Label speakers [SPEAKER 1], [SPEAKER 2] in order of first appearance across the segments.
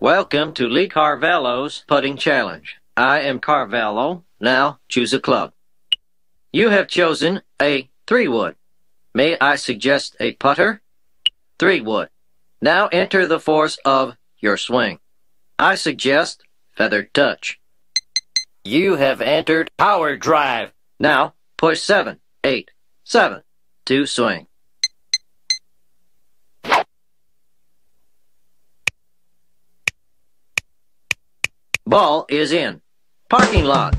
[SPEAKER 1] Welcome to Lee Carvalho's Putting Challenge. I am Carvalho. Now choose a club. You have chosen a three wood. May I suggest a putter? Three wood. Now enter the force of your swing. I suggest feathered touch. You have entered power drive. Now push seven, eight, seven to swing. Ball is in. Parking lot.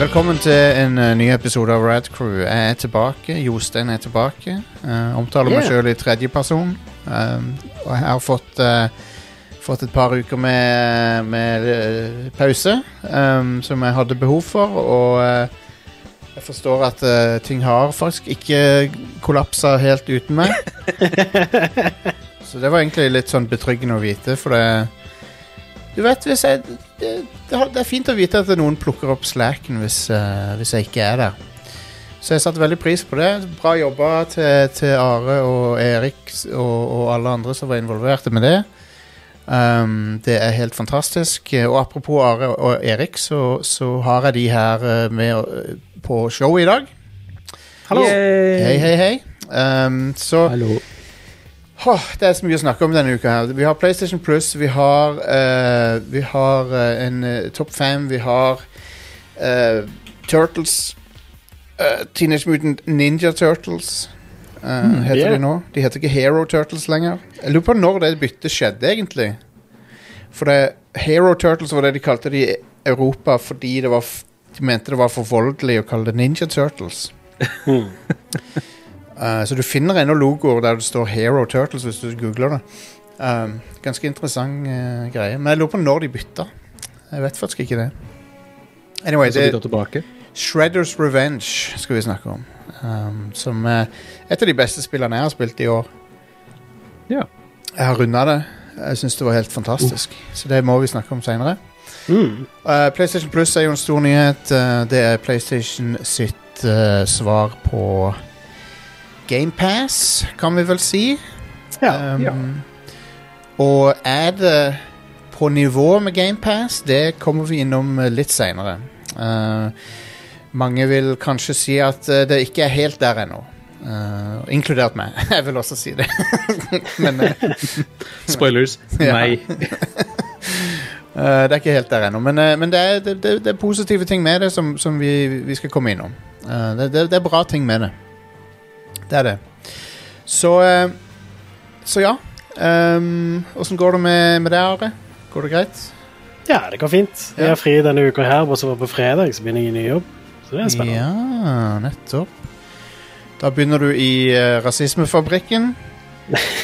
[SPEAKER 2] Velkommen til en eh, ny episode av Rad Crew. Jeg er tilbake. Jostein er tilbake. Eh, omtaler meg
[SPEAKER 1] Yeah.
[SPEAKER 2] sjøl i tredjeperson. Um, og jeg har fått, eh, fått et par uker med, med eh, pause um, som jeg hadde behov for. Og eh, jeg forstår at eh, ting har faktisk ikke kollapsa helt uten meg. Så det var egentlig litt sånn betryggende å vite, for det Du vet, hvis jeg det, det har- det er fint å vite at noen plukker opp slacken hvis, eh, hvis jeg ikke er der. Så jeg satte veldig pris på det. Bra jobba til, til Are og Erik s- og, og alle andre som var involverte med det. Ehm, det er helt fantastisk. Eh, Og apropos Are og Erik, så, så har jeg de her eh, med eh, på showet i dag.
[SPEAKER 3] Hallo.
[SPEAKER 2] Hei, hei, hei. Ehm, så
[SPEAKER 3] Hallo.
[SPEAKER 2] Åh, det er så mye å snakke om denne uka her. Vi har PlayStation Plus, vi har, eh, vi har eh, en eh, Top 5, vi har eh, Turtles eh, Teenage Mutant Ninja Turtles eh, heter
[SPEAKER 3] Hmm, yeah.
[SPEAKER 2] de nå. De heter ikke Hero Turtles lenger. Jeg lurer på når det byttet skjedde, egentlig. For det, Hero Turtles var det de kalte det i Europa fordi det var f de mente det var for voldelig å kalle det Ninja Turtles. Mm. Eh, så du finner ennå logoer der det står Hero Turtles hvis du googler det. Um, ganske interessant eh, greie. Men jeg lurer på når de bytta. Jeg vet faktisk ikke det. Anyway,
[SPEAKER 3] Så vi
[SPEAKER 2] det,
[SPEAKER 3] tar tilbake.
[SPEAKER 2] Shredders Revenge skal vi snakke om. Um, som er et av de beste spillene jeg har spilt i år.
[SPEAKER 3] Ja.
[SPEAKER 2] Jeg har runda det. Jeg syns det var helt fantastisk. Så det må vi snakke om seinere.
[SPEAKER 3] Mm.
[SPEAKER 2] Eh, PlayStation Plus er jo en stor nyhet. Eh, det er PlayStation sitt eh, svar på GamePass, kan vi vel si.
[SPEAKER 3] Ja,
[SPEAKER 2] Um,
[SPEAKER 3] ja.
[SPEAKER 2] Og er det på nivå med GamePass? Det kommer vi innom eh, litt seinere. mange vil kanskje si at eh, det ikke er helt der ennå. Eh, inkludert meg. Jeg vil også si det. Men eh,
[SPEAKER 3] Spoilers.
[SPEAKER 2] Ja.
[SPEAKER 3] Nei.
[SPEAKER 2] Eh, det er ikke helt der ennå, men, eh, men det, er, det, det, det er positive ting med det som, som vi, vi skal komme innom. Eh, det, det, det er bra ting med det. Det er det. Så eh, Så ja. Åssen går det med, med det, Are? Går det greit?
[SPEAKER 4] Ja, det går fint. Jeg
[SPEAKER 2] Ja.
[SPEAKER 4] har fri denne uka her, og så på fredag så begynner jeg i ny jobb. Så det er spennende.
[SPEAKER 2] Ja, nettopp. Da begynner du i eh, Rasismefabrikken.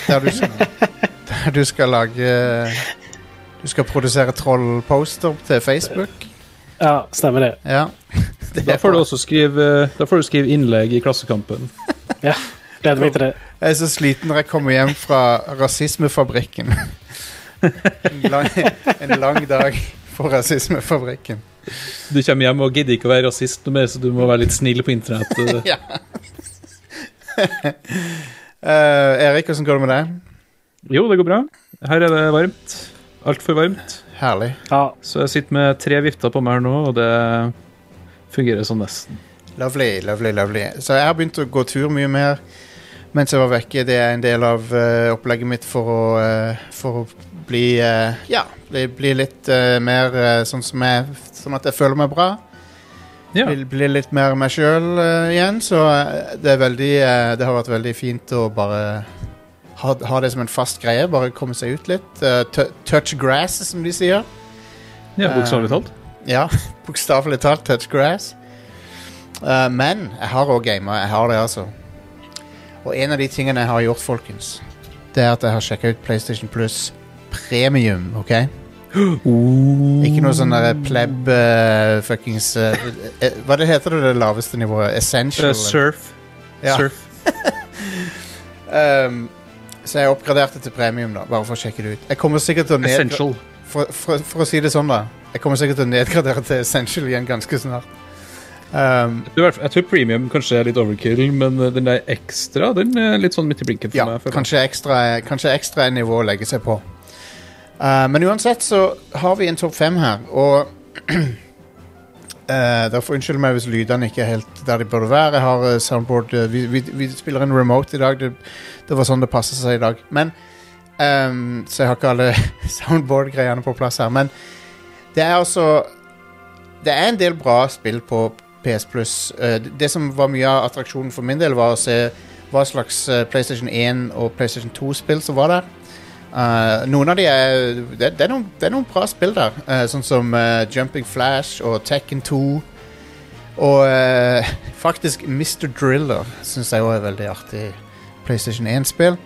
[SPEAKER 2] Der du, skal, der du skal lage Du skal produsere trollposter til Facebook.
[SPEAKER 4] Ja, stemmer det.
[SPEAKER 2] Ja. Det
[SPEAKER 3] Da
[SPEAKER 2] er
[SPEAKER 3] får du
[SPEAKER 2] bra.
[SPEAKER 3] også skrive, da får du skrive innlegg i Klassekampen.
[SPEAKER 4] Gleder meg til det.
[SPEAKER 2] Jeg er så sliten når jeg kommer hjem fra rasismefabrikken. en, lang, en lang dag på rasismefabrikken.
[SPEAKER 3] Du kommer hjem og gidder ikke å være rasist noe mer, så du må være litt snill på internett.
[SPEAKER 2] Ja. Eh, Erik, hvordan går det med deg?
[SPEAKER 3] Jo, det går bra. Her er det varmt. Altfor varmt.
[SPEAKER 2] Herlig.
[SPEAKER 4] Ja,
[SPEAKER 3] Så jeg sitter med tre vifter på meg her nå, og det fungerer sånn nesten.
[SPEAKER 2] Lovely, lovely, lovely. Så jeg har begynt å gå tur mye mer mens jeg var vekke. Det er en del av eh, opplegget mitt for å, eh, for å bli eh, Ja, bli, bli litt eh, mer eh, sånn som jeg Sånn at jeg føler meg bra.
[SPEAKER 3] Ja.
[SPEAKER 2] Vil bli litt mer meg sjøl igjen, så eh, det er veldig eh, Det har vært veldig fint å bare ha, ha det som en fast greie. Bare komme seg ut litt. Eh, tou- touch grass, som de sier.
[SPEAKER 3] ja Bokstavelig talt.
[SPEAKER 2] Ja, bokstavelig talt touch grass. Eh, men jeg har òg gama. Jeg har det, altså. Og en av de tingene jeg har gjort, folkens, det er at jeg har sjekka ut PlayStation Plus Premium. ok? Ikke noe sånn der pleb eh, fuckings eh, eh, Hva det heter det, det laveste nivået? Essential?
[SPEAKER 3] Eh, surf.
[SPEAKER 2] Ja.
[SPEAKER 3] Surf.
[SPEAKER 2] Ehm, så jeg oppgraderte til premium, da, bare for å sjekke det ut. Jeg kommer sikkert til å nedgra-
[SPEAKER 3] Essential.
[SPEAKER 2] for, for, for å si det sånn, da. Jeg kommer sikkert til å nedgradere til Essential igjen ganske snart. Um,
[SPEAKER 3] Jeg tror i hvert fall- Jeg tror premium kanskje er litt overkill, men eh, den der ekstra den er litt sånn midt i blinken for
[SPEAKER 2] ja,
[SPEAKER 3] meg. føler jeg.
[SPEAKER 2] kanskje ekstra, kanskje ekstra nivå å legge seg på. Eh, men uansett så har vi en topp fem her, og eh, Derfor unnskyld meg hvis lydene ikke er helt der de burde være. Jeg har eh, soundboard eh, vi, vi, vi spiller en remote i dag. Det, det var sånn det passet seg i dag. Men ehm, Så jeg har ikke alle soundboard-greiene på plass her. Men det er altså Det er en del bra spill på PS Plus. Eh, det som var mye av attraksjonen for min del, var å se hva slags eh, PlayStation 1 og PlayStation 2-spill som var der. Eh, noen av de er det, det, er noen, det er noen bra spill der, eh, sånn som eh, Jumping Flash og Tekken 2. Og eh, faktisk Mr. Driller syns jeg òg er veldig artig PlayStation 1-spill.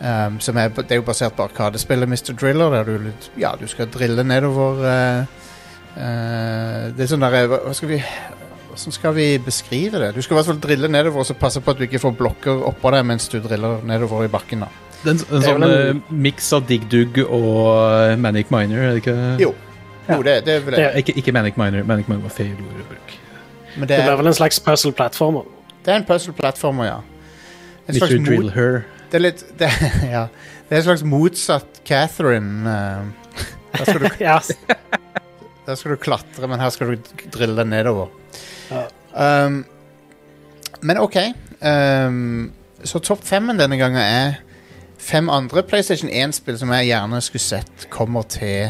[SPEAKER 2] Um, som er, det er jo basert på Arkadespillet Mr. Driller, der du, litt- ja, du skal drille nedover eh, eh, Det er sånn derre hva, hva skal vi hvordan skal vi beskrive det? Du skal i hvert fall drille nedover og så passe på at du ikke får blokker oppå deg mens du driller nedover i bakken. da.
[SPEAKER 3] Det er en, en
[SPEAKER 4] Det er
[SPEAKER 3] sånn
[SPEAKER 4] vel en-
[SPEAKER 3] eh, mix av Dig Dug og eh, Manic Miner, er det ikke?
[SPEAKER 2] Jo, jo det, det er vel det.
[SPEAKER 3] Eh, Ikke, ikke Manic Miner. Manic Miner var feil ord å bruke.
[SPEAKER 2] Men det
[SPEAKER 4] Det blir
[SPEAKER 2] er,
[SPEAKER 4] vel en slags puzzle-plattformer.
[SPEAKER 2] det er en puzzle-plattformer, ja. En slags
[SPEAKER 3] Mr.
[SPEAKER 2] mot,
[SPEAKER 3] Drill Her.
[SPEAKER 2] det er litt det, ja. det er en slags motsatt Catherine. eh, der, skal du,
[SPEAKER 4] Ja,
[SPEAKER 2] der skal du klatre, men her skal du drille nedover.
[SPEAKER 4] Ja.
[SPEAKER 2] Um, men OK. Um, så topp femmen denne gangen er fem andre PlayStation 1-spill som jeg gjerne skulle sett kommer til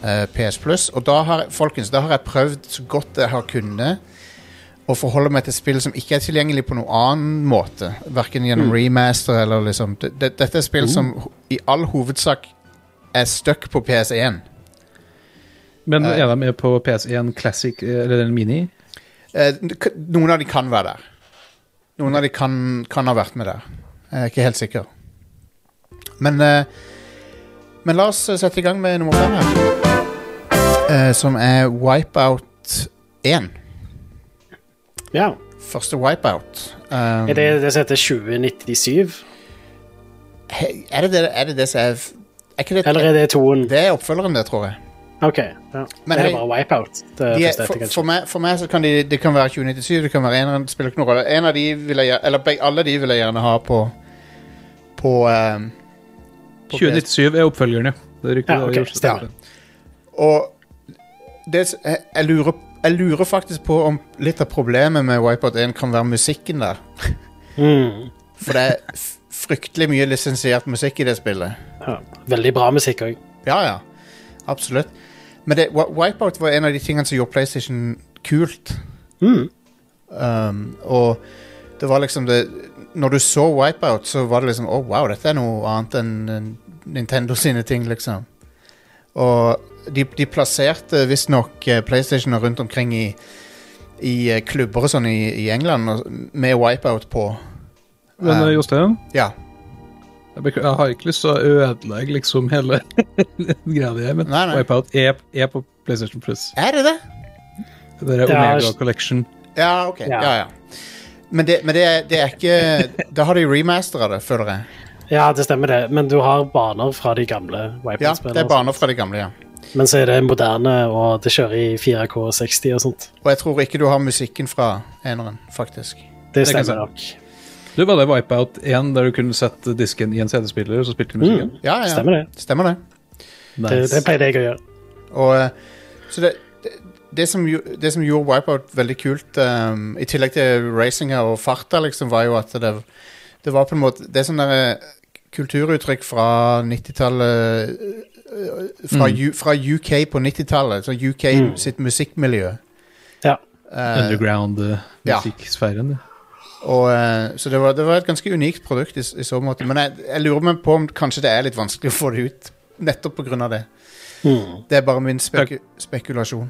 [SPEAKER 2] eh, PS Plus. Og da har, folkens, da har jeg prøvd så godt jeg har kunnet å forholde meg til spill som ikke er tilgjengelig på noen annen måte. Hverken gjennom remaster eller liksom det- det- Dette er spill som ho- i all hovedsak er stuck på PS1.
[SPEAKER 3] Men
[SPEAKER 2] Eh.
[SPEAKER 3] er de med på PS1 Classic, eh, eller den mini?
[SPEAKER 2] Eh, k- noen av de kan være der. Noen av de kan, kan ha vært med der. Jeg er ikke helt sikker. Men, eh, men la oss eh, sette i gang med nummer fem her. Eh, som er Wipeout 1.
[SPEAKER 4] ja.
[SPEAKER 2] Første Wipeout. Um,
[SPEAKER 4] Er det det som heter 2097?
[SPEAKER 2] Eh, he- er det det, er det, det som er f- Er ikke det
[SPEAKER 4] Eller er det toen?
[SPEAKER 2] Det er oppfølgeren, det, tror jeg.
[SPEAKER 4] OK. Ja.
[SPEAKER 2] Men
[SPEAKER 4] er
[SPEAKER 2] hei,
[SPEAKER 4] det bare wipeout? Det
[SPEAKER 2] De er,
[SPEAKER 4] første
[SPEAKER 2] for,
[SPEAKER 4] heter,
[SPEAKER 2] for,
[SPEAKER 4] kanskje.
[SPEAKER 2] meg, for meg så kan de Det kan være 2097, det kan være eneren, det spiller ikke noen rolle. En av de vil jeg, gjer- eller begge, alle de vil jeg gjerne ha på På, ehm, på PS.
[SPEAKER 3] 2097 er oppfølgeren, ja. Det er riktig.
[SPEAKER 4] Ja,
[SPEAKER 3] det
[SPEAKER 4] ok,
[SPEAKER 3] er gjort.
[SPEAKER 4] stemmer.
[SPEAKER 2] Og det, s- jeg, jeg, lurer, jeg lurer faktisk på om litt av problemet med Wipeout 1 kan være musikken der.
[SPEAKER 4] Mm.
[SPEAKER 2] For det er f- fryktelig mye lisensiert musikk i det spillet.
[SPEAKER 4] Ja. Veldig bra musikk òg.
[SPEAKER 2] Ja, ja. Absolutt. Men det, Wi- Wipeout var en av de tingene som gjorde PlayStation kult.
[SPEAKER 4] Mm.
[SPEAKER 2] Um, og det var liksom det Når du så Wipeout, så var det liksom Å, wow, dette er noe annet enn enn Nintendo sine ting, liksom. Og de, de plasserte visstnok eh, PlayStationer rundt omkring i, i eh, klubber og sånn i, i England og, med Wipeout på.
[SPEAKER 3] Men eh,
[SPEAKER 2] Eh,
[SPEAKER 3] Jostein,
[SPEAKER 2] ja.
[SPEAKER 3] jeg, bekl- jeg har ikke lyst til å ødelegge liksom hele greia di, men
[SPEAKER 2] Nei, nei.
[SPEAKER 3] Wipeout er, er på PlayStation Plus.
[SPEAKER 2] Er det det?
[SPEAKER 3] Det er
[SPEAKER 4] Ja,
[SPEAKER 3] Omega
[SPEAKER 4] s-
[SPEAKER 3] Collection.
[SPEAKER 2] Ja, OK. Ja,
[SPEAKER 4] Ja.
[SPEAKER 2] ja. Men, det, men det, er- det er ikke Da har de remastera det, føler jeg.
[SPEAKER 4] Ja, det stemmer det. Men du har baner fra de gamle
[SPEAKER 2] Ja, det er
[SPEAKER 4] wipeout-spillene.
[SPEAKER 2] baner fra de gamle, ja.
[SPEAKER 4] men så er det moderne, og det kjører i 4K60 og sånt.
[SPEAKER 2] Og jeg tror ikke du har musikken fra eneren, faktisk.
[SPEAKER 4] Det
[SPEAKER 3] Det kan
[SPEAKER 4] stemmer nok.
[SPEAKER 3] Du var det Wipeout 1 der du kunne sette disken i en CD-spiller, og så spilte du musikken?
[SPEAKER 2] Ja, ja.
[SPEAKER 4] Stemmer det.
[SPEAKER 2] Stemmer det.
[SPEAKER 4] Mm. Det, det pleide jeg å gjøre.
[SPEAKER 2] Og eh, så det, det, det, som, gjo- det som gjorde Wipeout veldig kult, eh, i tillegg til racinga og farta, liksom, var jo at det, det var på en måte Det er sånn derre kulturuttrykk fra 90-tallet eh, fra, U- fra UK på 90-tallet, så UK sitt musikkmiljø.
[SPEAKER 4] Ja.
[SPEAKER 2] Eh, ja.
[SPEAKER 3] Underground-musikksfæren.
[SPEAKER 2] og, eh, så det var, det var et ganske unikt produkt i, s- i så måte. Men jeg, jeg lurer meg på om kanskje det er litt vanskelig å få det ut, nettopp på grunn av det.
[SPEAKER 4] Mm.
[SPEAKER 2] Det er bare min speku spekulasjon.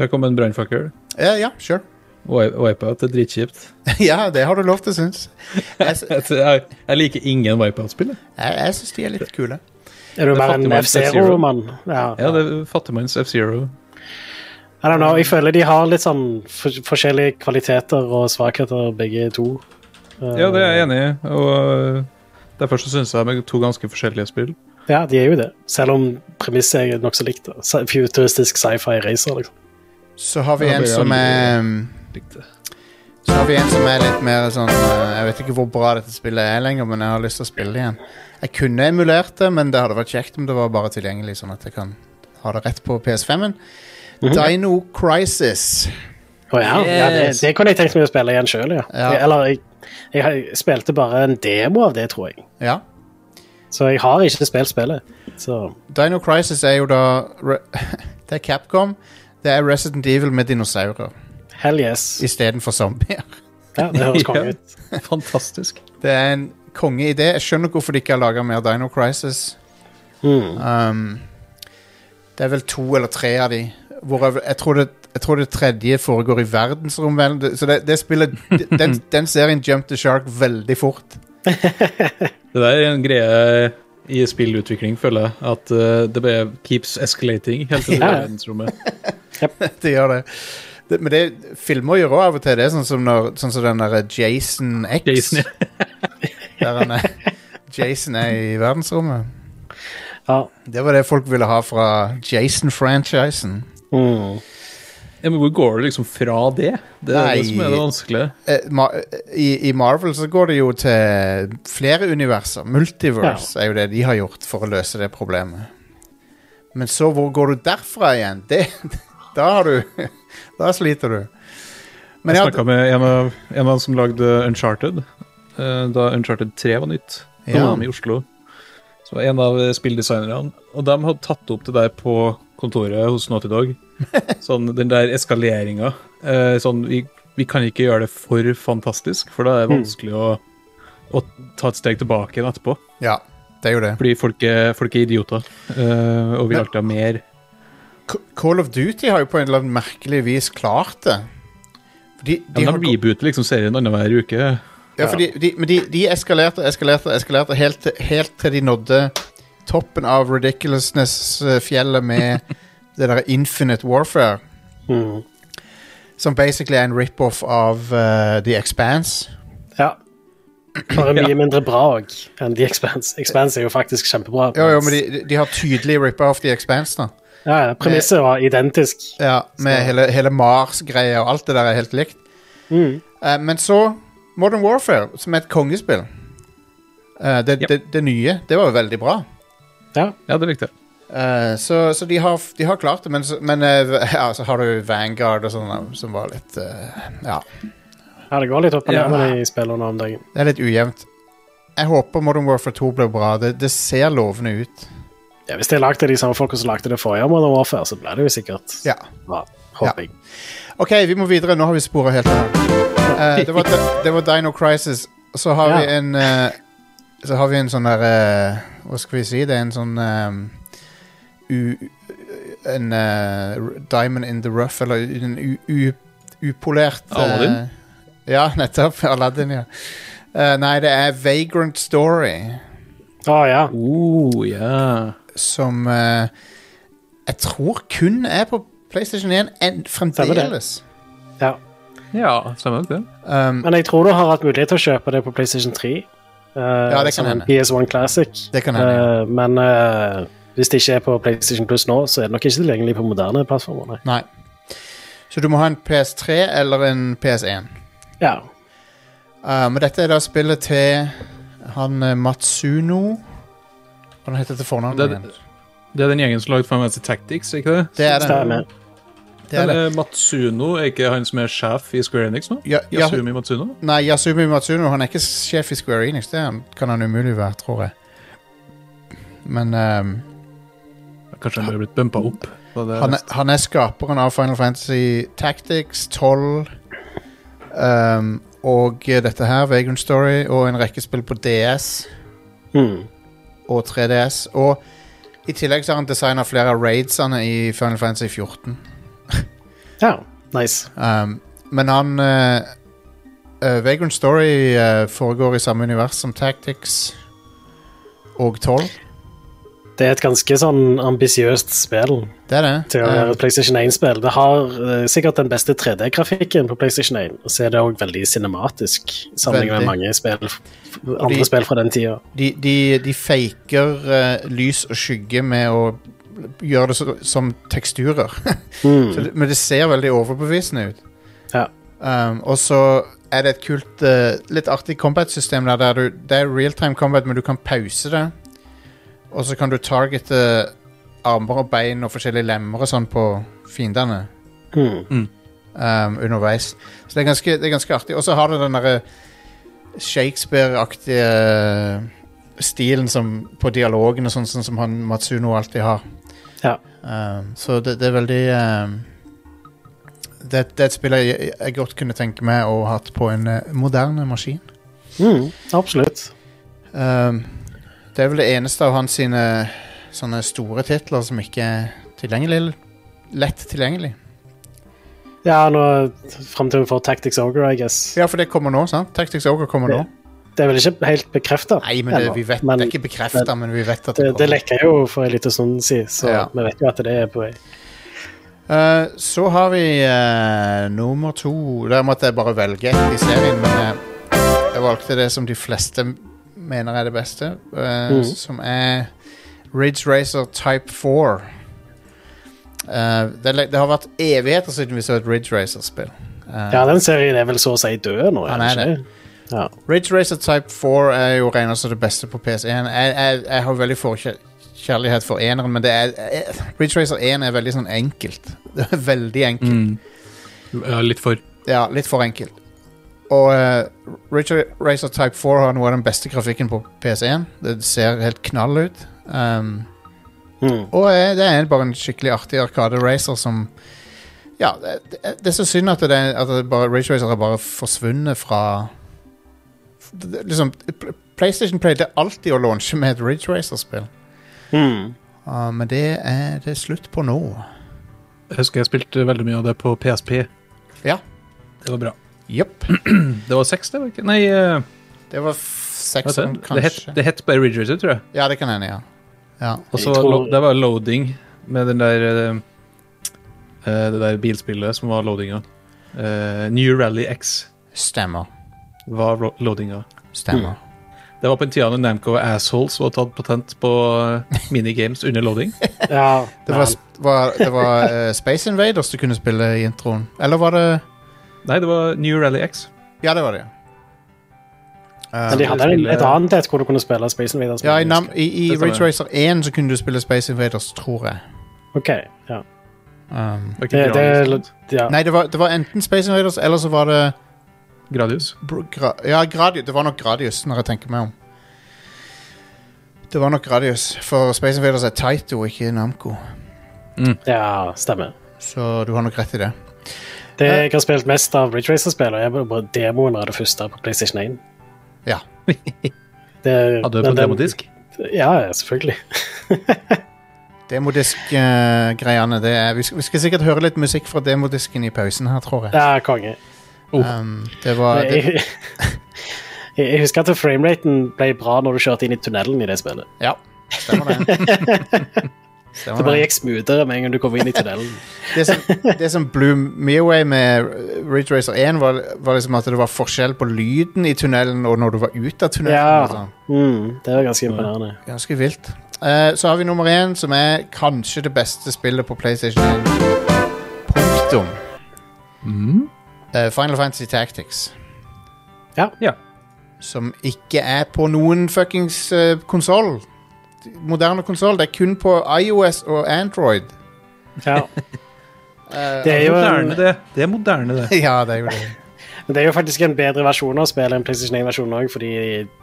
[SPEAKER 3] Her kom en brannfakkel.
[SPEAKER 2] Eh, ja, sure.
[SPEAKER 3] Wi- Wipeout er dritkjipt.
[SPEAKER 2] Ja, det har du lov til, syns jeg. sy-
[SPEAKER 3] Jeg, jeg, jeg liker ingen Wipeout-spill. jeg.
[SPEAKER 2] Jeg, jeg syns de er litt kule.
[SPEAKER 4] Er du
[SPEAKER 3] Det
[SPEAKER 4] mer
[SPEAKER 3] fattigmanns
[SPEAKER 4] en
[SPEAKER 3] F-Zero.
[SPEAKER 4] F-Zero-mann? Ja.
[SPEAKER 3] Ja, det er Fattigmanns F-Zero.
[SPEAKER 4] I don't know, jeg føler de har litt sånn for forskjellige kvaliteter og svakheter, begge to.
[SPEAKER 3] eh, Ja, det er jeg enig i. Og øh, derfor så syns jeg de er to ganske forskjellige spill.
[SPEAKER 4] Ja, de er jo det. Selv om premisset er nokså likt. da. Sci- Futuristisk sci-fi racer, liksom.
[SPEAKER 2] Så har vi
[SPEAKER 3] Ja,
[SPEAKER 2] en
[SPEAKER 3] det er
[SPEAKER 2] som
[SPEAKER 3] aldri-
[SPEAKER 2] er um,
[SPEAKER 3] Likte.
[SPEAKER 2] Så har vi en som er litt mer sånn eh, Jeg vet ikke hvor bra dette spillet er lenger, men jeg har lyst til å spille det igjen. Jeg kunne emulert det, men det hadde vært kjekt om det var bare tilgjengelig, sånn at jeg kan ha det rett på PS5-en.
[SPEAKER 3] Mhm.
[SPEAKER 2] Dino Crisis.
[SPEAKER 4] Å ja, ja det,
[SPEAKER 1] Yes.
[SPEAKER 4] det kunne jeg tenkt meg å spille igjen sjøl, ja.
[SPEAKER 2] Ja.
[SPEAKER 4] Jeg- Eller jeg, jeg, har- jeg spilte bare en demo av det, tror jeg.
[SPEAKER 2] Ja.
[SPEAKER 4] Så jeg har ikke spilt spillet. Så
[SPEAKER 2] Dino Crisis er jo da re Det er Capcom. Det er Resident Evil med dinosaurer
[SPEAKER 4] hell yes.
[SPEAKER 2] istedenfor zombier.
[SPEAKER 4] Ja, det høres konge
[SPEAKER 3] Ja.
[SPEAKER 4] ut.
[SPEAKER 3] Fantastisk.
[SPEAKER 2] Det er en kongeidé. Jeg skjønner hvorfor de ikke har laga mer Dino Crisis.
[SPEAKER 3] Hmm.
[SPEAKER 4] Mm.
[SPEAKER 2] Um, det er vel to eller tre av de Hvorav jeg tror det, jeg tror det tredje foregår i verdensrommet. eller- Så det, det spiller den, den serien Jump the Shark veldig fort.
[SPEAKER 3] Det der er en greie i spillutvikling, føler jeg. At eh, det bare keeps escalating helt til
[SPEAKER 4] Ja.
[SPEAKER 3] verdensrommet.
[SPEAKER 2] Det gjør det. det men det filmer gjør òg av og til det, sånn som, når, sånn som den derre Jason X.
[SPEAKER 3] Jason, ja.
[SPEAKER 2] Der han er. Jason er i verdensrommet.
[SPEAKER 4] Ja.
[SPEAKER 2] Det var det folk ville ha fra Jason-franchisen.
[SPEAKER 4] Mm.
[SPEAKER 3] Ja, men hvor går du liksom fra det? Det er
[SPEAKER 2] Nei.
[SPEAKER 3] det som er det vanskelige.
[SPEAKER 2] Eh, Ma i, I Marvel så går det jo til flere universer. Multiverse er jo det de har gjort for å løse det problemet. Men så hvor går du derfra igjen? Det, da har du Da sliter du. Men
[SPEAKER 3] Jeg
[SPEAKER 2] ja,
[SPEAKER 3] snakka med en av, en av dem som lagde Uncharted, eh, da Uncharted 3 var nytt. Da
[SPEAKER 2] Ja.
[SPEAKER 3] var de i Oslo. Så var en av eh, spilldesignerne. Og de hadde tatt opp det der på kontoret hos Naughty Dog. Sånn, den der eskaleringa. Eh, sånn, vi, vi kan ikke gjøre det for fantastisk, for da er det
[SPEAKER 2] Mm.
[SPEAKER 3] vanskelig å, å ta et steg tilbake igjen etterpå.
[SPEAKER 2] ja, det er jo det.
[SPEAKER 3] Fordi folk er, folk er idioter eh, og vil alltid ha mer.
[SPEAKER 2] C- Call of Duty har jo på en eller annen merkelig vis klart det. De,
[SPEAKER 3] Ja, men
[SPEAKER 2] har
[SPEAKER 3] de
[SPEAKER 2] gå-
[SPEAKER 3] rebooter liksom serien annenhver uke.
[SPEAKER 2] Ja, for de, de, men de, de eskalerte og eskalerte, og eskalerte helt, til- helt til de nådde toppen av Ridiculousness-fjellet med det der Infinite Warfare,
[SPEAKER 4] Mm.
[SPEAKER 2] som basically er en rip-off av eh, The Expanse.
[SPEAKER 4] ja. Bare mye mindre bra òg enn The Expanse. Expanse er jo faktisk kjempebra.
[SPEAKER 2] Jo, jo, men
[SPEAKER 4] mens-
[SPEAKER 2] de, de- de har tydelig rippa off The Expanse, da.
[SPEAKER 4] ja, ja, Premisset var identisk.
[SPEAKER 2] Ja, med hele, hele Mars-greia og alt det der er helt likt.
[SPEAKER 4] Mm.
[SPEAKER 2] Eh, men så Modern Warfare, som er et kongespill. Eh, det,
[SPEAKER 3] Ja.
[SPEAKER 2] det, det nye. Det var jo veldig bra.
[SPEAKER 4] Ja.
[SPEAKER 3] Ja, det likte jeg.
[SPEAKER 2] Eh, så så de, har, de har klart det, men, så- men eh, ja, så har du Vanguard og sånn eh, som var litt eh, Ja,
[SPEAKER 4] ja, det går litt opp og
[SPEAKER 3] Ja.
[SPEAKER 4] ned med de spillene om dagen.
[SPEAKER 2] det er litt ujevnt. Jeg håper Modern Warfare 2 blir bra. Det, det ser lovende ut.
[SPEAKER 4] Ja, hvis det er lagd av de samme folka som lagde det forrige Modern Warfare, så blir det jo sikkert
[SPEAKER 2] Ja.
[SPEAKER 4] bra. Håper jeg.
[SPEAKER 2] OK, vi må videre. Nå har vi sporet helt av. Eh, det, var, Di- det var Dino Crisis. Så har vi
[SPEAKER 4] Ja.
[SPEAKER 2] en eh, Så har vi en sånn der eh, Hva skal vi si? Det er en sånn eh, u, En eh, r- diamond in the rough, eller en u, u, upolert eh,
[SPEAKER 3] Aladdin?
[SPEAKER 2] ja, nettopp. Aladdin, ja. Eh, nei, det er Vagrant Story
[SPEAKER 4] Å ja.
[SPEAKER 3] Oh, yeah.
[SPEAKER 2] som eh, jeg tror kun er på PlayStation 1 en, fremdeles.
[SPEAKER 4] ja.
[SPEAKER 3] Ja, stemmer nok det.
[SPEAKER 2] Um,
[SPEAKER 4] Men jeg tror du har hatt mulighet til å kjøpe det på PlayStation 3. eh,
[SPEAKER 2] Ja, det kan
[SPEAKER 4] som en
[SPEAKER 2] hende.
[SPEAKER 4] PS1 Classic.
[SPEAKER 2] det kan hende. ja.
[SPEAKER 4] Eh, men eh, hvis det ikke er på PlayStation Plus nå, så er det nok ikke tilgjengelig på moderne plattformer. nei.
[SPEAKER 2] Nei. Så du må ha en PS3 eller en PS1.
[SPEAKER 4] Ja.
[SPEAKER 2] Uh, men dette er da spillet til han eh, Matsuno Hva heter det til fornavn?
[SPEAKER 3] Det-
[SPEAKER 2] igjen?
[SPEAKER 3] Det er den gjengen som lagde Final Fantasy Tactics, ikke det?
[SPEAKER 2] Det er det.
[SPEAKER 4] Stemmer.
[SPEAKER 2] det, er det.
[SPEAKER 3] Eller eh, Matsuno, er ikke han som er sjef i Square Enix nå?
[SPEAKER 2] Ja, ja,
[SPEAKER 3] Yasumi Matsuno?
[SPEAKER 2] nei, Yasumi Matsuno han er ikke sjef i Square Enix. Det er han, kan han umulig være, tror jeg. Men um,
[SPEAKER 3] Kanskje han bare er blitt bumpa opp? da det
[SPEAKER 2] han, er, han er skaperen av Final Fantasy Tactics 12 um, og eh, dette her, Vagrant Story, og en rekke spill på DS.
[SPEAKER 4] Mm.
[SPEAKER 2] og 3DS. Og i tillegg så har han designa flere av raidsene i Final Fantasy 14.
[SPEAKER 4] ja. Nice.
[SPEAKER 2] Um, men han eh, eh, Vagrant Story eh, foregår i samme univers som Tactics og 12.
[SPEAKER 4] Det er et ganske sånn ambisiøst spill
[SPEAKER 2] Det er det. Eh,
[SPEAKER 4] til å være et PlayStation 1-spill. Det har eh, sikkert den beste 3D-grafikken på PlayStation 1, og så er det òg veldig cinematisk sammenlignet med
[SPEAKER 2] Veldig.
[SPEAKER 4] mange spill, f-
[SPEAKER 2] de-
[SPEAKER 4] andre spill fra den tida.
[SPEAKER 2] De, de, de faker eh, lys og skygge med å gjøre det så, som teksturer.
[SPEAKER 4] Hmm.
[SPEAKER 2] så, det- men det ser veldig overbevisende ut.
[SPEAKER 4] Mm. Ja.
[SPEAKER 2] Um, og så er det et kult, eh, litt artig combat-system der, der du, det er real-time combat, men du kan pause det. Og så kan du targete armer og bein og forskjellige lemmer og sånn på fiendene
[SPEAKER 4] Mm.
[SPEAKER 2] um, underveis. Så det er ganske, det er ganske artig. Og så har det den derre Shakespeare-aktige eh, stilen som, på dialogen og sånn, sånn som han Matsuno alltid har.
[SPEAKER 4] Ja.
[SPEAKER 2] Um, så det, det er veldig um, det, det er et spill jeg, jeg godt kunne tenke meg å ha hatt på en eh, moderne maskin.
[SPEAKER 4] Mm, absolutt.
[SPEAKER 2] Um, det er vel det eneste av hans sine sånne store titler som ikke er tilgjengelig. Lett tilgjengelig.
[SPEAKER 4] Ja, nå fram til hun får Tactics Ogre, I guess.
[SPEAKER 2] Ja, for det kommer nå, sant? Tactics Ogre kommer nå.
[SPEAKER 4] Det er vel ikke helt bekrefta.
[SPEAKER 2] Nei, men det, vi vet, det er ikke bekrefta, men vi vet at
[SPEAKER 4] det,
[SPEAKER 2] det
[SPEAKER 4] det
[SPEAKER 2] kommer.
[SPEAKER 4] lekker jo for en liten stund siden, så
[SPEAKER 2] Ja.
[SPEAKER 4] vi vet jo at det er på vei.
[SPEAKER 2] Eh, så har vi eh, nummer to. Der måtte jeg bare velge ett i serien, men eh, jeg valgte det som de fleste mener er det beste, eh,
[SPEAKER 4] Mhm.
[SPEAKER 2] som er Ridge Racer Type 4. Eh, det, er le- det har vært evigheter siden vi så et Ridge Racer-spill. Eh,
[SPEAKER 4] Ja, den serien er vel så å si død nå,
[SPEAKER 2] Han
[SPEAKER 4] er
[SPEAKER 2] er
[SPEAKER 4] den ikke? Ja.
[SPEAKER 2] Ridge Racer Type 4 er jo regna som det beste på PS1. Jeg, jeg, jeg har veldig forkjærlighet for eneren, men det er, eh, Ridge Racer 1 er veldig sånn enkelt. Det er veldig enkelt.
[SPEAKER 3] Mm. Ja, litt for.
[SPEAKER 2] Ja, litt for enkelt. Og eh, Ridge Racer Type 4 har noe av den beste grafikken på PS1. Det ser helt knall ut. Um,
[SPEAKER 4] Mm.
[SPEAKER 2] og eh, det er bare en skikkelig artig Arkade-racer som Ja, det, det det er så synd at, det, at det bare, Ridge Racer har bare forsvunnet fra det- det- Liksom, Pl- PlayStation pleide alltid å launche med et Ridge Racer-spill,
[SPEAKER 4] Mm.
[SPEAKER 2] Ah, men det er det slutt på nå.
[SPEAKER 3] Jeg husker jeg spilte veldig mye av det på PSP.
[SPEAKER 2] Ja.
[SPEAKER 3] Det var bra.
[SPEAKER 2] Jepp.
[SPEAKER 3] Det var seks, det? var ikke? Nei, eh,
[SPEAKER 2] Det var f-
[SPEAKER 3] hva
[SPEAKER 2] seks,
[SPEAKER 3] heter det? det het,
[SPEAKER 2] kanskje.
[SPEAKER 3] det het bare Ridge Racer, tror jeg.
[SPEAKER 2] Ja, det kan hende, ja. ja.
[SPEAKER 3] Og så
[SPEAKER 4] Jeg
[SPEAKER 3] var
[SPEAKER 4] tror-
[SPEAKER 3] lo- det var loading med den der eh, eh, Det der bilspillet som var loadinga. Eh, New Rally X
[SPEAKER 2] Stemmer.
[SPEAKER 3] var ro- loadinga.
[SPEAKER 2] Stemmer.
[SPEAKER 3] Mm. Det var på en tid da Namco og Assholes var tatt patent på eh, minigames under loading.
[SPEAKER 4] ja
[SPEAKER 2] Det var, var, det var eh, Space Invaders du kunne spille i introen. Eller var det
[SPEAKER 3] Nei, det var New Rally X.
[SPEAKER 2] Ja, det var det. ja.
[SPEAKER 4] men de
[SPEAKER 2] Um,
[SPEAKER 4] hadde en,
[SPEAKER 3] spille-
[SPEAKER 4] et annet et hvor du kunne spille Space Invaders.
[SPEAKER 2] ja, i,
[SPEAKER 4] men jeg
[SPEAKER 2] nam, i, i
[SPEAKER 3] Det stemmer.
[SPEAKER 2] Ridge Racer 1 så kunne du spille Space Invaders, tror jeg.
[SPEAKER 4] husker. OK. Ja.
[SPEAKER 2] Um,
[SPEAKER 3] Var ikke
[SPEAKER 4] Det, det,
[SPEAKER 3] Gradius, sant?
[SPEAKER 4] ja.
[SPEAKER 2] Nei, det var, det var enten Space Invaders, eller så var det
[SPEAKER 3] Gradius.
[SPEAKER 2] Br- gra, Ja, Gradius. Det var nok Gradius, når jeg tenker meg om. Det var nok Gradius, for Space Invaders er Taito, ikke Namco.
[SPEAKER 4] ja, stemmer.
[SPEAKER 2] Så du har nok rett i det.
[SPEAKER 4] Det jeg har spilt mest av Ridge Racer-spill, og jeg var bare demoen av det første på PlayStation 1.
[SPEAKER 2] Ja.
[SPEAKER 4] Det,
[SPEAKER 3] Hadde det
[SPEAKER 4] men
[SPEAKER 3] Ah, på
[SPEAKER 4] den-
[SPEAKER 3] demodisk.
[SPEAKER 4] Ja, ja, selvfølgelig.
[SPEAKER 2] Demodisk-greiene, eh, det er vi skal, vi skal sikkert høre litt musikk fra demodisken i pausen her, tror jeg.
[SPEAKER 4] Ja, konge.
[SPEAKER 2] Um, det var det,
[SPEAKER 4] Jeg, jeg jeg husker at frameraten ble bra når du kjørte inn i tunnelen i det spillet.
[SPEAKER 2] Ja, stemmer det.
[SPEAKER 4] Det
[SPEAKER 2] Stemmer
[SPEAKER 4] bare
[SPEAKER 2] det.
[SPEAKER 4] gikk smoothere med en gang du kom inn i tunnelen.
[SPEAKER 2] Det, som, det som blew me away med Ridge Racer 1, var, var liksom at det var forskjell på lyden i tunnelen og når du var ute av tunnelen. og
[SPEAKER 4] Ja.
[SPEAKER 2] sånn.
[SPEAKER 4] Mm, det var ganske imponerende.
[SPEAKER 2] Ganske vilt. Eh, så har vi nummer én, som er kanskje det beste spillet på PlayStation 1. Punktum. Eh, Final Fantasy Tactics.
[SPEAKER 4] Ja.
[SPEAKER 3] Ja.
[SPEAKER 2] Som ikke er på noen fuckings uh, konsoll. Moderne konsoll. Det er kun på iOS og Android.
[SPEAKER 4] Ja.
[SPEAKER 2] Eh,
[SPEAKER 4] Det er jo en,
[SPEAKER 3] moderne, det. Det er moderne, det.
[SPEAKER 2] ja, det er jo det.
[SPEAKER 4] Men det er jo faktisk en bedre versjon av spillet enn PlayStation 1-versjonen òg, fordi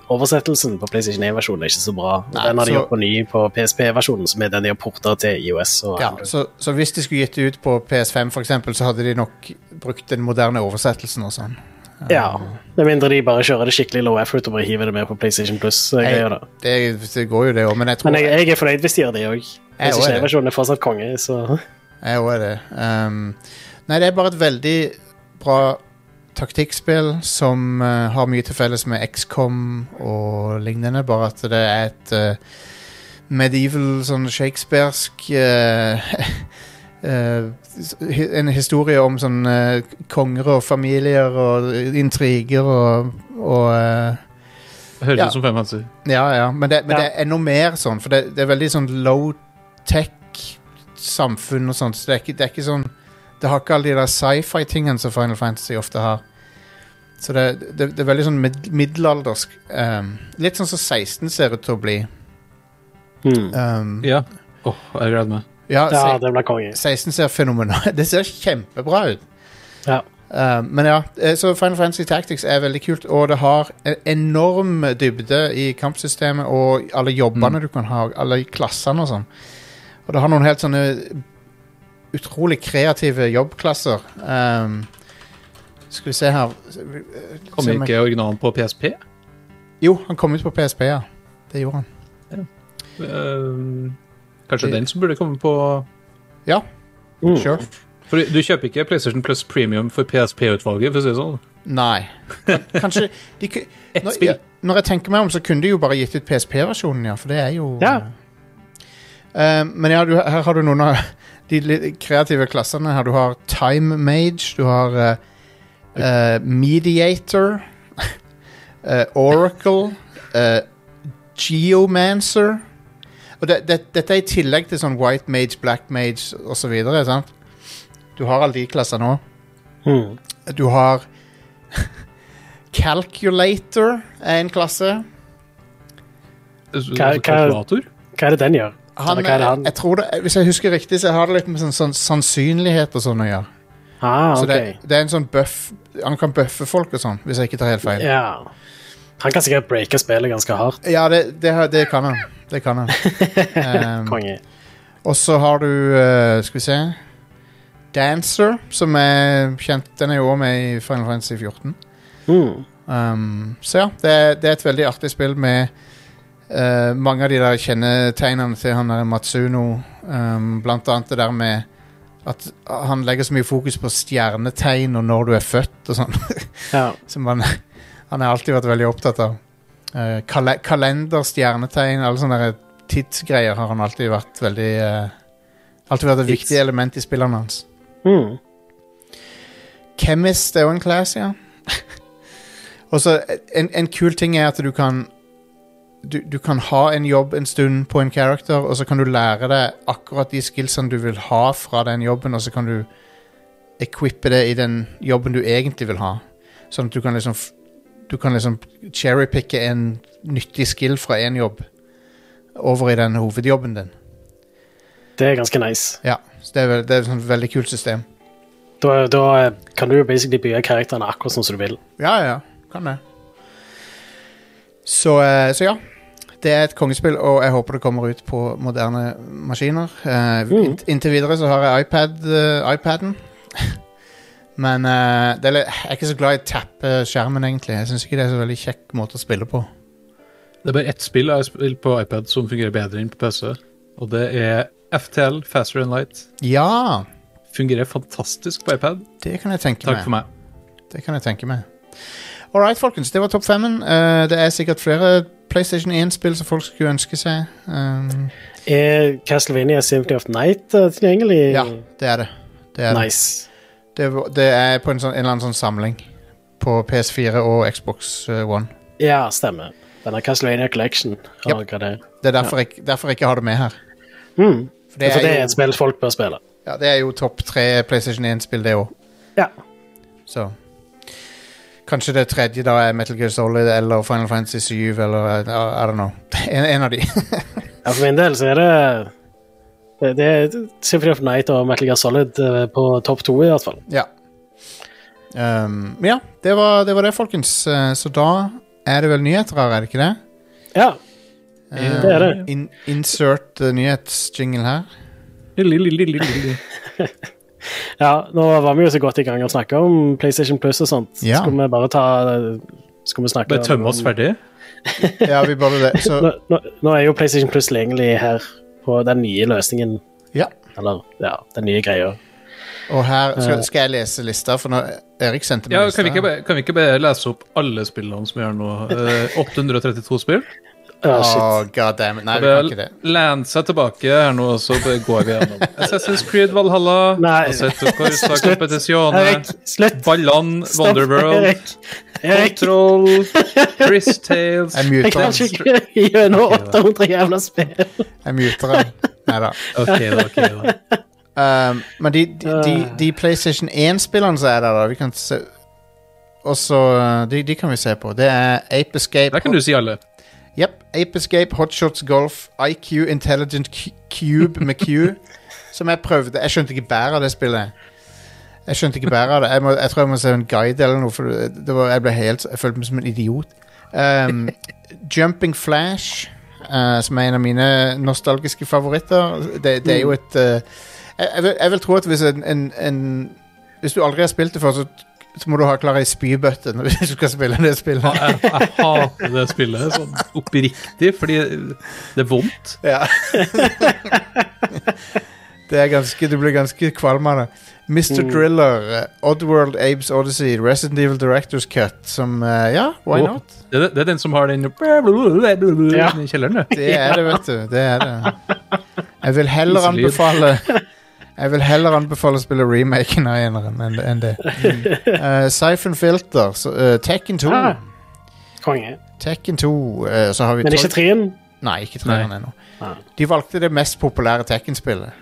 [SPEAKER 4] oversettelsen på PlayStation 1-versjonen er ikke så bra. Og
[SPEAKER 2] Nei,
[SPEAKER 4] den har de
[SPEAKER 2] så-
[SPEAKER 4] gjort på ny på PSP-versjonen, som er den de har porta til IOS. Og
[SPEAKER 2] Ja, så, så hvis de skulle gitt det ut på PS5, for eksempel, så hadde de nok brukt den moderne oversettelsen og sånn.
[SPEAKER 4] ja. Med mindre de bare kjører det skikkelig low effort og bare hiver det med på PlayStation
[SPEAKER 2] Jeg-
[SPEAKER 4] Plus-greier. da.
[SPEAKER 2] Det, det går jo, det òg, men jeg tror
[SPEAKER 4] Men jeg, jeg er fornøyd hvis de gjør det òg.
[SPEAKER 2] også er
[SPEAKER 4] PlayStation
[SPEAKER 2] det.
[SPEAKER 4] 1-versjonen er fortsatt konge, så
[SPEAKER 2] Jeg òg er det. Ehm, nei, det er bare et veldig bra taktikkspill som eh, har mye til felles med XCOM og lignende, bare at det er et eh, medieval, sånn shakespearsk eh, eh, hi- En historie om sånn eh, konger og familier og intriger og, og eh,
[SPEAKER 3] Høres
[SPEAKER 2] Ja.
[SPEAKER 3] ut som fem hendelser.
[SPEAKER 2] Ja, ja. Men det, men
[SPEAKER 4] Ja.
[SPEAKER 2] det er enda mer sånn, for det, det er veldig sånn low-tech-samfunn og sånt, så det er ikke, det er ikke sånn Det har ikke alle de der sci-fi-tingene som Final Fantasy ofte har. Så det, det, det er veldig sånn mid middelaldersk. ehm, litt sånn som 16 ser ut til å bli.
[SPEAKER 4] Mm.
[SPEAKER 2] Ehm,
[SPEAKER 3] Ja. Åh, jeg gleder meg.
[SPEAKER 2] ja,
[SPEAKER 4] Ja,
[SPEAKER 2] se-
[SPEAKER 4] det blir konge.
[SPEAKER 2] 16 ser fenomenalt Det ser kjempebra ut.
[SPEAKER 4] Ja.
[SPEAKER 2] Eh, men ja, eh, så Final Fantasy Tactics er veldig kult, og det har en enorm dybde i kampsystemet og alle
[SPEAKER 4] Mm.
[SPEAKER 2] jobbene du kan ha, alle klassene og sånn. Og det har noen helt sånne utrolig kreative jobbklasser. Ehm, skal vi se her Se
[SPEAKER 3] Kommer
[SPEAKER 2] om jeg-
[SPEAKER 3] ikke originalen på PSP?
[SPEAKER 2] Jo, han kom ut på PSP, ja. Det gjorde han.
[SPEAKER 3] Eh, kanskje
[SPEAKER 2] Det-
[SPEAKER 3] den som burde komme på
[SPEAKER 2] Ja,
[SPEAKER 4] Mm.
[SPEAKER 2] sure.
[SPEAKER 3] For du kjøper ikke PlayStation Plus Premium for PSP-utvalget, for å si det sånn.
[SPEAKER 2] Nei. Kan- Kanskje de, ku-
[SPEAKER 3] Ett
[SPEAKER 2] når,
[SPEAKER 3] spill.
[SPEAKER 2] ja, når jeg tenker meg om, så kunne de jo bare gitt ut PSP-versjonen, ja, for det er jo
[SPEAKER 4] Ja.
[SPEAKER 2] Eh, men ja, du, her har du noen av de litt kreative klassene. her. Du har Time Mage, du har eh, eh, Mediator, eh, Oracle, eh, Geomancer Og det, det, dette er i tillegg til sånn White Mage, Black Mage osv. Du har alle de klassene òg.
[SPEAKER 4] Mm.
[SPEAKER 2] Du har Calculator er en klasse.
[SPEAKER 4] Hva- hva-
[SPEAKER 3] Altså, Kalkulator?
[SPEAKER 4] Hva er det den gjør?
[SPEAKER 2] Han, eh,
[SPEAKER 4] Eller hva er det han?
[SPEAKER 2] Jeg tror det, hvis jeg husker riktig, så har det litt med sånn, sånn sannsynlighet og sånn å gjøre.
[SPEAKER 4] Ah,
[SPEAKER 2] Så
[SPEAKER 4] ok.
[SPEAKER 2] det, det er en sånn buff Han kan bøffe folk og sånn, hvis jeg ikke tar helt feil.
[SPEAKER 4] Ja. Han kan sikkert breake spillet ganske hardt.
[SPEAKER 2] Ja, det, det, har- det kan han. Det kan han. Ehm,
[SPEAKER 4] Konge.
[SPEAKER 2] og så har du eh, Skal vi se Dancer, som er kjent Den er jo også med i Final Fantasy 14.
[SPEAKER 4] Mm.
[SPEAKER 2] Um, så ja, det, er- det er et veldig artig spill med eh, mange av de der kjennetegnene til han der Matsuno. Um, blant annet det der med at han legger så mye fokus på stjernetegn og når du er født og sånn.
[SPEAKER 4] Ja.
[SPEAKER 2] Som han, han har alltid vært veldig opptatt av. Eh, kale kalender, stjernetegn, alle sånne der tidsgreier har han alltid vært veldig eh, Alltid vært et
[SPEAKER 4] Tids.
[SPEAKER 2] viktig element i spillene hans.
[SPEAKER 4] Mm.
[SPEAKER 2] Chemist er jo en class, ja. Og så en, en kul ting er at du kan du, du kan ha en jobb en stund på en character, og så kan du lære deg akkurat de skillsene du vil ha fra den jobben, og så kan du equippe det i den jobben du egentlig vil ha. Sånn at du kan liksom f- du kan liksom cherrypicke en nyttig skill fra en jobb over i den hovedjobben din.
[SPEAKER 4] Det er ganske nice.
[SPEAKER 2] Ja, så det er, vel- det er et sånt veldig kult system.
[SPEAKER 4] Da, da kan du jo basically bygge karakterene akkurat sånn som du vil.
[SPEAKER 2] Ja, ja, kan det. Så, eh, så ja. Det er et kongespill, og jeg håper det kommer ut på moderne maskiner. Eh,
[SPEAKER 3] Mm.
[SPEAKER 2] int- Inntil videre så har jeg iPad, eh, iPaden. Men eh, det er, litt- jeg er ikke så glad i å tappe skjermen, egentlig. Jeg syns ikke det er så veldig kjekk måte å spille på.
[SPEAKER 3] Det er bare ett spill jeg har spilt på iPad som fungerer bedre enn på PC, og det er FTL, Faster and Light.
[SPEAKER 2] Ja,
[SPEAKER 3] Fungerer fantastisk på iPad.
[SPEAKER 2] det kan jeg tenke
[SPEAKER 3] Takk
[SPEAKER 2] meg.
[SPEAKER 3] for meg.
[SPEAKER 2] Det kan jeg tenke meg. All right, folkens. Det var topp femmen. Eh, det er sikkert flere PlayStation 1-spill som folk skulle ønske seg. Um,
[SPEAKER 4] Er Castlevania Symphony of Night eh, tilgjengelig?
[SPEAKER 2] ja, det er det. det, er det.
[SPEAKER 4] Nice.
[SPEAKER 2] Det, var- det er på en, sånn, en eller annen sånn samling på PS4 og Xbox eh, One.
[SPEAKER 4] Ja, stemmer. Denne Castlevania Collection. og hva det er.
[SPEAKER 2] Det er derfor, jeg, derfor jeg ikke har det med her.
[SPEAKER 4] Mm.
[SPEAKER 2] For det
[SPEAKER 4] For det
[SPEAKER 2] er
[SPEAKER 4] er
[SPEAKER 2] jo,
[SPEAKER 4] et spill folk bør spille.
[SPEAKER 2] ja, det er jo topp tre PlayStation 1-spill, det òg.
[SPEAKER 4] Ja.
[SPEAKER 2] Så Kanskje det tredje da er Metal Gear Solid eller Final Fantasy 7 eller eh, I don't know. En, en av de.
[SPEAKER 4] ja, for min del så er det det, det er Symphony of Night og Metal Gear Solid eh, på topp to, i hvert fall.
[SPEAKER 2] ja. Um, men ja, det var, det var det, folkens. Eh, Så da er det vel nyheter her, er det ikke det?
[SPEAKER 4] Ja.
[SPEAKER 2] Eh,
[SPEAKER 4] Det er det.
[SPEAKER 2] In, insert eh, nyhetsjingle her.
[SPEAKER 3] Lillelillelille.
[SPEAKER 4] ja. Nå var vi jo så godt i gang å snakke om PlayStation Plus og sånt.
[SPEAKER 2] Ja.
[SPEAKER 4] Skulle vi bare ta Skulle vi snakke
[SPEAKER 3] Bare tømme oss ferdig.
[SPEAKER 2] Ja, vi burde det. Så
[SPEAKER 4] Nå, nå, nå er jo PlayStation Plus tilgjengelig her på den nye løsningen.
[SPEAKER 2] ja.
[SPEAKER 4] Eller ja, den nye greia.
[SPEAKER 2] Og her
[SPEAKER 4] Eh.
[SPEAKER 2] skal, skal jeg lese lista, for nå Erik sendte meg
[SPEAKER 3] Ja,
[SPEAKER 2] lista.
[SPEAKER 3] kan vi, ikke bare, kan vi ikke bare lese opp alle spillene som vi har nå? Eh, 832 spill?
[SPEAKER 4] Ja,
[SPEAKER 2] Åh,
[SPEAKER 4] Ah, shit.
[SPEAKER 2] god damn it. Nei, vi kan ikke det.
[SPEAKER 3] Lent seg tilbake her nå, og så bare går vi gjennom. Assassin's Creed Valhalla,
[SPEAKER 4] Nei.
[SPEAKER 3] Assetto Corsa
[SPEAKER 4] Slutt.
[SPEAKER 3] Competizione,
[SPEAKER 4] Erik, slutt!
[SPEAKER 3] Ballan,
[SPEAKER 4] Stopp,
[SPEAKER 3] Sånn, eh, Wonderworld,
[SPEAKER 4] Erik. Erik,
[SPEAKER 3] Troll, Chris Tales
[SPEAKER 2] Jeg
[SPEAKER 4] jeg
[SPEAKER 2] muter den.
[SPEAKER 4] klarer altså ikke gjennom 800 jævla spill.
[SPEAKER 2] Jeg muter den. Neida.
[SPEAKER 3] Ok, da. ok da.
[SPEAKER 2] Um, men de, de, de, de PlayStation 1-spillene som er der, da, vi kan se Også, uh, de, de kan vi se på. Det er Ape Escape
[SPEAKER 3] Der kan du si alle.
[SPEAKER 2] Yep, Ape Escape, Hotshots Golf, IQ, Intelligent Cu- Cube med Q. som jeg prøvde. Jeg skjønte ikke bæret av det spillet. Jeg skjønte ikke bæret av det. Jeg, må, jeg tror jeg må se en guide eller noe, for det var, jeg, ble helt, jeg følte meg som en idiot. Um, Jumping Flash, eh, som er en av mine nostalgiske favoritter. Det, det er jo et eh, jeg, jeg, vil, jeg vil tro at hvis en, en, en Hvis du aldri har spilt det før, så, så må du ha klar ei spybøtte når du skal spille det spillet.
[SPEAKER 3] Jeg, jeg hater det spillet sånn oppriktig, fordi det er vondt.
[SPEAKER 2] Ja. det er ganske, du blir ganske kvalm av det. Mr.
[SPEAKER 4] Mm.
[SPEAKER 2] Driller, eh, Oddworld Abes Odyssey, Resident Evil Directors Cut, som eh, Ja, why
[SPEAKER 3] Åh.
[SPEAKER 2] not?
[SPEAKER 3] Det er, det er den som har den i kjelleren, det.
[SPEAKER 2] Det er det, vet du. Det er det. Jeg vil heller
[SPEAKER 3] Isolid.
[SPEAKER 2] anbefale Jeg vil heller anbefale å spille remaken av eneren enn enn det. Uh, Siphon Filter, så, eh, Tekken 2.
[SPEAKER 4] Ah. Konge.
[SPEAKER 2] Tekken 2, eh, så har vi
[SPEAKER 4] Men
[SPEAKER 2] Toy-
[SPEAKER 4] ikke trien?
[SPEAKER 2] Nei, ikke treeren ennå.
[SPEAKER 4] Nei. Ah.
[SPEAKER 2] De valgte det mest populære Tekken-spillet.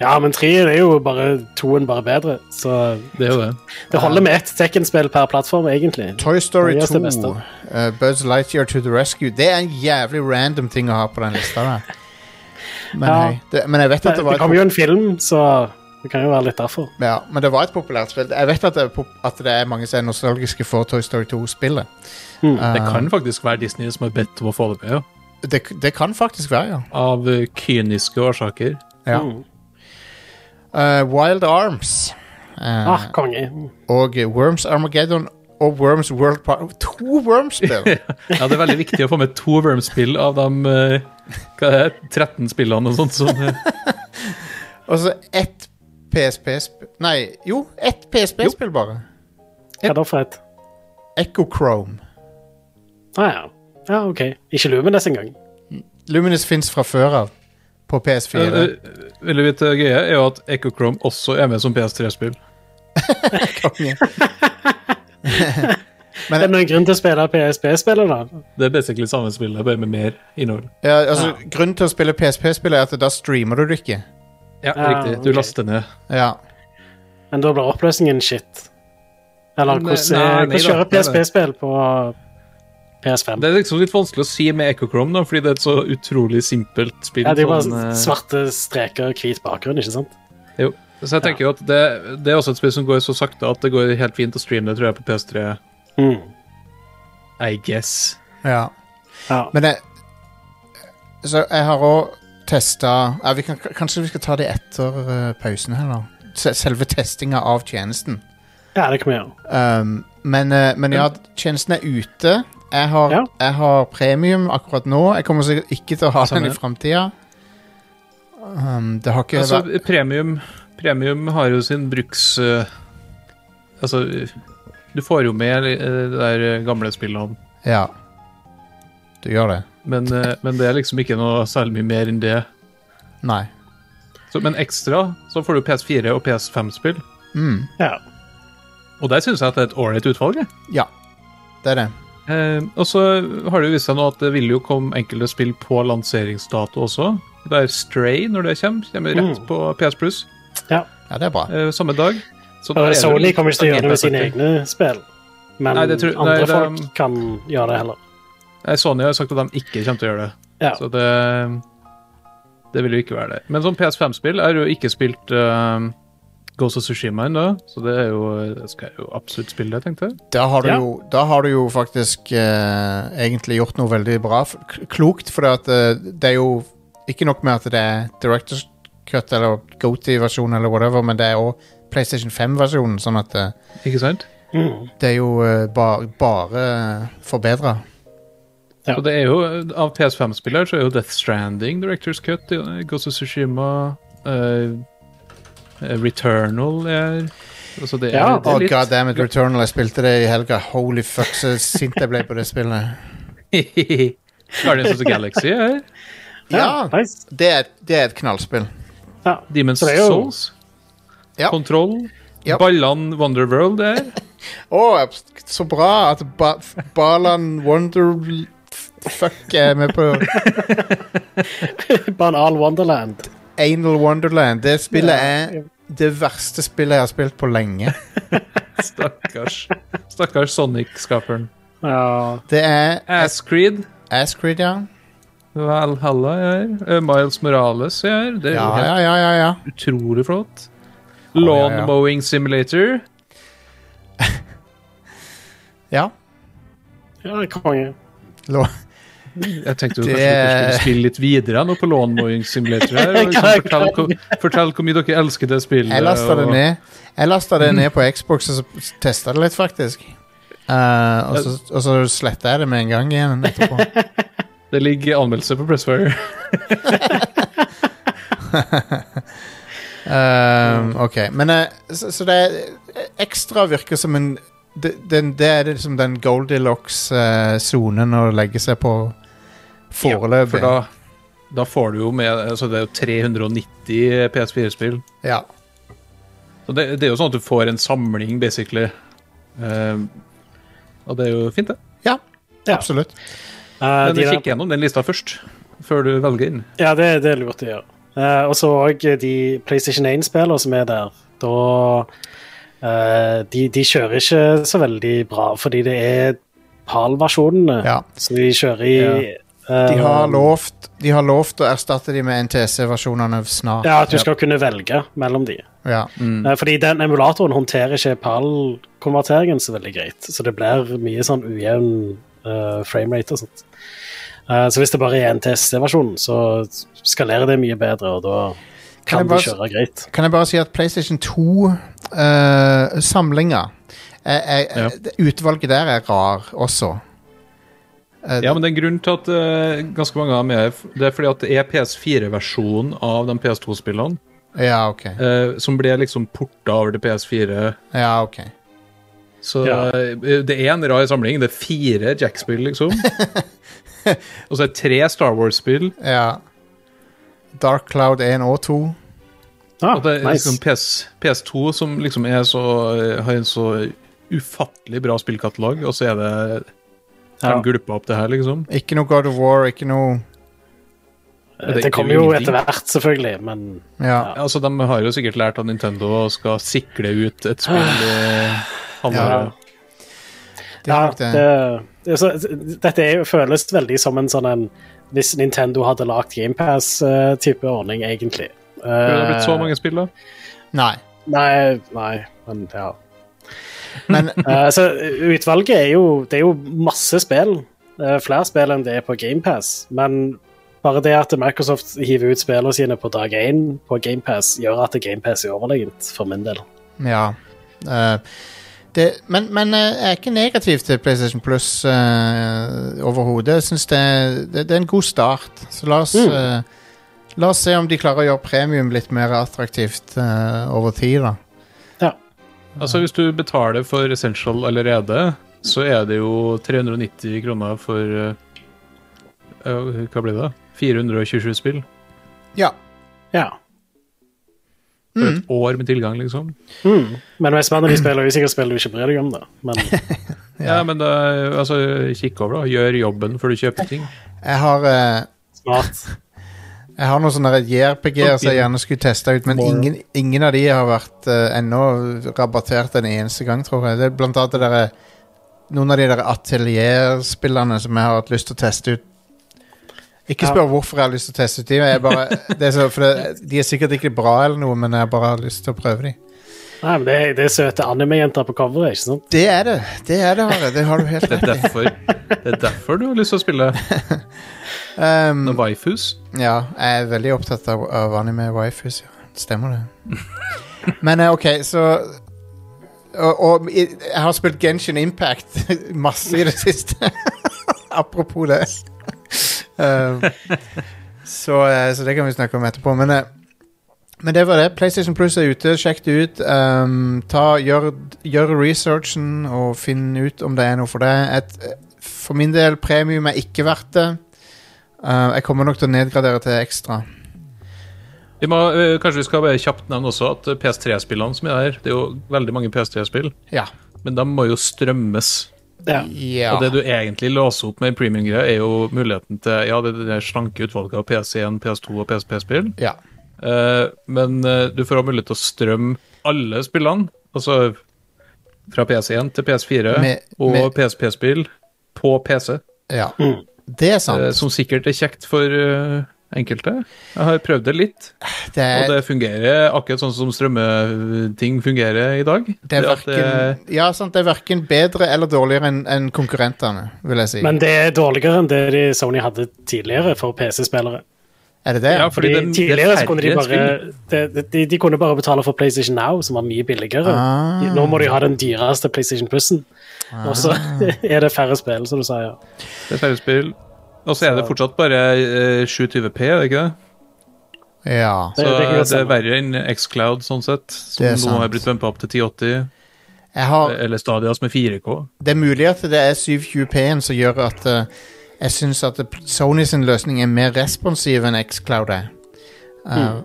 [SPEAKER 4] Ja, men trien er jo bare toen bare bedre. Så
[SPEAKER 3] Det er jo det.
[SPEAKER 4] det holder med ett Tekken-spill per plattform, egentlig.
[SPEAKER 2] Toy Story
[SPEAKER 4] Det er
[SPEAKER 2] 2,
[SPEAKER 4] det beste.
[SPEAKER 2] eh, Buzz Lightyear to the Rescue. Det er en jævlig random ting å ha på den lista. Der. Men,
[SPEAKER 4] Ja.
[SPEAKER 2] hei, det, men jeg vet at
[SPEAKER 4] Det,
[SPEAKER 2] det var
[SPEAKER 4] kom
[SPEAKER 2] et,
[SPEAKER 4] jo en film, så det kan jo være litt derfor.
[SPEAKER 2] pop- ja, men det var et populært spill. Jeg vet at det, er pop- at det er mange som er nostalgiske for Toy Story 2-spillet.
[SPEAKER 4] Hmm.
[SPEAKER 3] Det kan faktisk være Disney som har bedt om å få det med, ja.
[SPEAKER 2] Det, det kan faktisk være, ja.
[SPEAKER 3] av eh, kyniske årsaker.
[SPEAKER 2] ja.
[SPEAKER 3] Hmm.
[SPEAKER 4] Mm.
[SPEAKER 2] Eh, Wild Arms eh,
[SPEAKER 4] Ah, konge.
[SPEAKER 2] og Worms Armageddon og Worms World Park To Worms-spill!
[SPEAKER 3] Ja, Det er veldig viktig å få med to Worm-spill av de eh, hva er det, 13 spillene og sånt. Som, eh,
[SPEAKER 2] og så ett PSP-spill Nei, jo, ett PSP-spill bare.
[SPEAKER 4] Hva da for et?
[SPEAKER 2] Echo Chrome.
[SPEAKER 4] Ah, ja. ja, OK. Ikke Lumines engang.
[SPEAKER 2] Luminous fins fra før av på PS4.
[SPEAKER 3] eh, eh, vil du vite det gøye, er jo at Echo Chrome også er med som PS3-spill.
[SPEAKER 2] Konge.
[SPEAKER 4] Er det noen grunn til å spille PSP-spillet, da?
[SPEAKER 3] Det er basically samme spillet, bare med mer innhold.
[SPEAKER 2] ja, altså, Grunnen til å spille PSP-spill er at da streamer du det ikke.
[SPEAKER 3] Ja,
[SPEAKER 4] Ah,
[SPEAKER 3] riktig. Du
[SPEAKER 4] ok.
[SPEAKER 3] laster ned.
[SPEAKER 2] Ja.
[SPEAKER 4] Men da blir oppløsningen shit. Eller
[SPEAKER 3] Nei,
[SPEAKER 4] hvordan,
[SPEAKER 3] nei,
[SPEAKER 4] er-
[SPEAKER 3] nei
[SPEAKER 4] hvordan
[SPEAKER 3] da,
[SPEAKER 4] kjører
[SPEAKER 3] det er det.
[SPEAKER 4] PSP-spill på PS5?
[SPEAKER 3] Det er liksom litt vanskelig å si med Echo Chrome, da, fordi det er et så utrolig simpelt spill.
[SPEAKER 4] Ja, det er bare
[SPEAKER 3] sånn, eh,
[SPEAKER 4] svarte streker og hvit bakgrunn, ikke sant?
[SPEAKER 3] jo. Så jeg tenker jo at det, det er også et spill som går så sakte at det går helt fint å streame det, tror jeg, på PS3.
[SPEAKER 4] Mm.
[SPEAKER 3] I guess.
[SPEAKER 2] ja.
[SPEAKER 4] Ja.
[SPEAKER 2] Men jeg Så jeg har òg testa ja, vi kan, Kanskje vi skal ta det etter eh, pausen her, da. Se- Selve testinga av tjenesten.
[SPEAKER 4] ja, det kan vi gjøre.
[SPEAKER 2] Um, men, eh, men ja, tjenesten er ute. Jeg har,
[SPEAKER 4] Ja.
[SPEAKER 2] jeg har premium akkurat nå. Jeg kommer sikkert ikke til å ha
[SPEAKER 3] Samme
[SPEAKER 2] den i
[SPEAKER 3] her.
[SPEAKER 2] framtida. Um, det har ikke vært-
[SPEAKER 3] Altså, premium, premium har jo sin bruks... eh, altså, du får jo med eh, de der gamle spillene,
[SPEAKER 2] Ja. Du gjør det?
[SPEAKER 3] men, eh, men det er liksom ikke noe særlig mye mer enn det.
[SPEAKER 2] Nei.
[SPEAKER 3] Så, men ekstra så får du PS4 og PS5-spill,
[SPEAKER 2] Mm.
[SPEAKER 4] Ja.
[SPEAKER 3] og der syns jeg at det er et ålreit utvalg. jeg.
[SPEAKER 2] Ja. Det er det.
[SPEAKER 3] Eh, og så har det jo vist seg nå at det vil jo komme enkelte spill på lanseringsdato også. Det er Stray når det kommer, kommer rett
[SPEAKER 4] Mm.
[SPEAKER 3] på PS Plus
[SPEAKER 2] Ja, det er bra.
[SPEAKER 3] eh, samme dag. Så da er
[SPEAKER 4] Og
[SPEAKER 3] det jo
[SPEAKER 4] Sony
[SPEAKER 3] litt
[SPEAKER 4] kommer ikke til å gjøre det med sine
[SPEAKER 3] gameplay-party.
[SPEAKER 4] egne spill. Men
[SPEAKER 3] Nei, det tror-
[SPEAKER 4] andre
[SPEAKER 3] nei, det-
[SPEAKER 4] folk kan gjøre det heller.
[SPEAKER 3] Nei, Eh, Sony har sagt at de ikke kommer til å gjøre det.
[SPEAKER 4] Ja.
[SPEAKER 3] Så det Det vil jo ikke være det. Men sånn som PS5-spill er jo ikke spilt eh, Ghost of Sushima ennå, så det er jo det skal jeg jo absolutt spille, det, tenkte jeg.
[SPEAKER 2] Da har du,
[SPEAKER 4] Ja.
[SPEAKER 2] jo, da har du jo faktisk eh, egentlig gjort noe veldig bra. f- k- Klokt, for det, at, eh, det er jo ikke nok med at det er Directors Cut eller GoTee-versjon eller whatever, men det er òg PlayStation 5-versjonen, sånn at eh,
[SPEAKER 3] Ikke sant?
[SPEAKER 4] Mm.
[SPEAKER 2] det er jo eh, ba, bare eh, forbedra.
[SPEAKER 4] Ja.
[SPEAKER 3] Så det er jo Av PS5-spiller så er jo Death Stranding, Directors Cut, eh, Ghost of Sushima Returnal er Altså, det er,
[SPEAKER 4] Ja.
[SPEAKER 3] det
[SPEAKER 2] Oh,
[SPEAKER 3] er litt
[SPEAKER 2] God damn it, Returnal. Jeg spilte det i helga. Holy fuck, så sint jeg ble på det spillet.
[SPEAKER 3] Guardians of the Galaxy er her.
[SPEAKER 2] Ja,
[SPEAKER 4] nice.
[SPEAKER 2] det er, det er et knallspill.
[SPEAKER 4] Ja.
[SPEAKER 3] Demons
[SPEAKER 4] Så det er jo-
[SPEAKER 3] Souls.
[SPEAKER 2] Ja.
[SPEAKER 3] Kontroll.
[SPEAKER 2] Ja.
[SPEAKER 3] Ballan Wonderworld er her.
[SPEAKER 2] Å, så bra at ba Balan Wonder... Fuck, jeg er med på
[SPEAKER 4] Banal Wonderland.
[SPEAKER 2] Anal Wonderland. Det spillet er det verste spillet jeg har spilt på lenge.
[SPEAKER 3] Stakkars Stakkars Sonic-skaperen.
[SPEAKER 4] Ja.
[SPEAKER 2] Det er
[SPEAKER 3] Ascreed.
[SPEAKER 2] Ascreed, ja.
[SPEAKER 3] Valhalla er her. Eh, Miles Morales er her. Det er
[SPEAKER 2] Ja,
[SPEAKER 3] jo helt
[SPEAKER 2] ja, ja, ja, ja.
[SPEAKER 3] utrolig flott.
[SPEAKER 2] ja, ja.
[SPEAKER 3] Lawn Mowing Simulator.
[SPEAKER 2] ja.
[SPEAKER 4] ja, konge.
[SPEAKER 2] Lo-
[SPEAKER 3] Jeg tenkte jo
[SPEAKER 2] Det-
[SPEAKER 3] kanskje dere skulle spille litt videre nå på Lawn Mowing Simulator. her, og Liksom, fortell, hvor- fortell hvor mye dere elsker det spillet.
[SPEAKER 2] Jeg lasta det
[SPEAKER 3] og-
[SPEAKER 2] ned Jeg lasta det ned på Xbox og så testa det litt, faktisk. Eh, og så, og så sletta jeg det med en gang igjen etterpå.
[SPEAKER 3] Det ligger anmeldelse på Pressfire.
[SPEAKER 2] Eh, ok, men eh, så, så det er eh, Ekstra virker som en Det, den, det er liksom den eh, Goldilocks-sonen å legge seg på
[SPEAKER 3] For
[SPEAKER 2] foreløpig.
[SPEAKER 3] da, da får du jo med altså Det er jo 390 PS4-spill.
[SPEAKER 2] Ja.
[SPEAKER 3] Så det, det er jo sånn at du får en samling, basically. Ehm, og det er jo fint, det.
[SPEAKER 2] ja,
[SPEAKER 4] Ja.
[SPEAKER 2] absolutt.
[SPEAKER 4] Eh,
[SPEAKER 3] Men
[SPEAKER 4] de der-
[SPEAKER 3] kikk gjennom den lista først, før du velger inn.
[SPEAKER 4] Ja, det, det er lurt å gjøre. Eh, og så òg de PlayStation 1-spillene som er der. Da eh, de, de kjører ikke så veldig bra, fordi det er PAL-versjonene.
[SPEAKER 2] Ja.
[SPEAKER 4] Så de kjører i eh,
[SPEAKER 2] De har lovt, de har lovt å erstatte de med NTC-versjonene snart.
[SPEAKER 4] Ja, at du skal kunne velge mellom de.
[SPEAKER 2] Ja.
[SPEAKER 4] Eh, fordi den emulatoren håndterer ikke PAL-konverteringen så veldig greit. Så det blir mye sånn ujevn eh, framerate og sånt. Eh, så hvis det bare er NTSC-versjonen, så skalerer det mye bedre, og da
[SPEAKER 2] Kan
[SPEAKER 4] kan,
[SPEAKER 2] jeg
[SPEAKER 4] du
[SPEAKER 2] bare s-
[SPEAKER 4] kjøre greit.
[SPEAKER 2] Kan jeg bare si at PlayStation eh, 2-samlinga
[SPEAKER 3] Ja.
[SPEAKER 2] eh, Utvalget der er rar også. Eh,
[SPEAKER 3] Ja, men det er en grunn til at eh, ganske mange av dem er Det er fordi at det er PS4-versjonen av de PS2-spillene
[SPEAKER 2] ja, ok.
[SPEAKER 3] eh, som ble liksom porta over til PS4.
[SPEAKER 2] Ja, ok.
[SPEAKER 3] Så
[SPEAKER 4] Ja.
[SPEAKER 3] eh, det er en rar samling. Det er fire Jack-spill, liksom. og så er det tre Star Wars-spill.
[SPEAKER 2] Ja. Dark Cloud 1 og 2.
[SPEAKER 4] Ah,
[SPEAKER 3] Og det er
[SPEAKER 4] nice.
[SPEAKER 3] liksom PS, PS2 som liksom er så, har en så ufattelig bra spillkatalog, og så er det De
[SPEAKER 4] Ja.
[SPEAKER 3] gulper opp det her, liksom.
[SPEAKER 2] Ikke noe God of War, ikke noe
[SPEAKER 3] det-
[SPEAKER 4] Det kommer
[SPEAKER 3] det er jo
[SPEAKER 4] jo
[SPEAKER 3] ingenting.
[SPEAKER 4] etter hvert, selvfølgelig, men
[SPEAKER 2] Ja.
[SPEAKER 3] Altså, De har jo sikkert lært at Nintendo skal sikle ut et spill i
[SPEAKER 4] Ah.
[SPEAKER 3] halvåret.
[SPEAKER 2] Det er nok
[SPEAKER 4] Ja,
[SPEAKER 2] det.
[SPEAKER 4] det- altså, Dette er jo, føles veldig som en sånn en Hvis Nintendo hadde lagd GamePass-type eh, ordning, egentlig.
[SPEAKER 3] Det
[SPEAKER 4] Eh,
[SPEAKER 3] har blitt så mange spill, da.
[SPEAKER 2] Nei.
[SPEAKER 4] Nei, nei, men ja.
[SPEAKER 2] Men
[SPEAKER 4] Eh, så utvalget er jo Det er jo masse spill. eh, Flere spill enn det er på GamePass. Men bare det at Microsoft hiver ut spillene sine på dag én på GamePass, gjør at GamePass er overlegent, for min del.
[SPEAKER 2] ja. Eh, det, men men eh, jeg er ikke negativ til PlayStation Plus eh, overhodet. Jeg syns det, det, det er en god start. Så la oss,
[SPEAKER 4] Mm.
[SPEAKER 2] eh, la oss se om de klarer å gjøre premium litt mer attraktivt eh, over tid, da.
[SPEAKER 3] Altså, Hvis du betaler for Essential allerede, så er det jo 390 kroner for eh, eh, Hva blir det? da? 427 spill?
[SPEAKER 2] Ja.
[SPEAKER 4] Ja.
[SPEAKER 3] For et år med tilgang, liksom.
[SPEAKER 4] Mm. Men mest av de spillene er jo sikkert spill du ikke bryr deg om, da. Men
[SPEAKER 3] Ja, men da, altså, kikk over, da. Gjør jobben før du kjøper ting.
[SPEAKER 2] Jeg har, eh,
[SPEAKER 4] smart.
[SPEAKER 2] jeg har noen sånne JRPG-er som jeg gjerne skulle teste ut, men
[SPEAKER 3] Moral.
[SPEAKER 2] ingen, ingen av de har vært eh, ennå rabattert en eneste gang, tror jeg. Det er blant annet det derre- noen av de der atelierspillene som jeg har hatt lyst til å teste ut. Ikke
[SPEAKER 4] Ja.
[SPEAKER 2] spør hvorfor jeg har lyst til å teste ut de, men jeg bare, det er så, for det, de er sikkert ikke bra eller noe, men jeg bare har lyst til å prøve de.
[SPEAKER 4] Nei, men det, er- det er søte anime-jenter på coveret, ikke sant?
[SPEAKER 2] Det er det. Det er det, Are. Det har du helt
[SPEAKER 3] Det er derfor, det er derfor du har lyst til å spille
[SPEAKER 2] um,
[SPEAKER 3] noen Waifus.
[SPEAKER 2] Ja, jeg er veldig opptatt av, av anime waifus, ja. Stemmer det. Men eh, OK, så og, og i- jeg har spilt Genshin Impact masse i det siste. Apropos det. Um, så, eh, så det kan vi snakke om etterpå. Men, eh, men det var det. PlayStation Plus er ute. Sjekk det ut. Um, ta, gjør, gjør eh, researchen og finn ut om det er noe for deg. Et, for min del, premium er ikke verdt det. Eh, jeg kommer nok til å nedgradere til ekstra.
[SPEAKER 3] Vi må, eh, kanskje vi skal bare kjapt nevne også at eh, PS3-spillene som er her, det er jo veldig mange PS3-spill,
[SPEAKER 2] Ja.
[SPEAKER 3] men de må jo strømmes.
[SPEAKER 4] Ja.
[SPEAKER 2] ja.
[SPEAKER 3] Og det du egentlig låser opp med en premium-greie, er jo muligheten til ja, det, det der slanke utvalget av PC1, PS2 og PSP-spill,
[SPEAKER 2] ja.
[SPEAKER 3] eh, men eh, du får også mulighet til å strømme alle spillene, altså fra PS1 til PS4
[SPEAKER 2] Med-
[SPEAKER 3] og
[SPEAKER 2] med-
[SPEAKER 3] PSP-spill på PC,
[SPEAKER 2] ja.
[SPEAKER 4] Mm.
[SPEAKER 2] Det er
[SPEAKER 3] eh,
[SPEAKER 2] sant.
[SPEAKER 3] som sikkert er kjekt for eh, enkelte. Jeg har prøvd det litt.
[SPEAKER 2] Det
[SPEAKER 3] Og
[SPEAKER 2] er,
[SPEAKER 3] det fungerer akkurat sånn som strømmeting fungerer i dag.
[SPEAKER 2] det er
[SPEAKER 3] at det-
[SPEAKER 2] verken, ja, sant, det er verken bedre eller dårligere enn enn konkurrentene, vil jeg si.
[SPEAKER 4] Men det er dårligere enn det de Sony hadde tidligere for PC-spillere.
[SPEAKER 2] er det det?
[SPEAKER 3] Ja, fordi
[SPEAKER 4] Fordi
[SPEAKER 3] det- det er
[SPEAKER 4] Tidligere så kunne de
[SPEAKER 3] færre
[SPEAKER 4] bare de, de, de kunne bare betale for PlayStation Now, som var mye billigere.
[SPEAKER 2] Ah.
[SPEAKER 4] De- Nå må de ha den dyreste PlayStation Plussen, og så er det færre spill, som du sier.
[SPEAKER 3] Det er færre spill. Og så er det
[SPEAKER 4] Så-
[SPEAKER 3] fortsatt bare eh, 720P, er det ikke det?
[SPEAKER 2] Ja.
[SPEAKER 4] Det-
[SPEAKER 3] Så eh,
[SPEAKER 4] det kan jeg
[SPEAKER 3] det, er
[SPEAKER 4] stemme.
[SPEAKER 3] verre enn Xcloud, sånn sett. Som
[SPEAKER 2] Det er
[SPEAKER 3] nå har
[SPEAKER 2] sant.
[SPEAKER 3] blitt bumpa opp til 1080,
[SPEAKER 2] Jeg har,
[SPEAKER 3] eller Stadia som er 4K.
[SPEAKER 2] det er mulig at det er 720P-en som gjør at eh, jeg syns at det- Sony sin løsning er mer responsiv enn Xcloud er. Eh, jeg-
[SPEAKER 4] Mm.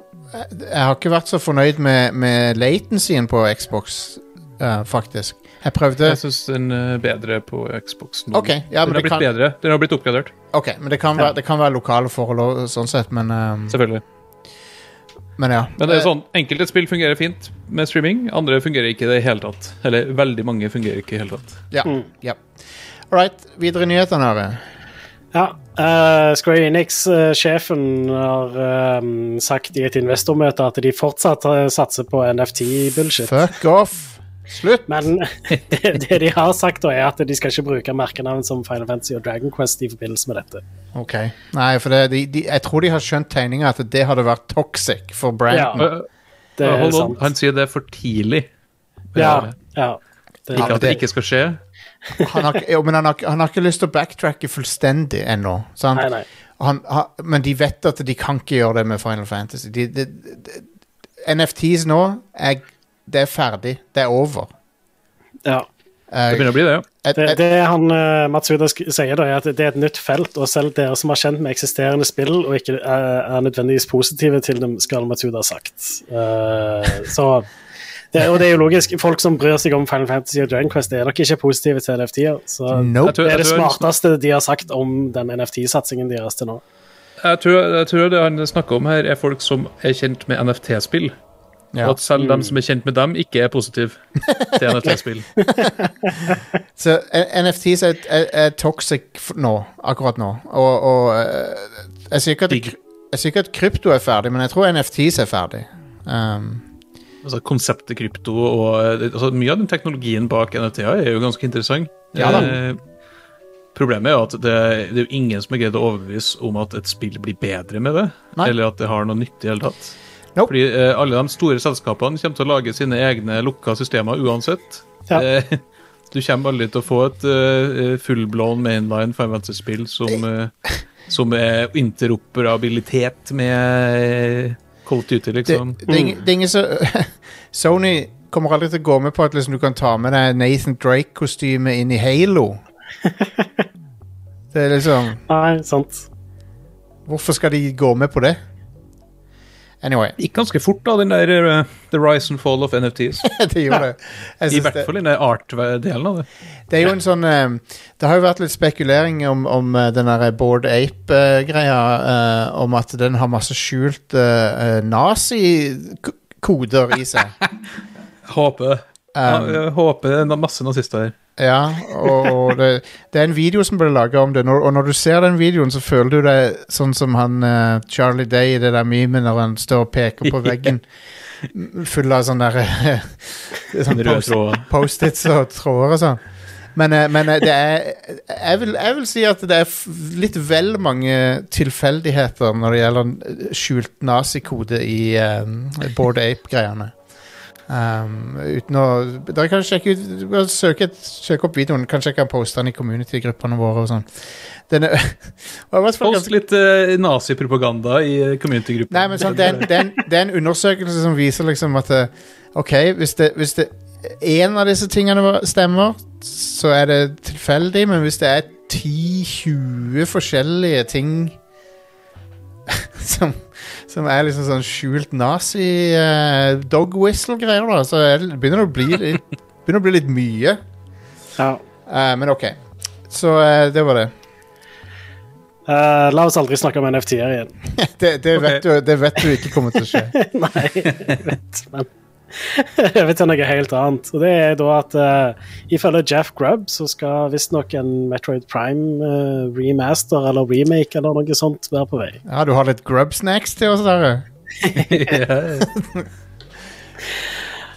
[SPEAKER 2] Jeg har ikke vært så fornøyd med, med latencyen på Xbox, eh, faktisk. Jeg prøvde
[SPEAKER 3] Jeg syns den er bedre på Xbox nå.
[SPEAKER 2] OK, ja,
[SPEAKER 3] den
[SPEAKER 2] men
[SPEAKER 3] har
[SPEAKER 2] det
[SPEAKER 3] blitt
[SPEAKER 2] kan,
[SPEAKER 3] bedre. Den har blitt oppgradert,
[SPEAKER 2] ok, men det kan, være, det kan være lokale forhold og sånn sett, men, eh,
[SPEAKER 3] selvfølgelig.
[SPEAKER 2] men ja.
[SPEAKER 3] Men det er sånn, enkelte spill fungerer fint med streaming, andre fungerer ikke i det hele tatt. Eller veldig mange fungerer ikke i det hele tatt.
[SPEAKER 2] Ja.
[SPEAKER 4] Mm.
[SPEAKER 2] ja. All right, videre i nyhetene, Are.
[SPEAKER 4] Ja, eh, Square Enix-sjefen har eh, sagt i et investormøte at de fortsatt eh, satser på NFT-bullshit.
[SPEAKER 2] Fuck off! Slutt!
[SPEAKER 4] Men det, det de har sagt, da, er at de skal ikke bruke merkenavn som Final Fantasy og Dragon Quest i forbindelse med dette.
[SPEAKER 2] Ok. Nei, for det, de, de, jeg tror de har skjønt tegninga at det hadde vært toxic for branden.
[SPEAKER 3] Og-
[SPEAKER 4] Det
[SPEAKER 3] Ja,
[SPEAKER 4] er
[SPEAKER 3] Eh, Hold on,
[SPEAKER 4] sant.
[SPEAKER 3] han sier det er for tidlig.
[SPEAKER 4] ja, ja. Det,
[SPEAKER 3] Ikke
[SPEAKER 2] men
[SPEAKER 3] at det
[SPEAKER 2] det-
[SPEAKER 3] ikke skal skje.
[SPEAKER 2] Han har, ikke- jo, men han har, ikke- han har ikke lyst til å backtracke fullstendig ennå. sant?
[SPEAKER 4] nei, nei.
[SPEAKER 2] Han, han, men de vet at de kan ikke gjøre det med Final Fantasy. De, de, de, NFTs nå er, Det er ferdig. Det er over.
[SPEAKER 4] Ja.
[SPEAKER 2] Eh,
[SPEAKER 3] Det begynner å bli det, ja.
[SPEAKER 2] et-
[SPEAKER 4] Det,
[SPEAKER 2] et-
[SPEAKER 4] det han eh, Matsuda sk- sier, da, er at det er et nytt felt, og selv dere som er kjent med eksisterende spill og ikke eh, er nødvendigvis positive til dem, skal Matsuda ha sagt. Eh, så det, Og det er jo logisk. Folk som bryr seg om Final Fantasy og Dragon Quest, er nok ikke positive til NFT-er. Så
[SPEAKER 2] nope.
[SPEAKER 3] Jeg tror-
[SPEAKER 4] det er det
[SPEAKER 3] jeg tror-
[SPEAKER 4] smarteste de har sagt om den NFT-satsingen deres til nå.
[SPEAKER 3] Jeg tror, jeg tror det han snakker om her, er folk som er kjent med NFT-spill.
[SPEAKER 2] Ja.
[SPEAKER 3] Og at selv dem som er kjent med dem, ikke er positive til NFT-spill.
[SPEAKER 2] Så eh, NFTs er, er, er toxic f- nå, akkurat nå. Og, og eh, jeg sier ikke at-
[SPEAKER 3] Digg.
[SPEAKER 2] jeg sier ikke at krypto er ferdig, men jeg tror NFTs er ferdig. Um,
[SPEAKER 3] Altså Konseptet krypto og eh, altså, Mye av den teknologien bak NFT-er er jo ganske interessant.
[SPEAKER 2] Ja da.
[SPEAKER 3] Eh, Problemet er jo at det, det er jo ingen som har greid å overbevise om at et spill blir bedre med det.
[SPEAKER 2] Nei.
[SPEAKER 3] Eller at det har noe nytte i hele tatt.
[SPEAKER 2] Nope.
[SPEAKER 3] Fordi eh, alle de store selskapene kommer til å lage sine egne lukka systemer uansett.
[SPEAKER 4] Ja.
[SPEAKER 3] Eh, du kommer aldri til å få et eh, fullblown mainline Final Fantasy-spill som, eh, som er interoperabilitet med uh, Cold Duty,
[SPEAKER 2] det,
[SPEAKER 3] liksom.
[SPEAKER 2] det, er ingen- det er ingen så Sony kommer aldri til å gå med på at liksom, du kan ta med deg Nathan Drake-kostyme inn i Halo. Det er liksom
[SPEAKER 4] Nei, sant.
[SPEAKER 2] Hvorfor skal de gå med på det? Anyway,
[SPEAKER 3] gikk ganske fort, da, den der eh, The Rise and Fall of NFTs.
[SPEAKER 2] de gjorde det. Jeg
[SPEAKER 3] I
[SPEAKER 2] synes
[SPEAKER 3] hvert
[SPEAKER 2] det,
[SPEAKER 3] fall den der art-delen av det.
[SPEAKER 2] det er jo en sånn eh, Det har jo vært litt spekulering om, om eh, den der Board Ape-greia, eh, om at den har masse skjult eh, eh, nazikoder i seg.
[SPEAKER 3] Håper
[SPEAKER 2] Um,
[SPEAKER 3] ja, jeg håper det er masse nazister her.
[SPEAKER 2] Ja, og, og det, det er en video som ble laga om det, når, og når du ser den videoen, så føler du deg sånn som han eh, Charlie Day i det der memet når han står og peker på veggen, m- full av sånne der, eh, sånn
[SPEAKER 3] Den røde
[SPEAKER 2] post-
[SPEAKER 3] tråden.
[SPEAKER 2] Post-its og tråder og sånn. Men, eh, men eh, det er jeg vil, jeg vil si at det er f- litt vel mange tilfeldigheter når det gjelder eh, skjult nazikode i eh, Bored Ape-greiene. Um, uten å Dere kan sjekke ut bare søke, et- søke opp videoen. Kanskje jeg kan poste den i community-gruppene våre og sånn. Den er, og i hvert fall
[SPEAKER 3] Post
[SPEAKER 2] ganske,
[SPEAKER 3] litt eh, nazipropaganda i eh, community-gruppa.
[SPEAKER 2] nei, men sånn, det, er, en- det, er en, det er en undersøkelse som viser liksom at eh, OK, hvis det, hvis det én av disse tingene var- stemmer, så er det tilfeldig, men hvis det er 10-20 forskjellige ting Som, som er liksom sånn skjult nazi-dog whistle-greier, da. Så er det- begynner det å bli litt, begynner å bli litt mye.
[SPEAKER 4] Ja.
[SPEAKER 2] Eh, men OK. Så eh, det var det.
[SPEAKER 4] Eh, la oss aldri snakke om NFT-er igjen.
[SPEAKER 2] Det, det,
[SPEAKER 3] Ok.
[SPEAKER 2] vet du, det vet du ikke kommer til å skje.
[SPEAKER 4] Nei, jeg vet, men jeg vet noe helt annet. Og det er da at eh, ifølge Jeff Grubb så skal visstnok en Metroid Prime eh, remaster eller remake eller noe sånt være på vei.
[SPEAKER 2] Ja, du har litt grub snacks til oss, Are.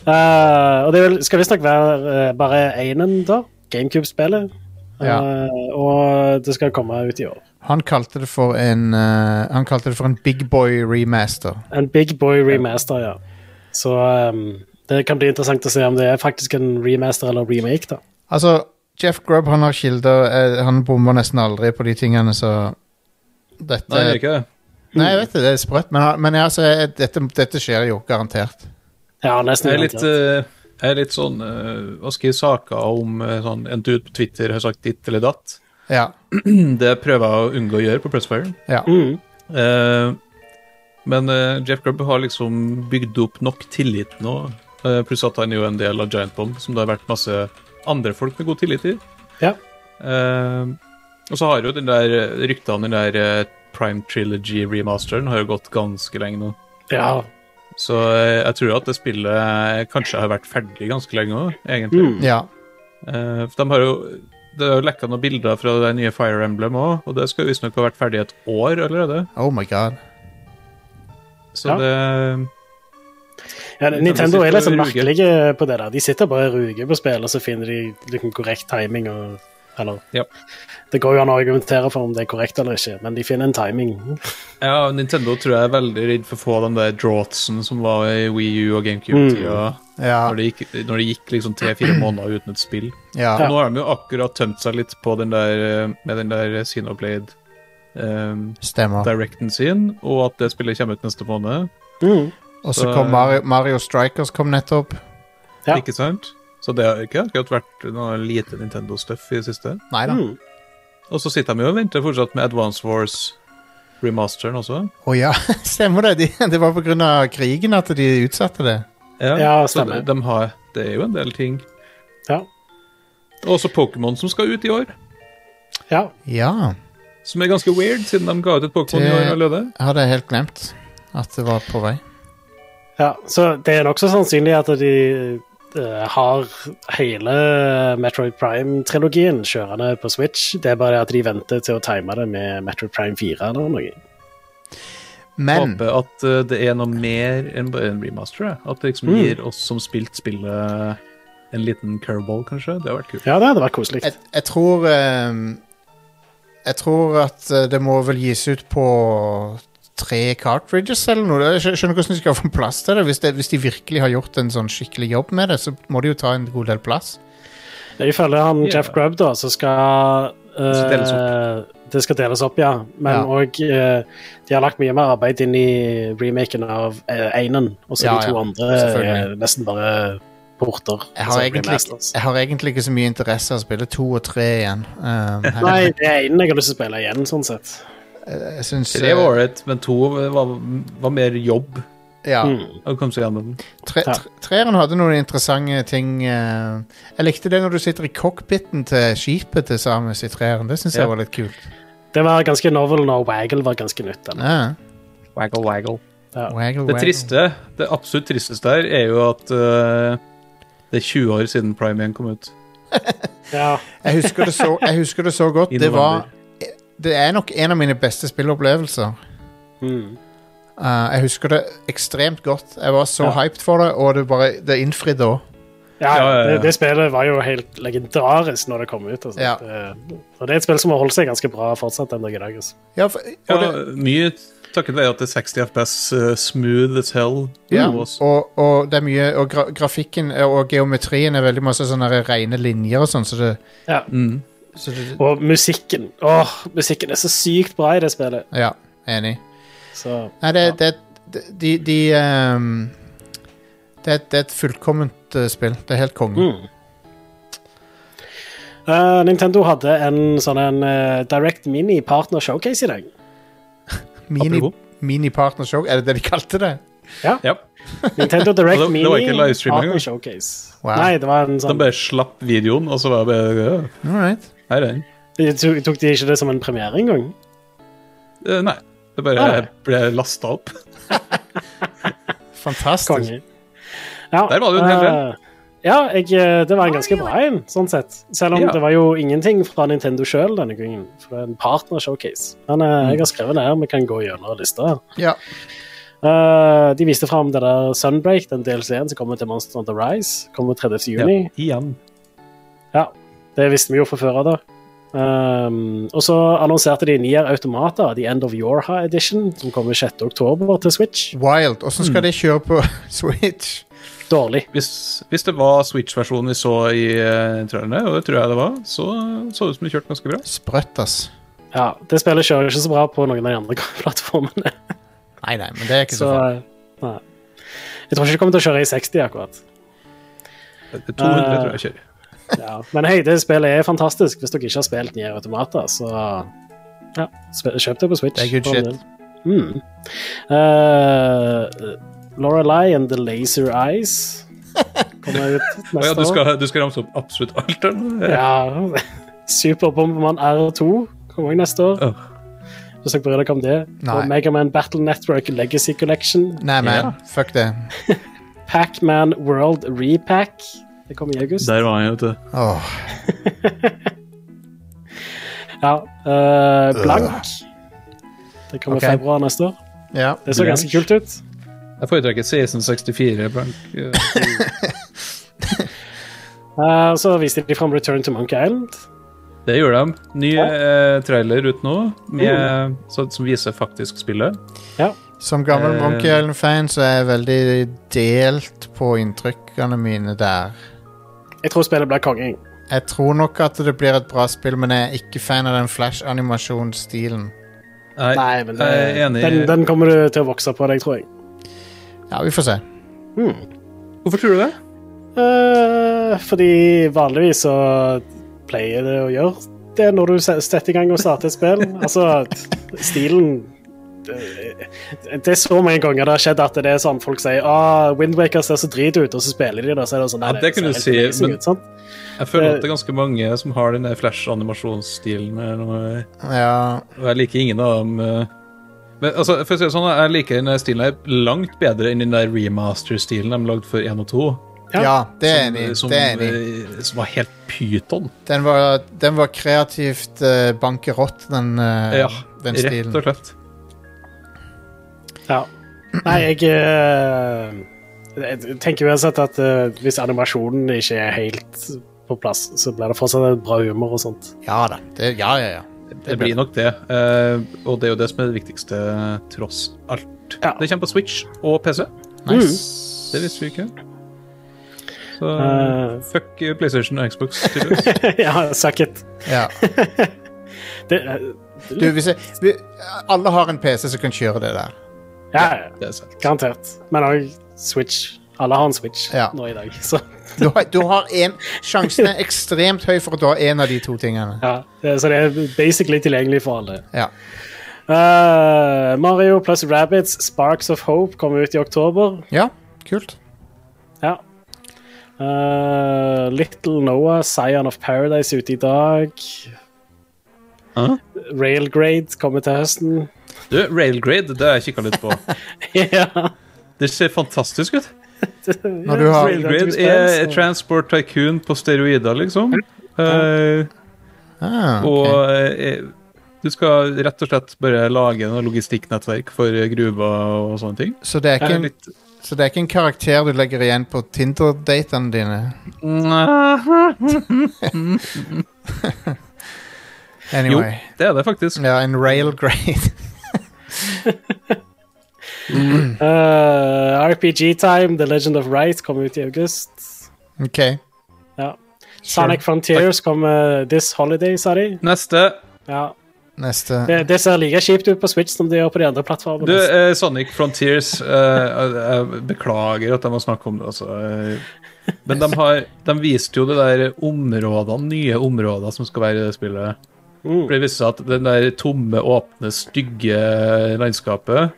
[SPEAKER 4] Eh, og det vil, skal visstnok være eh, bare énen, da. GameCube-spillet. Eh,
[SPEAKER 2] Ja.
[SPEAKER 4] og det skal komme ut i år.
[SPEAKER 2] Han kalte det for en eh, Han kalte det for en big boy remaster.
[SPEAKER 4] En Big Boy remaster, ja. Så ehm, det kan bli interessant å se om det er faktisk en remaster eller remake, da.
[SPEAKER 2] Altså, Jeff Grubb han har kilder eh, Han bomber nesten aldri på de tingene, så dette
[SPEAKER 3] Nei, gjør ikke det.
[SPEAKER 2] Nei, jeg vet det, det er sprøtt, men, men altså, eh, dette, dette skjer jo garantert.
[SPEAKER 4] Ja, nesten.
[SPEAKER 3] Jeg er litt,
[SPEAKER 4] garantert.
[SPEAKER 3] eh, jeg er litt sånn eh, Hva skal jeg saker om eh, sånn, en dude på Twitter har sagt ditt eller datt?
[SPEAKER 2] Ja.
[SPEAKER 3] Det prøver jeg å unngå å gjøre på Pressfire.
[SPEAKER 2] ja.
[SPEAKER 4] Mm.
[SPEAKER 3] Eh, men eh, Jeff Grubb har liksom bygd opp nok tillit nå, eh, pluss at han er jo en del av Giant Bomb, som det har vært masse andre folk med god tillit til.
[SPEAKER 4] Ja.
[SPEAKER 3] Eh, og så har jo den der eh, ryktene om den der eh, Prime Trilogy-remasteren har jo gått ganske lenge nå.
[SPEAKER 4] ja.
[SPEAKER 3] Så eh, jeg tror at det spillet eh, kanskje har vært ferdig ganske lenge òg, egentlig.
[SPEAKER 4] Mm.
[SPEAKER 2] ja.
[SPEAKER 3] Eh, for de har jo det har jo lekka noen bilder fra det nye Fire Emblem òg, og det skal visstnok ha vært ferdig et år allerede.
[SPEAKER 2] Oh my god.
[SPEAKER 3] Så
[SPEAKER 4] Ja.
[SPEAKER 3] det
[SPEAKER 4] ja
[SPEAKER 3] De
[SPEAKER 4] Nintendo
[SPEAKER 3] sitter
[SPEAKER 4] er litt sånn
[SPEAKER 3] og ruger.
[SPEAKER 4] merkelige på det der. De sitter bare og ruger på spill, og så finner de liksom korrekt timing og Eller
[SPEAKER 3] Ja.
[SPEAKER 4] Det går jo an å argumentere for om det er korrekt eller ikke, men de finner en timing.
[SPEAKER 3] Ja, Nintendo tror jeg er veldig redd for å få den der drawtsen som var i Wii U og
[SPEAKER 4] Mm.
[SPEAKER 3] GameCube-tida.
[SPEAKER 2] Ja.
[SPEAKER 3] Når, det gikk, når det gikk liksom tre-fire måneder uten et spill.
[SPEAKER 2] Ja.
[SPEAKER 3] Og nå har de jo akkurat tømt seg litt på den der, eh, med den der Xenoblade um,
[SPEAKER 2] Stemmer.
[SPEAKER 3] Directen sin, og at det spillet kommer ut neste måned.
[SPEAKER 4] Mm.
[SPEAKER 2] Og så kom Mario, Mario Strikers kom nettopp.
[SPEAKER 4] Ja.
[SPEAKER 3] Ikke sant? Så det har ikke akkurat vært noe lite Nintendo-stuff i det siste.
[SPEAKER 2] Nei da. Å
[SPEAKER 4] Mm.
[SPEAKER 3] Og så sitter de jo og venter fortsatt med Advance Wars-remasteren også.
[SPEAKER 2] ja, stemmer det. De, det var på grunn av krigen at de utsatte det.
[SPEAKER 4] Ja,
[SPEAKER 3] så
[SPEAKER 4] stemmer.
[SPEAKER 3] de, de har, det er jo en del ting.
[SPEAKER 4] Ja.
[SPEAKER 3] Og også Pokémon som skal ut i år.
[SPEAKER 4] ja.
[SPEAKER 2] Ja.
[SPEAKER 3] Som er ganske weird, siden de ga ut et Pokémon
[SPEAKER 2] Det-
[SPEAKER 3] i år allerede.
[SPEAKER 2] Jeg hadde helt glemt at det var på vei.
[SPEAKER 4] Ja, så det er nokså sannsynlig at de eh, har hele Metroid Prime-trilogien kjørende på Switch. Det er bare at de venter til å time det med Metroid Prime 4 eller noe.
[SPEAKER 2] Men
[SPEAKER 3] Håper at eh, det er noe mer enn bare en remaster. jeg. At det liksom
[SPEAKER 4] Mm.
[SPEAKER 3] gir oss som spilt spillet en liten curveball, kanskje. Det har vært kult.
[SPEAKER 4] Ja, det hadde vært koselig.
[SPEAKER 2] jeg, jeg tror ehm, Jeg tror at eh, det må vel gis ut på tre cartridges eller noe. Jeg skjø- skjønner hvordan de skal få plass til det. Hvis, det. hvis de virkelig har gjort en sånn skikkelig jobb med det, så må de jo ta en god del plass.
[SPEAKER 4] Ifølge han
[SPEAKER 3] Ja.
[SPEAKER 4] Jeff Grubb, da, så skal eh,
[SPEAKER 3] Det skal deles
[SPEAKER 4] det skal deles opp, ja. Men
[SPEAKER 2] Ja.
[SPEAKER 4] òg De har lagt mye mer arbeid inn i remaken av eh, Einen, og så
[SPEAKER 2] Ja,
[SPEAKER 4] de to
[SPEAKER 2] ja,
[SPEAKER 4] andre er
[SPEAKER 2] selvfølgelig.
[SPEAKER 4] nesten bare porter.
[SPEAKER 2] Jeg
[SPEAKER 4] altså
[SPEAKER 2] har, egentlig, ikke-
[SPEAKER 4] remasters.
[SPEAKER 2] jeg har egentlig ikke så mye interesse av å spille to og tre igjen. Ehm, her-
[SPEAKER 4] Nei, det er Einen jeg har lyst til å spille igjen, sånn sett.
[SPEAKER 2] jeg eh, syns
[SPEAKER 3] Tre var ålreit, men to var, var mer jobb
[SPEAKER 2] ja.
[SPEAKER 4] Mm.
[SPEAKER 3] å komme seg gjennom.
[SPEAKER 2] Tre,
[SPEAKER 4] Ja.
[SPEAKER 2] tre, treeren hadde noen interessante ting. eh, jeg likte det når du sitter i cockpiten til skipet til Samus i treeren. Det syns
[SPEAKER 3] Ja.
[SPEAKER 2] jeg var litt kult.
[SPEAKER 4] Det var ganske novel når Waggle var ganske nytt. eller?
[SPEAKER 2] Ja.
[SPEAKER 3] Waggle, waggle.
[SPEAKER 2] Waggle,
[SPEAKER 3] Det
[SPEAKER 2] waggle.
[SPEAKER 3] triste, det absolutt tristeste der, er jo at eh, det er 20 år siden Prime 1 kom ut.
[SPEAKER 4] Ja.
[SPEAKER 2] Jeg husker det så, jeg husker det så godt.
[SPEAKER 3] I
[SPEAKER 2] Det, var,
[SPEAKER 3] november.
[SPEAKER 2] det er nok en av mine beste spillopplevelser.
[SPEAKER 4] Mm.
[SPEAKER 2] Eh, jeg husker det ekstremt godt. Jeg var så
[SPEAKER 4] Ja.
[SPEAKER 2] hyped for det, og det bare det innfridde òg.
[SPEAKER 4] ja,
[SPEAKER 3] Ja, ja, ja.
[SPEAKER 4] Det, det spillet var jo helt legendarisk når det kom ut. Altså.
[SPEAKER 2] Ja.
[SPEAKER 4] Det, og det er et spill som har holdt seg ganske bra fortsatt den dag i dag. Altså.
[SPEAKER 2] Ja, for-
[SPEAKER 3] Ja,
[SPEAKER 2] og, det-
[SPEAKER 3] mye takket være at det er 60 FPS, eh, smooth as hell.
[SPEAKER 2] ja,
[SPEAKER 3] Og s-
[SPEAKER 2] og, og det er mye Og gra grafikken eh, og geometrien er veldig masse sånne her rene linjer og sånn, så det,
[SPEAKER 3] Mm.
[SPEAKER 2] så det
[SPEAKER 4] Og musikken. Åh, musikken er så sykt bra i det spillet.
[SPEAKER 2] Ja, enig.
[SPEAKER 4] Så
[SPEAKER 2] Nei, det, det, det De, de ehm, det, er et- det er et fullkomment eh, spill. Det er helt konge.
[SPEAKER 4] mm. Eh, Nintendo hadde en sånn en eh, Direct Mini Partner Showcase i dag.
[SPEAKER 2] Mini,
[SPEAKER 3] Apropos.
[SPEAKER 2] mini-partnershow. Er det det de kalte det?
[SPEAKER 3] Ja.
[SPEAKER 4] Nintendo Direct
[SPEAKER 3] Det var- det var ikke
[SPEAKER 4] Mini
[SPEAKER 3] livestream engang.
[SPEAKER 4] Partner Showcase.
[SPEAKER 2] Wow.
[SPEAKER 4] Nei, det var en
[SPEAKER 3] De
[SPEAKER 4] sånn
[SPEAKER 3] bare slapp videoen, og så var det bare ja,
[SPEAKER 2] All right.
[SPEAKER 3] Her er den.
[SPEAKER 4] de tok, tok de ikke det som en premiere engang?
[SPEAKER 3] Eh, Nei. Det bare
[SPEAKER 4] Ah.
[SPEAKER 3] ble lasta opp.
[SPEAKER 2] Fantastisk.
[SPEAKER 4] Konge. Ja,
[SPEAKER 3] Der var det jo en hel del.
[SPEAKER 4] eh, Ja, jeg, eh, det var en ganske bra en, sånn sett. Selv om
[SPEAKER 3] Ja.
[SPEAKER 4] det var jo ingenting fra Nintendo sjøl denne gangen. For det er en partner showcase. Men eh, jeg har skrevet ned, vi kan gå gjennom lista. her.
[SPEAKER 2] Ja.
[SPEAKER 4] Eh, de viste fram det der Sunbreak, den DLC-en som kommer til Monster Hunter Rise. Kommer 30. juni.
[SPEAKER 3] Igjen.
[SPEAKER 4] Det visste vi jo fra før av, da. Ehm, og så annonserte de Nier Automata, The End of Yorha Edition, som kommer 6. oktober til Switch.
[SPEAKER 2] Wild. Åssen skal de kjøre på Switch?
[SPEAKER 4] Dårlig.
[SPEAKER 3] Hvis, hvis det var Switch-versjonen vi så i uh, trærne, og det tror jeg det var, så så det ut som det kjørte ganske bra.
[SPEAKER 2] Sprøtt, ass.
[SPEAKER 4] Ja, Det spillet kjører ikke så bra på noen av de andre plattformene.
[SPEAKER 2] Nei, nei, men det er ikke
[SPEAKER 4] Så eh,
[SPEAKER 2] så farlig.
[SPEAKER 4] nei. Jeg tror ikke det kommer til å kjøre i 60 akkurat.
[SPEAKER 3] Det er 200 tror jeg kjører.
[SPEAKER 4] Ja. Men hei, det spillet er fantastisk hvis dere ikke har spilt Nier Automata, så ja, sp- kjøp det på Switch.
[SPEAKER 2] Det er good
[SPEAKER 4] For all
[SPEAKER 2] shit.
[SPEAKER 4] del. Mm. Eh, Lorelei and The Laser Eyes kommer ut
[SPEAKER 3] Å ja,
[SPEAKER 4] neste
[SPEAKER 3] du
[SPEAKER 4] år.
[SPEAKER 3] skal, du skal ramse opp absolutt alt? eller?
[SPEAKER 4] Ja. Superbombermann R2 kommer også neste år.
[SPEAKER 3] Åh.
[SPEAKER 4] Hvis dere bryr dere om det.
[SPEAKER 2] Nei.
[SPEAKER 4] Og Megaman Battle Network Legacy Collection.
[SPEAKER 2] Nei, men
[SPEAKER 3] Ja.
[SPEAKER 2] fuck det.
[SPEAKER 4] Pac-Man World Repack. Det kommer i august.
[SPEAKER 3] Der var han, vet du.
[SPEAKER 2] Åh,
[SPEAKER 4] Ja. eh, Blank. Det kommer
[SPEAKER 2] Ok.
[SPEAKER 4] i februar neste år.
[SPEAKER 2] ja.
[SPEAKER 4] Det så
[SPEAKER 3] Blank.
[SPEAKER 4] ganske kult ut.
[SPEAKER 3] Jeg foretrekker 1664 blank. eh,
[SPEAKER 4] Eh, så viste de fram Return to Monkey Island.
[SPEAKER 3] Det gjør de. Ny
[SPEAKER 4] Ja.
[SPEAKER 3] eh, trailer ut nå, med, så, som viser faktisk spillet.
[SPEAKER 2] Som gammel
[SPEAKER 3] Eh.
[SPEAKER 2] Monkey Island-fan så er jeg veldig delt på inntrykkene mine der.
[SPEAKER 4] Jeg tror spillet blir konge.
[SPEAKER 2] Jeg tror nok at det blir et bra spill, men jeg er ikke fan av den flash-animasjonsstilen.
[SPEAKER 3] Nei,
[SPEAKER 4] Nei, men det,
[SPEAKER 3] jeg er enig.
[SPEAKER 4] den, den kommer du til å vokse på deg, tror jeg.
[SPEAKER 2] Ja, vi får se.
[SPEAKER 4] Hmm.
[SPEAKER 3] Hvorfor tror du det?
[SPEAKER 4] Eh, fordi vanligvis så pleier det å gjøre det når du se- setter i gang og starter et spill. Altså, t- stilen det, det er så mange ganger det har skjedd at det er sånn folk sier ah, Windwaker ser så drit ut, og så spiller de det, og så er det sånn
[SPEAKER 3] Ja, det kunne du
[SPEAKER 4] ser
[SPEAKER 3] si,
[SPEAKER 4] helt amazing
[SPEAKER 3] men-
[SPEAKER 4] ut, sant?
[SPEAKER 3] Jeg føler
[SPEAKER 4] Det-
[SPEAKER 2] Eh,
[SPEAKER 3] at det er ganske mange som har den der flash-animasjonsstilen. eller noe.
[SPEAKER 2] Ja,
[SPEAKER 3] Og jeg liker ingen av dem. eh. Men altså, for å si det sånn, jeg liker den der stilen her langt bedre enn den der remaster-stilen de lagde for 1 og 2.
[SPEAKER 4] Ja.
[SPEAKER 2] ja det er
[SPEAKER 3] som, eh,
[SPEAKER 2] enig.
[SPEAKER 3] som,
[SPEAKER 2] Det er enig.
[SPEAKER 3] eh, som var helt pyton.
[SPEAKER 2] Den var, den var kreativt uh, bankerott, den, eh,
[SPEAKER 3] Ja,
[SPEAKER 2] den
[SPEAKER 3] rett
[SPEAKER 2] stilen.
[SPEAKER 3] og slett.
[SPEAKER 4] Ja. Nei, jeg eh, Jeg tenker uansett at eh, hvis animasjonen ikke er helt på plass, så blir det fortsatt bra humor og sånt.
[SPEAKER 2] Ja da. Det, ja, ja, ja.
[SPEAKER 3] Det blir nok det. eh, og det er jo det som er det viktigste, tross alt.
[SPEAKER 4] Ja.
[SPEAKER 3] Det kommer på Switch og PC.
[SPEAKER 2] Nice.
[SPEAKER 3] Det visste vi ikke. Så
[SPEAKER 4] Eh.
[SPEAKER 3] fuck eh, PlayStation og Xbox. tydeligvis.
[SPEAKER 4] ja, suck it.
[SPEAKER 2] Ja.
[SPEAKER 4] Det, eh,
[SPEAKER 2] Du, hvis jeg, vi, alle har en PC som kan kjøre det der.
[SPEAKER 4] ja, ja.
[SPEAKER 3] det er sant.
[SPEAKER 4] Garantert. Men òg Switch. Alle har en Switch
[SPEAKER 2] Ja.
[SPEAKER 4] nå i dag, så
[SPEAKER 2] Du har, du har en, sjansen er ekstremt høy for at du har en av de to tingene.
[SPEAKER 4] ja. det- Så det er basically tilgjengelig for alle.
[SPEAKER 2] Ja.
[SPEAKER 4] Eh, Mario pluss Rabbits Sparks of Hope kommer ut i oktober.
[SPEAKER 2] ja kult.
[SPEAKER 4] Ja. Eh, Little Noah, Scion of Paradise ute i dag.
[SPEAKER 3] Hæ?
[SPEAKER 4] Railgrade kommer til høsten.
[SPEAKER 3] Du, Railgrade, det har jeg kikka litt på.
[SPEAKER 4] ja.
[SPEAKER 3] Det ser fantastisk ut.
[SPEAKER 2] Når du har
[SPEAKER 3] Railgrade er Transport Tycoon på steroider, liksom. Eh,
[SPEAKER 2] ah,
[SPEAKER 3] og
[SPEAKER 2] ok.
[SPEAKER 3] eh, du skal rett og slett bare lage noe logistikknettverk for eh, gruver og sånne ting.
[SPEAKER 2] så, det er
[SPEAKER 3] Det
[SPEAKER 2] ikke
[SPEAKER 3] er
[SPEAKER 2] en,
[SPEAKER 3] litt
[SPEAKER 2] så det er ikke en karakter du legger igjen på Tinder-datene dine? Anyway.
[SPEAKER 3] Det er det faktisk.
[SPEAKER 2] Ja, en railgrade.
[SPEAKER 4] Eh, RPG Time, The Legend of Right kommer ut i august.
[SPEAKER 2] OK.
[SPEAKER 4] Ja. Sonic Frontiers kommer this holiday, sa de.
[SPEAKER 3] Neste.
[SPEAKER 4] Ja.
[SPEAKER 2] Neste.
[SPEAKER 4] Det, det ser like kjipt ut på Switch som det gjør på de andre plattformene.
[SPEAKER 3] Du, eh, Sonic Frontiers eh, Jeg jeg beklager at jeg må snakke om det, altså. eh, Men de, har, de viste jo det der områdene, nye områder som skal være i det spillet.
[SPEAKER 4] Mm.
[SPEAKER 3] For Det viste seg at den der tomme, åpne, stygge landskapet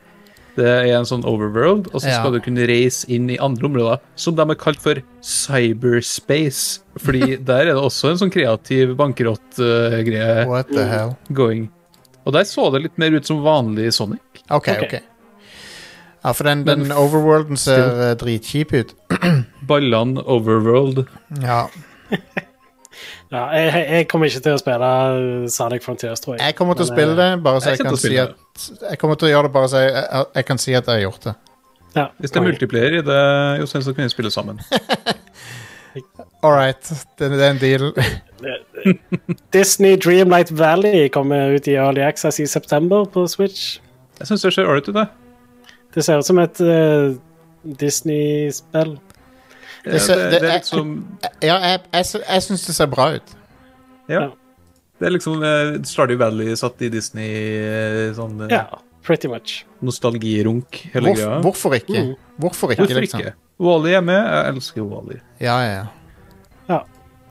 [SPEAKER 3] Det er en sånn overworld, og så
[SPEAKER 2] Ja.
[SPEAKER 3] skal du kunne reise inn i andre områder, som de er kalt for cyberspace. Fordi der er det også en sånn kreativ bankerott-greie
[SPEAKER 2] What the hell?
[SPEAKER 3] going. Og der så det litt mer ut som vanlig Sonic.
[SPEAKER 2] OK,
[SPEAKER 4] Ok.
[SPEAKER 2] OK. Ja, for den, den
[SPEAKER 3] Men f-
[SPEAKER 2] overworlden ser eh, dritkjip ut.
[SPEAKER 3] Ballene overworld.
[SPEAKER 2] Ja.
[SPEAKER 4] Ja, jeg, jeg- jeg kommer ikke til å spille uh, Sonic Frontiers, tror jeg.
[SPEAKER 2] Jeg kommer til å
[SPEAKER 4] Men,
[SPEAKER 2] spille det, bare så
[SPEAKER 3] eh,
[SPEAKER 2] jeg
[SPEAKER 3] jeg
[SPEAKER 2] kan
[SPEAKER 3] kommer til
[SPEAKER 2] si
[SPEAKER 3] å
[SPEAKER 2] at Jeg kommer til å gjøre det bare så jeg, jeg, jeg kan si at jeg har gjort det.
[SPEAKER 4] Ja.
[SPEAKER 3] Hvis det er multiplayer i det, Jostein, så kan vi spille sammen.
[SPEAKER 2] All right, det, det er en deal.
[SPEAKER 4] Disney Dreamlight Valley kommer ut i Early Access i september på Switch.
[SPEAKER 3] Jeg syns det ser ålreit ut, det.
[SPEAKER 4] Det ser ut som et eh, Disney-spill.
[SPEAKER 3] Det,
[SPEAKER 2] ser- det
[SPEAKER 3] Eh, det, det
[SPEAKER 2] er-
[SPEAKER 3] er liksom- litt som
[SPEAKER 2] Ja, jeg, jeg, sy- jeg syns det ser bra ut.
[SPEAKER 3] Ja.
[SPEAKER 4] Ja.
[SPEAKER 3] Det er liksom eh, Stardew Valley satt i Disney, eh, sånn eh,
[SPEAKER 4] Ja, pretty much.
[SPEAKER 3] nostalgirunk, hele
[SPEAKER 2] Hvorf,
[SPEAKER 3] greia. Uh.
[SPEAKER 2] hvorfor ikke?
[SPEAKER 4] Mm.
[SPEAKER 2] Hvorfor ikke,
[SPEAKER 3] Hvorfor
[SPEAKER 2] liksom?
[SPEAKER 3] ikke? Wally er med. Jeg elsker Wally.
[SPEAKER 2] Ja, ja, ja.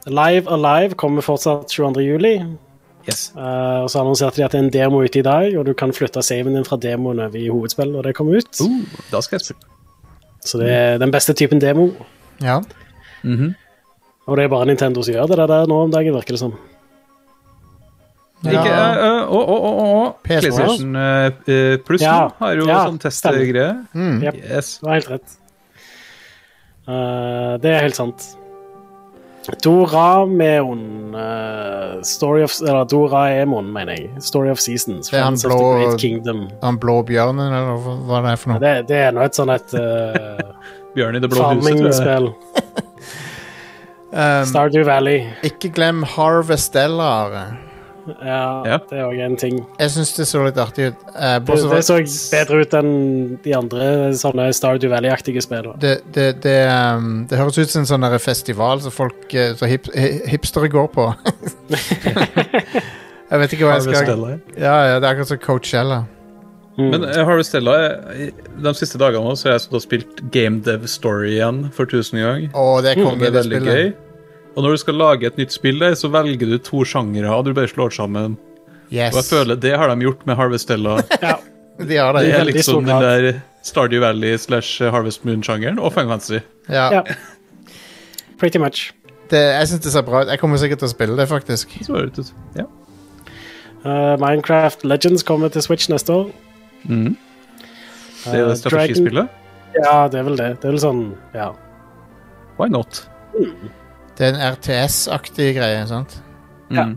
[SPEAKER 4] Live Alive kommer fortsatt 22. juli.
[SPEAKER 3] Yes.
[SPEAKER 4] Eh, og så annonserte de at det er en demo ute i dag, og du kan flytte saven din fra demoen over i hovedspill når det kommer ut.
[SPEAKER 3] Uh, da skal jeg spille.
[SPEAKER 4] Så det er den beste typen demo.
[SPEAKER 2] ja.
[SPEAKER 4] Og det er bare Nintendo som gjør det, det der nå om dagen, virker det som.
[SPEAKER 2] Ja.
[SPEAKER 3] Ikke, eh, eh, å, å, å, å, å.
[SPEAKER 2] PS
[SPEAKER 3] PlayStation eh, eh, Plus
[SPEAKER 4] Ja,
[SPEAKER 3] nå har jo
[SPEAKER 4] ja,
[SPEAKER 3] sånn testegreie.
[SPEAKER 2] Mm.
[SPEAKER 4] Yep.
[SPEAKER 3] Yes.
[SPEAKER 4] Du har helt rett. Eh, det er helt sant. Dorameon eh, Story of Eller Doraemon, mener jeg. Story of Seasons.
[SPEAKER 2] Det er han
[SPEAKER 4] Friends of the
[SPEAKER 2] blå-
[SPEAKER 4] Great Kingdom.
[SPEAKER 2] Han blå bjørnen, eller hva- hva det er for noe.
[SPEAKER 4] Det, det er nå et sånn et eh,
[SPEAKER 3] Bjørn i det blå huset. tror jeg.
[SPEAKER 4] farming-spill.
[SPEAKER 2] Um,
[SPEAKER 4] Stardew Valley.
[SPEAKER 2] ikke glem Harvestella. Are.
[SPEAKER 4] Ja,
[SPEAKER 3] Ja.
[SPEAKER 4] Det er òg en ting.
[SPEAKER 2] Jeg syns det så litt artig ut. Eh,
[SPEAKER 4] Det,
[SPEAKER 2] bortsett fra-
[SPEAKER 4] det så bedre ut enn de andre sånne Stardew Valley-aktige spillene.
[SPEAKER 2] det, det, det, um, det høres ut som en sånn der festival som folk eh, så hip, hi- hipstere går på. jeg vet ikke hva jeg skal
[SPEAKER 3] Harvestella.
[SPEAKER 2] Ja, ja, Det er akkurat som Coachella.
[SPEAKER 4] Mm.
[SPEAKER 3] Men eh, Harvestella eh, De siste dagene nå så har jeg stått og spilt Game Dev Story igjen for tusen gang.
[SPEAKER 2] Å, det er
[SPEAKER 3] Og Mm, Det
[SPEAKER 2] konge,
[SPEAKER 3] er
[SPEAKER 2] det
[SPEAKER 3] veldig gøy.
[SPEAKER 2] spillet.
[SPEAKER 3] Og når du skal lage et nytt spill der, så velger du to sjangere og du bare slår sammen. Og jeg
[SPEAKER 2] Yes.
[SPEAKER 3] føler det har de gjort med Harvestella.
[SPEAKER 4] ja.
[SPEAKER 2] De har det.
[SPEAKER 3] Det
[SPEAKER 4] I
[SPEAKER 3] er
[SPEAKER 4] veldig stor
[SPEAKER 3] liksom den
[SPEAKER 4] grad.
[SPEAKER 3] der Stardew Valley slash Harvest Moon-sjangeren og Final Fantasy.
[SPEAKER 2] Ja.
[SPEAKER 4] ja. Pretty much.
[SPEAKER 2] Det, jeg syns det ser bra ut. Jeg kommer sikkert til å spille det, faktisk.
[SPEAKER 3] Så var det ut. Ja.
[SPEAKER 4] Eh, Minecraft Legends kommer til Switch neste år.
[SPEAKER 3] Mhm. Det er
[SPEAKER 4] Eh,
[SPEAKER 3] det strategispillet.
[SPEAKER 4] Dragon- Ja, det er vel det. Det er vel sånn, ja.
[SPEAKER 3] Why not?
[SPEAKER 2] Det er en RTS-aktig greie. sant?
[SPEAKER 3] Mm.
[SPEAKER 4] Ja.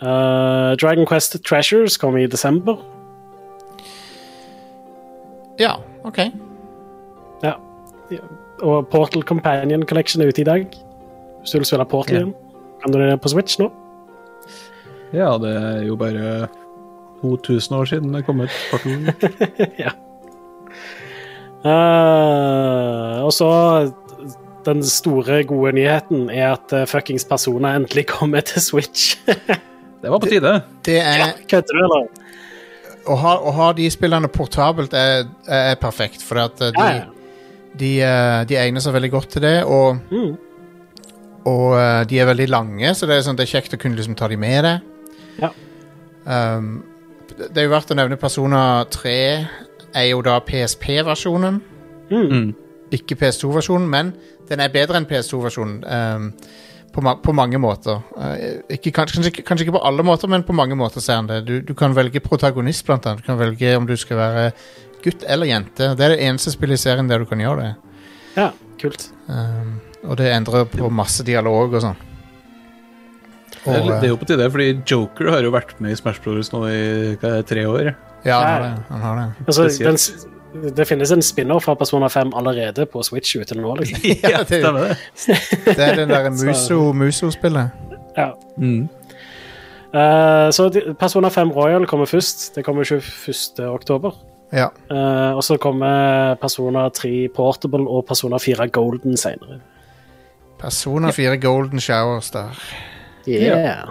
[SPEAKER 4] Eh, Dragon Quest Treasures kommer i desember.
[SPEAKER 2] Ja, OK.
[SPEAKER 4] Ja. Ja. Og Portal Companion Collection er ute i dag. Hvis du vil spille Portal
[SPEAKER 3] Ja.
[SPEAKER 4] igjen, kan du det på Switch nå.
[SPEAKER 3] ja, det er jo bare 2000 år siden det kom ut. Portal.
[SPEAKER 4] Eh, og så den store, gode nyheten er at eh, fuckings Persona endelig kommer til Switch.
[SPEAKER 3] Det var på tide.
[SPEAKER 2] Det er,
[SPEAKER 4] Kødder du, eller?
[SPEAKER 2] å, ha, å ha de spillene portabelt er, er perfekt, for at eh, de,
[SPEAKER 4] Ja, ja.
[SPEAKER 2] de, eh, de egner seg veldig godt til det. Og,
[SPEAKER 4] Mm.
[SPEAKER 2] og eh, de er veldig lange, så det er, sånn, det er kjekt å kunne liksom, ta de med deg.
[SPEAKER 4] Ja.
[SPEAKER 2] Um, det det er jo verdt å nevne Persona 3 er jo da PSP-versjonen.
[SPEAKER 4] Mm.
[SPEAKER 3] Mm.
[SPEAKER 2] Ikke PS2-versjonen, men den er bedre enn PS2-versjonen. Um, på, ma på mange måter. Eh, ikke, kanskje, kanskje, ikke- kanskje ikke på alle måter, men på mange måter ser han det. Du, du kan velge protagonist, blant annet. Du kan velge om du skal være gutt eller jente. Det er det eneste spillet i serien der du kan gjøre det.
[SPEAKER 4] ja, kult.
[SPEAKER 2] Um, og det endrer på masse dialog og sånn.
[SPEAKER 3] Det er,
[SPEAKER 2] Og, eh,
[SPEAKER 3] det er jo på tide, fordi Joker har jo vært med i Smash Brothers nå i hva er det, tre år.
[SPEAKER 2] eh, ja, han har det. Han har det.
[SPEAKER 4] Altså,
[SPEAKER 3] Spesielt.
[SPEAKER 4] den, s- det finnes en spinner fra Persona 5 allerede på Switch ute nå, liksom.
[SPEAKER 2] Ja, det-
[SPEAKER 3] stemmer det.
[SPEAKER 2] Det er den derre Muso- Muso-spillet.
[SPEAKER 4] Ja.
[SPEAKER 3] Mm.
[SPEAKER 4] Eh, så de- Persona 5 Royal kommer først. Det kommer 21. oktober.
[SPEAKER 2] ja.
[SPEAKER 4] Eh, og så kommer Persona 3 Portable og Persona 4 Golden senere.
[SPEAKER 2] Persona 4 Golden Showers der.
[SPEAKER 4] Yeah.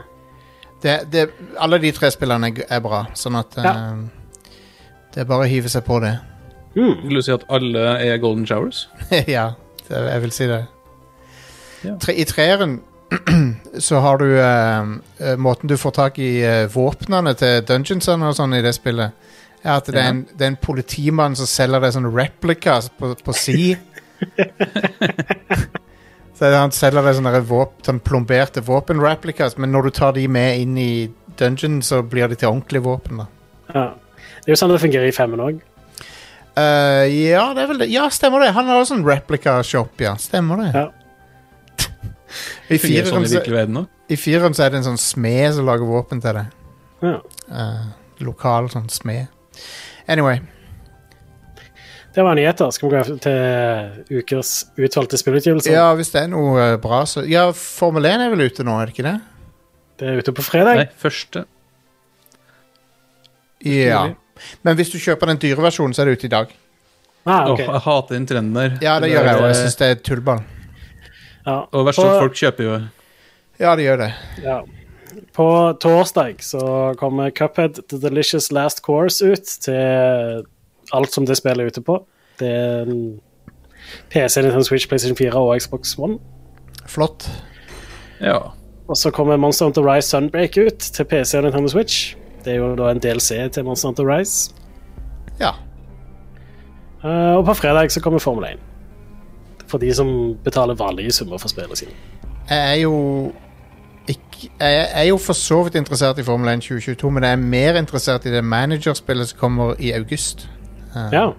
[SPEAKER 2] Det, det, alle de tre spillene er, g- er bra, sånn at
[SPEAKER 4] Ja.
[SPEAKER 2] um, Det er bare å hive seg på det.
[SPEAKER 4] Mm.
[SPEAKER 3] Vil du si at alle er Golden Showers?
[SPEAKER 2] ja, det, jeg vil si det.
[SPEAKER 3] Ja.
[SPEAKER 2] Tre, I treeren så har du eh, eh, måten du får tak i eh, våpnene til dungeonsene og sånn i det spillet, Ja, at det er en, det er en politimann som selger deg sånn replika på, på si. så han selger deg sånne våp, sånn plomberte våpenreplikas, men når du tar de med inn i dungeon, så blir de til ordentlige våpen. da.
[SPEAKER 4] Ja. Det er jo sånn det fungerer i femmen òg.
[SPEAKER 2] Eh, ja, det er vel det. Ja, stemmer det. Han har også en replika-shop, ja. Stemmer det.
[SPEAKER 4] Ja.
[SPEAKER 2] I
[SPEAKER 3] Fungerer sånn
[SPEAKER 2] fireren
[SPEAKER 3] i
[SPEAKER 2] så,
[SPEAKER 3] virkelig verden òg?
[SPEAKER 2] i fireren så er det en sånn smed som lager våpen til deg.
[SPEAKER 4] Ja.
[SPEAKER 2] Eh, lokal sånn smed. Anyway.
[SPEAKER 4] Det var nyheter. Skal vi gå til ukers utvalgte spillutgivelser?
[SPEAKER 2] Ja, hvis det er noe eh, bra, så Ja, Formel 1 er vel ute nå, er det ikke det?
[SPEAKER 4] Det er ute på fredag.
[SPEAKER 3] Nei, første.
[SPEAKER 2] Ja. Men hvis du kjøper den dyre versjonen, så er det ute i dag.
[SPEAKER 4] Ah, ok.
[SPEAKER 3] Åh, jeg hater den trenden der. Eh,
[SPEAKER 2] Ja, det gjør jeg òg. Jeg syns det er tullball.
[SPEAKER 4] ja.
[SPEAKER 3] Og verst at folk kjøper jo
[SPEAKER 2] Ja, det gjør det.
[SPEAKER 4] Ja. På torsdag så kommer Cuphead The Delicious Last Course ut til alt som det spillet er ute på. Det er en PC, Nintendo Switch, PlayStation 4 og Xbox One.
[SPEAKER 2] Flott.
[SPEAKER 3] Ja.
[SPEAKER 4] Og så kommer Monster Hunter Rise Sunbreak ut til PC og Nintendo Switch. Det er jo da en DLC til Monster Hunter Rise.
[SPEAKER 2] Ja.
[SPEAKER 4] Eh, og på fredag så kommer Formel 1. For de som betaler vanlige summer for spillene sine.
[SPEAKER 2] Jeg er jo ikke, Jeg er jo for så vidt interessert i Formel 1 2022, men jeg er mer interessert i det managerspillet som kommer i august. Eh,
[SPEAKER 4] Ja.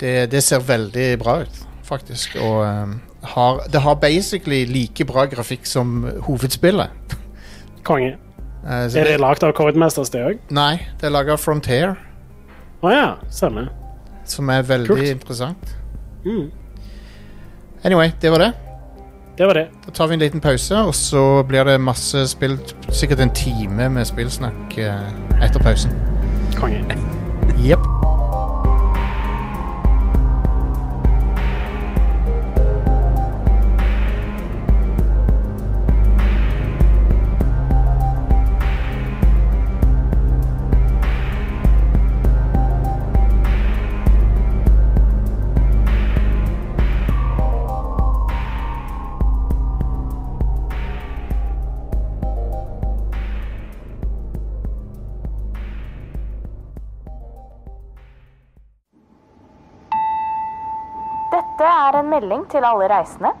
[SPEAKER 2] det, det ser veldig bra ut, faktisk. Og eh, har, det har basically like bra grafikk som hovedspillet.
[SPEAKER 4] Konge.
[SPEAKER 2] Eh, så
[SPEAKER 4] Er det lagd av Codemasters, det òg?
[SPEAKER 2] Nei, det er laga Frontier,
[SPEAKER 4] Å ja, stemmer.
[SPEAKER 2] som er veldig
[SPEAKER 4] Kult.
[SPEAKER 2] interessant.
[SPEAKER 4] Mm.
[SPEAKER 2] Anyway, det var det.
[SPEAKER 4] Det var det.
[SPEAKER 2] Da tar vi en liten pause, og så blir det masse spill, sikkert en time med spillsnakk eh, etter pausen.
[SPEAKER 4] Konge.
[SPEAKER 2] Jepp.
[SPEAKER 5] Dette er en melding til alle reisende.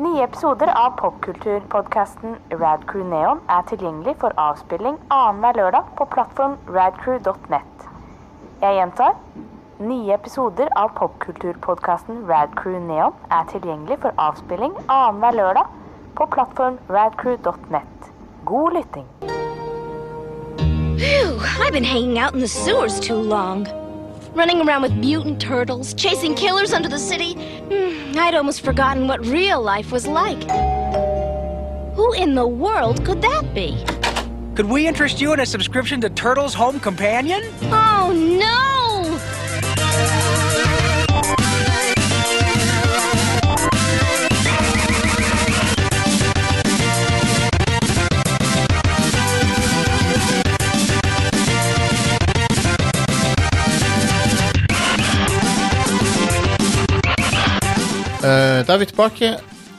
[SPEAKER 5] Nye episoder av popkulturpodkasten Radcrew Neon er tilgjengelig for avspilling annenhver lørdag på plattform radcrew.net. Jeg gjentar. Nye episoder av popkulturpodkasten Radcrew Neon er tilgjengelig for avspilling annenhver lørdag på plattform radcrew.net. God lytting.
[SPEAKER 6] Phew, I've been hanging out in the sewers too long. Running around with mutant turtles, chasing killers under the city. Hmm, I'd almost forgotten what real life was like. Who in the world could that be?
[SPEAKER 7] Could we interest you in a subscription to Turtle's Home Companion?
[SPEAKER 6] Oh no!
[SPEAKER 2] Eh, da er vi tilbake,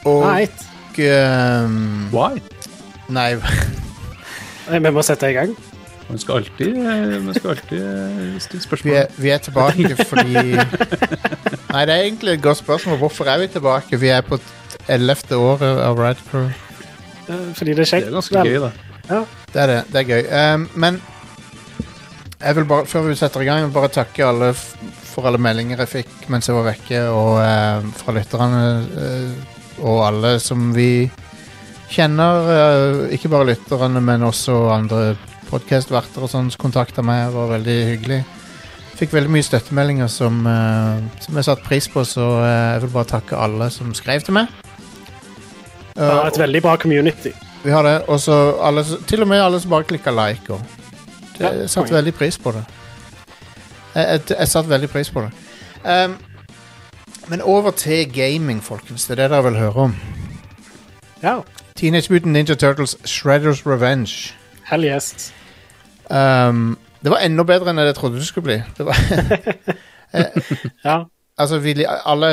[SPEAKER 2] og
[SPEAKER 4] Right.
[SPEAKER 2] ehm,
[SPEAKER 3] Why?
[SPEAKER 2] Nei,
[SPEAKER 4] Nei, Vi må sette i gang.
[SPEAKER 3] Man skal alltid, eh, man skal alltid eh, stille
[SPEAKER 2] vi
[SPEAKER 3] spørsmål.
[SPEAKER 2] er, vi er tilbake fordi Nei, det er egentlig et godt spørsmål. Hvorfor er vi tilbake? Vi er på ellevte året av Rad Crew.
[SPEAKER 4] eh, Fordi det er
[SPEAKER 3] Det
[SPEAKER 4] kjekt.
[SPEAKER 3] er ganske gøy, da.
[SPEAKER 2] Det er det. Det er gøy. Ehm, men jeg vil bare, før vi setter i gang, jeg vil bare takke alle f for alle meldinger jeg fikk mens jeg var vekke, og ehm, fra lytterne eh, og alle som vi kjenner. eh, ikke bare lytterne, men også andre podkastverter og sånn som kontakta meg. Det var veldig hyggelig. Fikk veldig mye støttemeldinger som, eh, som jeg satte pris på, så eh, jeg vil bare takke alle som skrev til meg.
[SPEAKER 4] Det
[SPEAKER 2] Eh,
[SPEAKER 4] er et veldig bra community.
[SPEAKER 2] vi har det. Og så alle s- til og med alle som bare klikka like. Og. Det,
[SPEAKER 4] Ja,
[SPEAKER 2] jeg satte
[SPEAKER 4] konge.
[SPEAKER 2] veldig pris på det. Jeg, jeg, jeg satte veldig pris på det. Ehm, men over til gaming, folkens. Det er det dere vil høre om.
[SPEAKER 4] Ja.
[SPEAKER 2] Teenage Mutant Ninja Turtles Shredders Revenge.
[SPEAKER 4] Hell yes.
[SPEAKER 2] Ehm, det var enda bedre enn jeg trodde det skulle bli. Det var
[SPEAKER 4] Ja.
[SPEAKER 2] Altså, vi, li- alle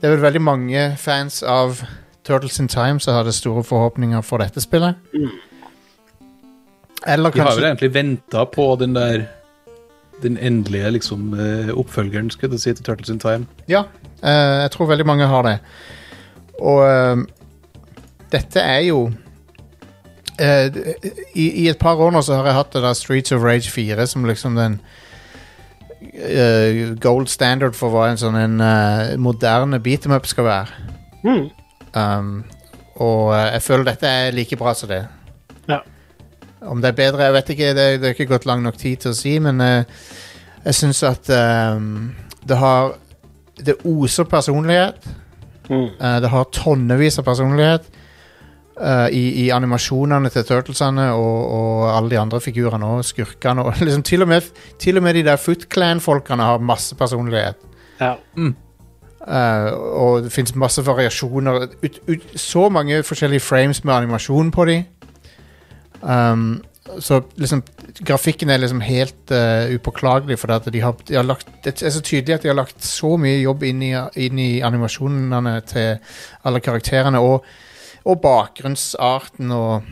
[SPEAKER 2] Det er vel veldig mange fans av Turtles in Time som hadde store forhåpninger for dette spillet. Eller
[SPEAKER 3] De har vel
[SPEAKER 2] kanskje
[SPEAKER 3] egentlig venta på den der den endelige liksom, eh, oppfølgeren skulle jeg til å si, til Turtles in Time.
[SPEAKER 2] Ja, eh, jeg tror veldig mange har det. Og eh, dette er jo eh, i, I et par år nå så har jeg hatt det der Streets of Rage 4 som liksom den eh, gold standard for hva en sånn en eh, moderne beat 'em up skal være.
[SPEAKER 4] Mm.
[SPEAKER 2] Um, og eh, jeg føler dette er like bra som det.
[SPEAKER 4] Ja.
[SPEAKER 2] Om det er bedre, jeg vet ikke. Det, det er ikke gått lang nok tid til å si, men eh, jeg syns at ehm, det har Det oser personlighet.
[SPEAKER 4] Mm.
[SPEAKER 2] Eh, det har tonnevis av personlighet eh, i, i animasjonene til Turtlesene og, og alle de andre figurene og skurkene. Og liksom, til, og med, til og med de der Foot Clan-folkene har masse personlighet.
[SPEAKER 4] ja.
[SPEAKER 2] Eh, og det fins masse variasjoner. Ut, ut, så mange forskjellige frames med animasjon på de. Um, så liksom grafikken er liksom helt eh, upåklagelig, for at de har, de har lagt, det er så tydelig at de har lagt så mye jobb inn i, inn i animasjonene til alle karakterene. Og, og bakgrunnsarten og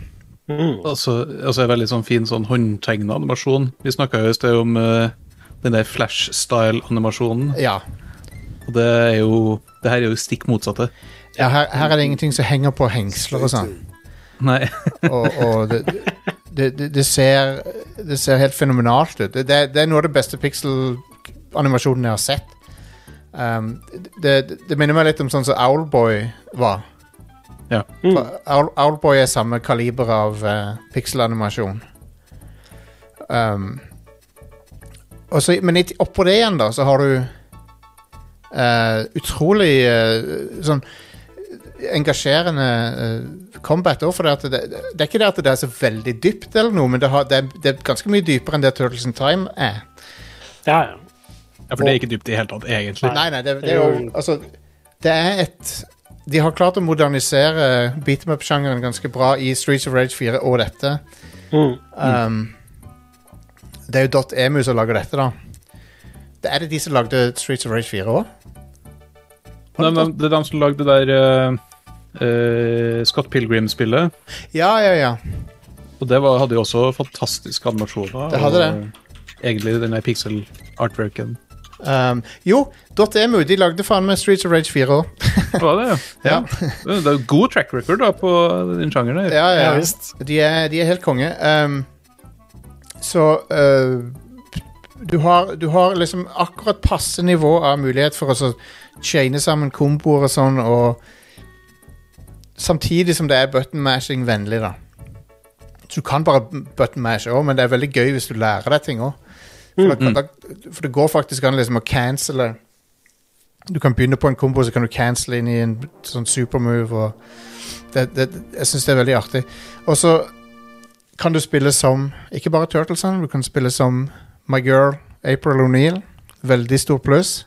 [SPEAKER 4] Mm.
[SPEAKER 3] Altså, altså en veldig sånn fin sånn håndtegna animasjon. Vi snakka jo i sted om eh, den der flash-style-animasjonen,
[SPEAKER 2] Ja.
[SPEAKER 3] og det er jo Det her er jo stikk motsatte.
[SPEAKER 2] ja her, her er det ingenting som henger på hengsler og sånn.
[SPEAKER 3] Nei.
[SPEAKER 2] og, og det, det, det, det, ser, det ser helt fenomenalt ut. Det, det, det er noe av det beste pixel-animasjonen jeg har sett. Um, det, det, det minner meg litt om sånn som Owlboy var.
[SPEAKER 3] Ja.
[SPEAKER 2] For Owl, Owlboy er samme kaliber av eh, pixel-animasjon. Um, og så, men i- oppå det igjen, da, så har du eh, utrolig eh, sånn engasjerende eh, combat òg, for det, at det, det er ikke det at det er så veldig dypt, eller noe, men det, har, det, er, det er ganske mye dypere enn det Turtles in Time er.
[SPEAKER 4] ja, ja.
[SPEAKER 3] Ja, for det er ikke dypt i det hele tatt, egentlig.
[SPEAKER 2] Nei, nei, det, det er jo Altså, det er et De har klart å modernisere beat 'em up-sjangeren ganske bra i Streets of Rage 4 og dette.
[SPEAKER 4] Mm.
[SPEAKER 2] Um, det er jo Dot .emu som lager dette, da. Det er det de som lagde Streets of Rage 4 òg?
[SPEAKER 3] Nei, men det er de som lagde det der eh, eh, Scott Pilgrim-spillet.
[SPEAKER 2] Ja, ja, ja.
[SPEAKER 3] Og det var, hadde jo også fantastiske animasjoner.
[SPEAKER 2] Ah. Det hadde
[SPEAKER 3] og Egentlig den der pixel-artworken.
[SPEAKER 2] Um, jo, Dot .emu, de lagde faen meg Streets of Rage 4 òg.
[SPEAKER 3] Var det,
[SPEAKER 2] Ja.
[SPEAKER 3] Det er jo god track record da på den sjangeren her.
[SPEAKER 2] Ja, ja.
[SPEAKER 4] Ja, visst.
[SPEAKER 2] De er, de er helt konge. Ehm, så eh, du, har, du har liksom akkurat passe nivå av mulighet for å så chaine sammen komboer og sånn, og samtidig som det er button mashing vennlig, da. Så du kan bare button mash òg, men det er veldig gøy hvis du lærer deg ting òg. For, da- da- for det går faktisk an liksom å cancele Du kan begynne på en kombo, så kan du cancele inn i en sånn supermove. og det, det, jeg syns det er veldig artig. Og så kan du spille som ikke bare Turtlesene, du kan spille som My Girl April O'Neill. Veldig stor pluss.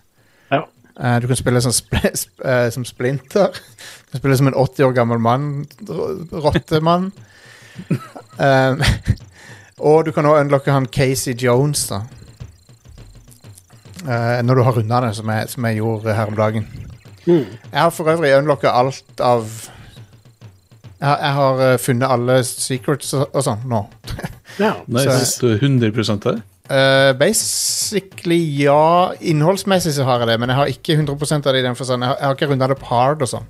[SPEAKER 4] Ja.
[SPEAKER 2] Eh, du kan spille som, spl sp eh, som Splinter. Du kan spille som en 80 år gammel mann. ro- Rottemann. um, og du kan også unlocke han Casey Jones, da. Eh, når du har runda det, som jeg, som jeg gjorde her om dagen. Jeg har for øvrig unlocka alt av Jeg, har- jeg har eh, funnet alle secrets og, og sånn nå.
[SPEAKER 4] ja.
[SPEAKER 3] Nice. Du er 100 der.
[SPEAKER 2] Eh, basically, ja. Innholdsmessig så har jeg det, men jeg har ikke 100 av det i den forstand. Jeg har, jeg har ikke runda det på hard og sånn.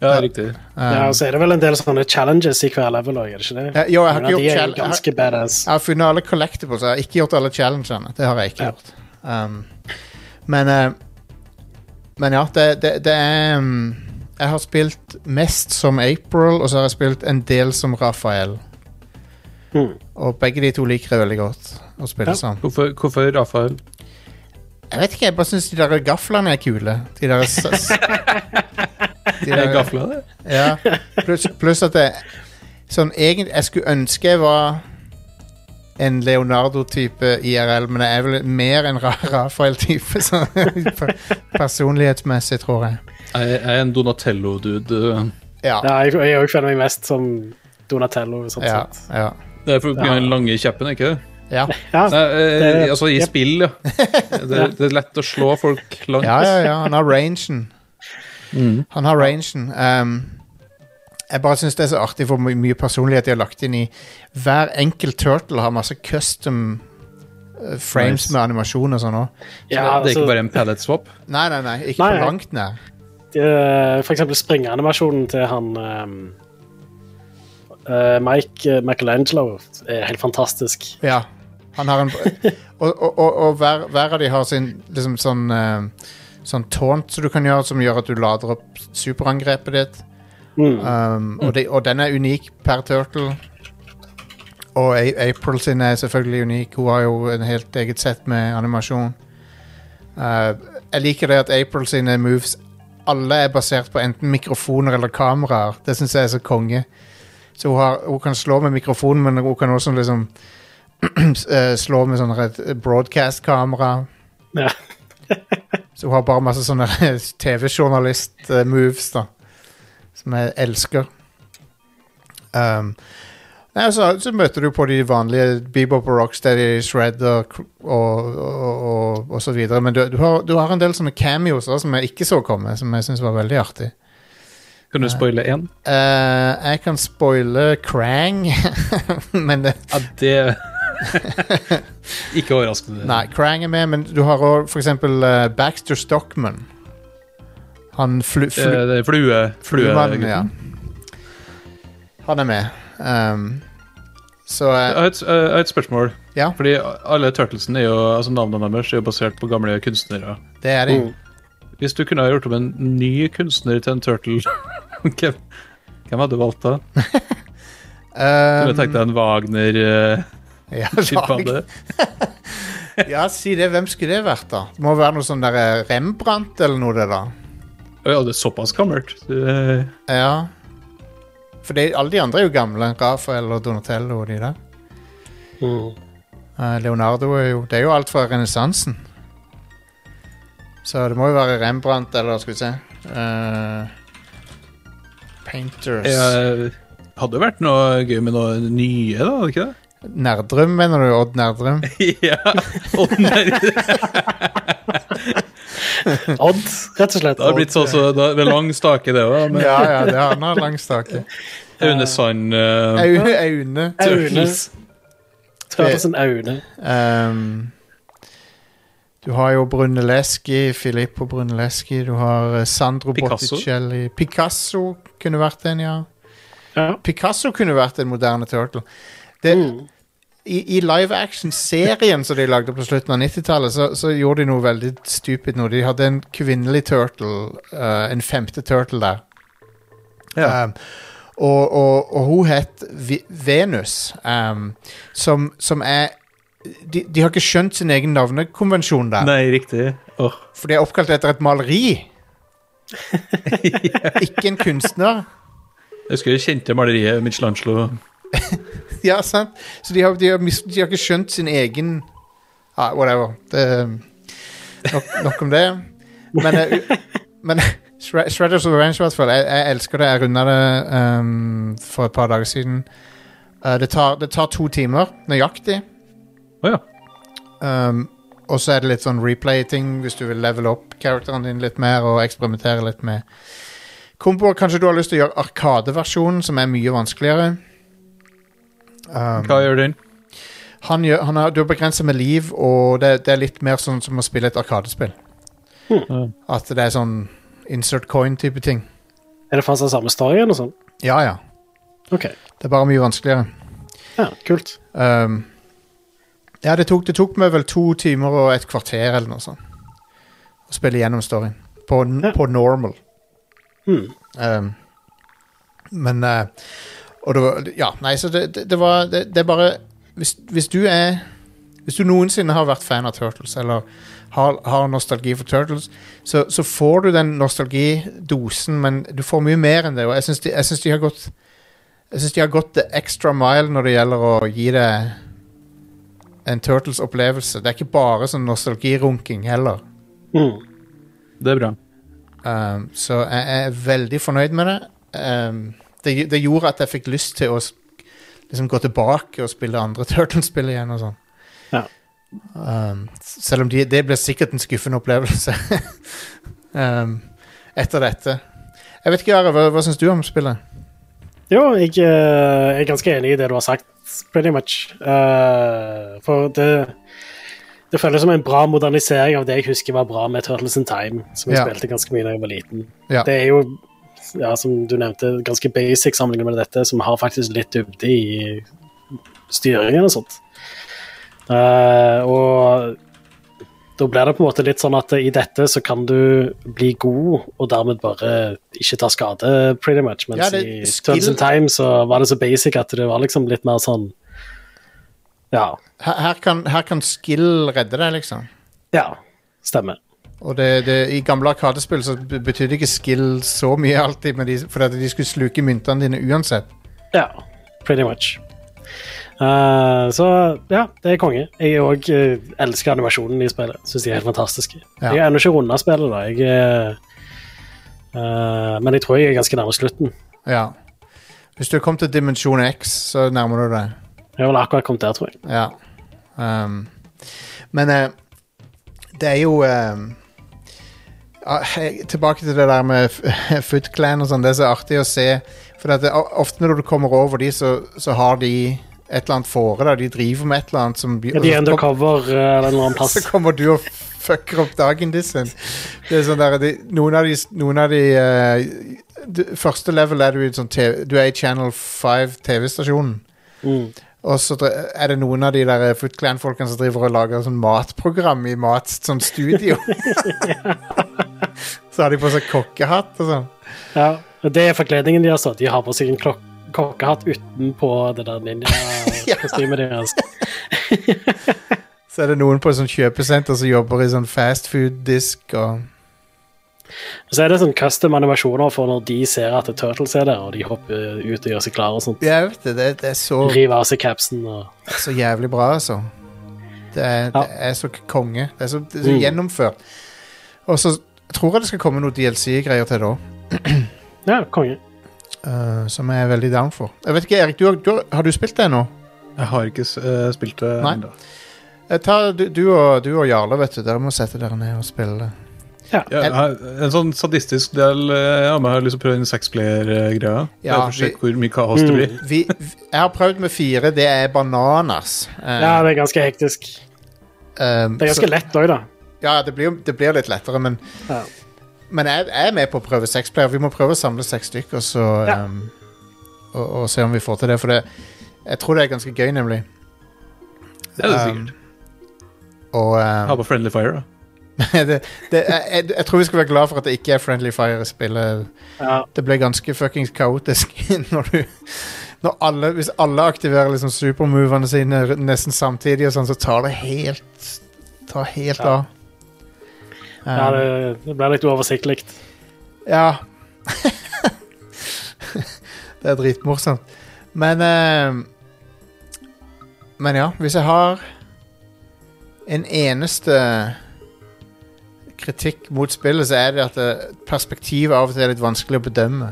[SPEAKER 3] Ja, riktig.
[SPEAKER 4] ja, og så er det vel en del sånne challenges i hver level òg, er det ikke det?
[SPEAKER 2] Eh, jo, jeg har
[SPEAKER 4] Men
[SPEAKER 2] ikke gjort
[SPEAKER 4] de er
[SPEAKER 2] chall-
[SPEAKER 4] jo ganske badass.
[SPEAKER 2] Jeg har funnet alle collectibles. Jeg har ikke gjort alle challengene. Det har jeg ikke
[SPEAKER 4] Ja.
[SPEAKER 2] gjort. Um, men eh, Men ja, det, det, det er um, Jeg har spilt mest som April, og så har jeg spilt en del som Raphael.
[SPEAKER 4] Mm.
[SPEAKER 2] Og begge de to liker jeg veldig godt å spille
[SPEAKER 4] Ja.
[SPEAKER 2] som.
[SPEAKER 3] Hvorfor, hvorfor Rafael?
[SPEAKER 2] Jeg vet ikke, jeg bare syns de der gaflene er kule. De der s- s- de
[SPEAKER 3] Er
[SPEAKER 2] der-
[SPEAKER 3] gafla det?
[SPEAKER 2] Ja, pluss pluss at det Sånn egentlig Jeg skulle ønske jeg var en Leonardo-type IRL, men jeg er vel mer en Ra- Rafael-type, så per- personlighetsmessig, tror jeg.
[SPEAKER 3] Jeg jeg er en Donatello-dude.
[SPEAKER 2] Ja.
[SPEAKER 4] Ja, jeg, jeg også føler meg mest som Donatello. Sånn
[SPEAKER 2] Ja.
[SPEAKER 4] sett.
[SPEAKER 2] ja.
[SPEAKER 3] Det er for å den lange kjeppen, ikke det?
[SPEAKER 2] ja.
[SPEAKER 4] Ja,
[SPEAKER 3] Nei, eh,
[SPEAKER 4] Det-
[SPEAKER 3] altså i
[SPEAKER 4] Jep.
[SPEAKER 3] spill, ja. Det, er- det er lett å slå folk langt.
[SPEAKER 4] Mm.
[SPEAKER 2] Ja, ja, ja. Han har rangen. Han har rangen. Um, Jeg bare syns det er så artig hvor my- mye personlighet de har lagt inn i Hver enkelt turtle har masse custom eh, frames
[SPEAKER 3] Nice.
[SPEAKER 2] med animasjon og sånn òg.
[SPEAKER 4] Ja,
[SPEAKER 3] det er
[SPEAKER 4] altså,
[SPEAKER 3] ikke bare en pallet swap.
[SPEAKER 2] Nei, nei, nei. Ikke
[SPEAKER 4] Nei,
[SPEAKER 2] på
[SPEAKER 4] nei.
[SPEAKER 2] langt nær.
[SPEAKER 4] eh, for eksempel springeanimasjonen til han ehm, eh, Mike eh, Michelangelo er helt fantastisk.
[SPEAKER 2] Ja. Han har en Og, og, og, og hver, hver av de har sin liksom sånn eh, Sånn taunt som du kan gjøre, som gjør at du lader opp superangrepet ditt.
[SPEAKER 4] Mm.
[SPEAKER 2] Um, og, de, og den er unik per turtle. Og A April sin er selvfølgelig unik. Hun har jo en helt eget sett med animasjon. Uh, jeg liker det at April sine moves alle er basert på enten mikrofoner eller kameraer. Det syns jeg er så konge. Så hun, har, hun kan slå med mikrofonen, men hun kan også liksom s- eh, slå med sånn et broadcast-kamera.
[SPEAKER 4] Ja.
[SPEAKER 2] Så hun har bare masse sånne TV-journalist-moves, da. Som jeg elsker. Um, nei, så, så møter du på de vanlige Bebop og Rocksteady, Shredder og, og, og, og, og så videre. Men du, du, har, du har en del sånne cameos også, som jeg ikke så komme, som jeg syns var veldig artig.
[SPEAKER 3] Kan du spoile én?
[SPEAKER 2] Eh, jeg kan spoile Krang, men det,
[SPEAKER 3] Ja, det Ikke overraskende.
[SPEAKER 2] Nei, Krang er med, men du har òg for eksempel eh, Baxter Stockman. Han flu...
[SPEAKER 3] Eh,
[SPEAKER 2] flu
[SPEAKER 3] det er flue...
[SPEAKER 2] Fluemannen,
[SPEAKER 3] Fluegutten.
[SPEAKER 2] ja. Han er med. Um, så
[SPEAKER 3] Jeg
[SPEAKER 2] eh,
[SPEAKER 3] har et, jeg har et spørsmål.
[SPEAKER 2] Ja.
[SPEAKER 3] Fordi alle Turtlesene er jo, altså Navnene deres er jo basert på gamle kunstnere.
[SPEAKER 2] det er de.
[SPEAKER 4] Mm.
[SPEAKER 3] Hvis du kunne ha gjort om en ny kunstner til en turtle, hvem, hvem hadde du valgt da? Kunne
[SPEAKER 2] Um,
[SPEAKER 3] du tenkt deg en eh, Wagner-skilpadde?
[SPEAKER 2] ja, ja, si det. Hvem skulle det vært, da? Det må være noe sånn der eh, Rembrandt eller noe, det, da.
[SPEAKER 3] Å ja, det er såpass gammelt. Eh, Det-
[SPEAKER 2] Ja. For det, alle de andre er jo gamle. Rafael og Donatello og de der.
[SPEAKER 4] Mm.
[SPEAKER 2] Eh, Leonardo er jo Det er jo alt fra renessansen. Så det må jo være Rembrandt, eller skal vi se eh, Painters
[SPEAKER 3] Jeg hadde jo vært noe gøy med noe nye, da? hadde ikke det?
[SPEAKER 2] Nerdrum, mener du? Odd Nerdrum?
[SPEAKER 3] ja. Og nerd-
[SPEAKER 4] Odd, rett og slett.
[SPEAKER 3] Det har blitt sånn så, da- det er lang stake, det òg. Med
[SPEAKER 2] ja, ja, det har han har lang stake.
[SPEAKER 3] Aune Sand eh,
[SPEAKER 2] Au- Aune.
[SPEAKER 4] Aune.
[SPEAKER 3] Turtles.
[SPEAKER 4] Turtles and Aune.
[SPEAKER 2] Ehm, du har jo Brunelleschi, Filippo Brunelleschi. Du har eh, Sandro
[SPEAKER 3] Picasso.
[SPEAKER 2] Botticelli. Picasso kunne vært en, ja.
[SPEAKER 4] Ja.
[SPEAKER 2] Picasso kunne vært en moderne turtle. Det,
[SPEAKER 4] Mm.
[SPEAKER 2] I, i live action-serien som de lagde på slutten av 90-tallet, så, så gjorde de noe veldig stupid nå. De hadde en kvinnelig turtle, eh, en femte turtle der.
[SPEAKER 3] Ja.
[SPEAKER 2] Um, og, og, og hun het Vi- Venus, um, som, som er de, de har ikke skjønt sin egen navnekonvensjon der.
[SPEAKER 3] Nei, riktig. Åh.
[SPEAKER 2] For det er oppkalt etter et maleri. ikke en kunstner.
[SPEAKER 3] Jeg husker jeg kjente maleriet Michelangelo.
[SPEAKER 2] Ja, sant? Så de har, de, har mis, de har ikke skjønt sin egen ah, Whatever. Det, nok, nok om det. Men, eh, u- men Shred- Shredders of Revenge, i hvert fall. Jeg, jeg elsker det. Jeg runda det ehm, for et par dager siden. Eh, det, tar, det tar to timer nøyaktig.
[SPEAKER 3] Å ja.
[SPEAKER 2] Um, og så er det litt sånn replay-ting hvis du vil level opp karakteren din litt mer og eksperimentere litt med komboer. Kanskje du har lyst til å gjøre Arkadeversjonen, som er mye vanskeligere.
[SPEAKER 3] Hva gjør den?
[SPEAKER 2] han gjør, han har, du er begrenset med liv, og det, det er litt mer sånn som å spille et arkadespill. At det er sånn insert coin-type ting.
[SPEAKER 4] Er det faktisk den samme storyen og sånn?
[SPEAKER 2] Ja, ja.
[SPEAKER 4] OK.
[SPEAKER 2] Det er bare mye vanskeligere.
[SPEAKER 4] Ja, kult.
[SPEAKER 2] Um, ja, det tok, det tok meg vel to timer og et kvarter eller noe sånt å spille gjennom storyen. På, n-
[SPEAKER 4] Ja.
[SPEAKER 2] på normal.
[SPEAKER 4] Mm.
[SPEAKER 2] Um, men eh, Og det var Ja, nei, så det, det, det var det, det er bare hvis, hvis du er Hvis du noensinne har vært fan av Turtles, eller har, har nostalgi for Turtles, så, så får du den nostalgidosen, men du får mye mer enn det. Og jeg syns de, jeg synes de har gått Jeg synes de har gått the extra mile når det gjelder å gi deg en Turtles-opplevelse. Det er ikke bare sånn nostalgirunking heller.
[SPEAKER 4] Mm.
[SPEAKER 3] Det er bra.
[SPEAKER 2] Um, så jeg er veldig fornøyd med det. Um, det. Det gjorde at jeg fikk lyst til å s- liksom gå tilbake og spille andre Turtles-spill igjen og sånn.
[SPEAKER 4] Ja.
[SPEAKER 2] Um, s- selv om de, det ble sikkert en skuffende opplevelse um, etter dette. Jeg vet ikke, Are, hva, hva syns du om spillet?
[SPEAKER 4] Jo, jeg, eh, jeg er ganske enig i det du har sagt, pretty much. Eh, for det Det føles som en bra modernisering av det jeg husker var bra med Turtles in Time, som jeg
[SPEAKER 2] Ja.
[SPEAKER 4] spilte ganske mye da jeg var liten.
[SPEAKER 2] Ja.
[SPEAKER 4] Det er jo, ja, som du nevnte, ganske basic sammenlignet med dette, som har faktisk litt dybde i styringen og sånt. Eh, og da blir det på en måte litt sånn at i dette så kan du bli god og dermed bare ikke ta skade, pretty much. Mens
[SPEAKER 2] Ja, det-
[SPEAKER 4] i
[SPEAKER 2] skill-
[SPEAKER 4] Turtles in Time så var det så basic at det var liksom litt mer sånn Ja.
[SPEAKER 2] Her, her, kan, her kan skill redde deg, liksom.
[SPEAKER 4] Ja, stemmer.
[SPEAKER 2] Og det, det, I gamle Arkadespill så be- betydde ikke skill så mye alltid, men de, fordi at de skulle sluke myntene dine uansett.
[SPEAKER 4] Ja, pretty much. Eh, så ja, det er konge. Jeg òg elsker animasjonen i spillet. Syns de er helt fantastiske.
[SPEAKER 2] Ja.
[SPEAKER 4] Jeg har ennå ikke runda spillet, da. Jeg, eh, eh, men jeg tror jeg er ganske nærme slutten.
[SPEAKER 2] Ja. Hvis du kom til dimensjon X, så nærmer du deg.
[SPEAKER 4] Jeg har vel akkurat kommet der, tror jeg.
[SPEAKER 2] Ja. Ehm, men eh, det er jo ehm, ah, jeg- Tilbake til det der med F- Foot Clan og sånn. Det er så artig å se. For at det, o- ofte når du kommer over de, så, så har de et eller annet fore. Da. De driver med et eller annet som
[SPEAKER 4] Ja, de er
[SPEAKER 2] og så kom-
[SPEAKER 4] undercover eh, eller en eller annen plass.
[SPEAKER 2] Så kommer du og fucker opp dagen din. sin. Det er sånn der, de, noen av de, noen av de eh, d- Første level er du, i en sånn TV, du er i Channel 5-TV-stasjonen.
[SPEAKER 4] Mm.
[SPEAKER 2] Og så dre- er det noen av de der eh, Foot Clan-folkene som driver og lager sånn matprogram i mat, sånn studio. så har de på seg kokkehatt og sånn.
[SPEAKER 4] Ja. og Det er forkledningen de har stått i. De har på seg en klok kokkehatt utenpå det der ninja-kostymet deres.
[SPEAKER 2] Så er det noen på et sånt kjøpesenter som jobber i sånn fast food-disk og
[SPEAKER 4] Så er det sånn custom animasjoner for når de ser at Turtles er der, og de hopper ut og gjør seg klare og sånt.
[SPEAKER 2] Jeg vet det, det, det er så,
[SPEAKER 4] Rive av seg capsen og
[SPEAKER 2] så jævlig bra, altså. Det er,
[SPEAKER 4] Ja.
[SPEAKER 2] det er så k- konge. Det er så, det er så
[SPEAKER 4] Mm.
[SPEAKER 2] gjennomført. Og så tror jeg det skal komme noe DLC-greier til det òg,
[SPEAKER 4] Ja, konge.
[SPEAKER 2] som jeg er veldig down for. Jeg vet ikke, Erik, du har, du har, har du spilt det ennå?
[SPEAKER 3] Jeg har ikke eh, spilt det
[SPEAKER 2] Nei.
[SPEAKER 3] ennå.
[SPEAKER 2] Jeg tar- Du, du, og, du og Jarle, vet du, dere må sette dere ned og spille det.
[SPEAKER 3] Ja, jeg har- en sånn sadistisk del eh, av meg har lyst til å prøve den sexplayer-greia.
[SPEAKER 2] Ja,
[SPEAKER 3] Ja, for å
[SPEAKER 2] vi-
[SPEAKER 3] se hvor mye kaos det blir.
[SPEAKER 2] Vi, vi- jeg har prøvd med fire. Det er bananas. Eh,
[SPEAKER 4] Ja, det er ganske hektisk.
[SPEAKER 2] ehm,
[SPEAKER 4] Det er ganske
[SPEAKER 2] så-
[SPEAKER 4] lett òg, da.
[SPEAKER 2] Ja, det blir, det blir litt lettere, men
[SPEAKER 4] Ja.
[SPEAKER 2] Men jeg, jeg er med på å prøve seks player. Vi må prøve å samle seks stykker så,
[SPEAKER 4] Ja.
[SPEAKER 2] ehm, og, og se om vi får til det. For det, jeg tror det er ganske gøy, nemlig.
[SPEAKER 3] Det er det
[SPEAKER 2] Ehm,
[SPEAKER 3] sikkert.
[SPEAKER 2] Og ehm,
[SPEAKER 3] Ha på Friendly Fire, da.
[SPEAKER 2] det, det, jeg, jeg, jeg tror vi skal være glad for at det ikke er Friendly Fire i spillet.
[SPEAKER 4] Ja.
[SPEAKER 2] Det ble ganske fuckings kaotisk når du når alle, Hvis alle aktiverer liksom supermovene sine r- nesten samtidig, og sånn, så tar det helt Tar helt av. Um,
[SPEAKER 4] Ja, det, det ble litt uoversiktlig.
[SPEAKER 2] ja. det er dritmorsomt. Men eh, Men ja, hvis jeg har en eneste kritikk mot spillet, så er det at eh, perspektivet av og til er litt vanskelig å bedømme.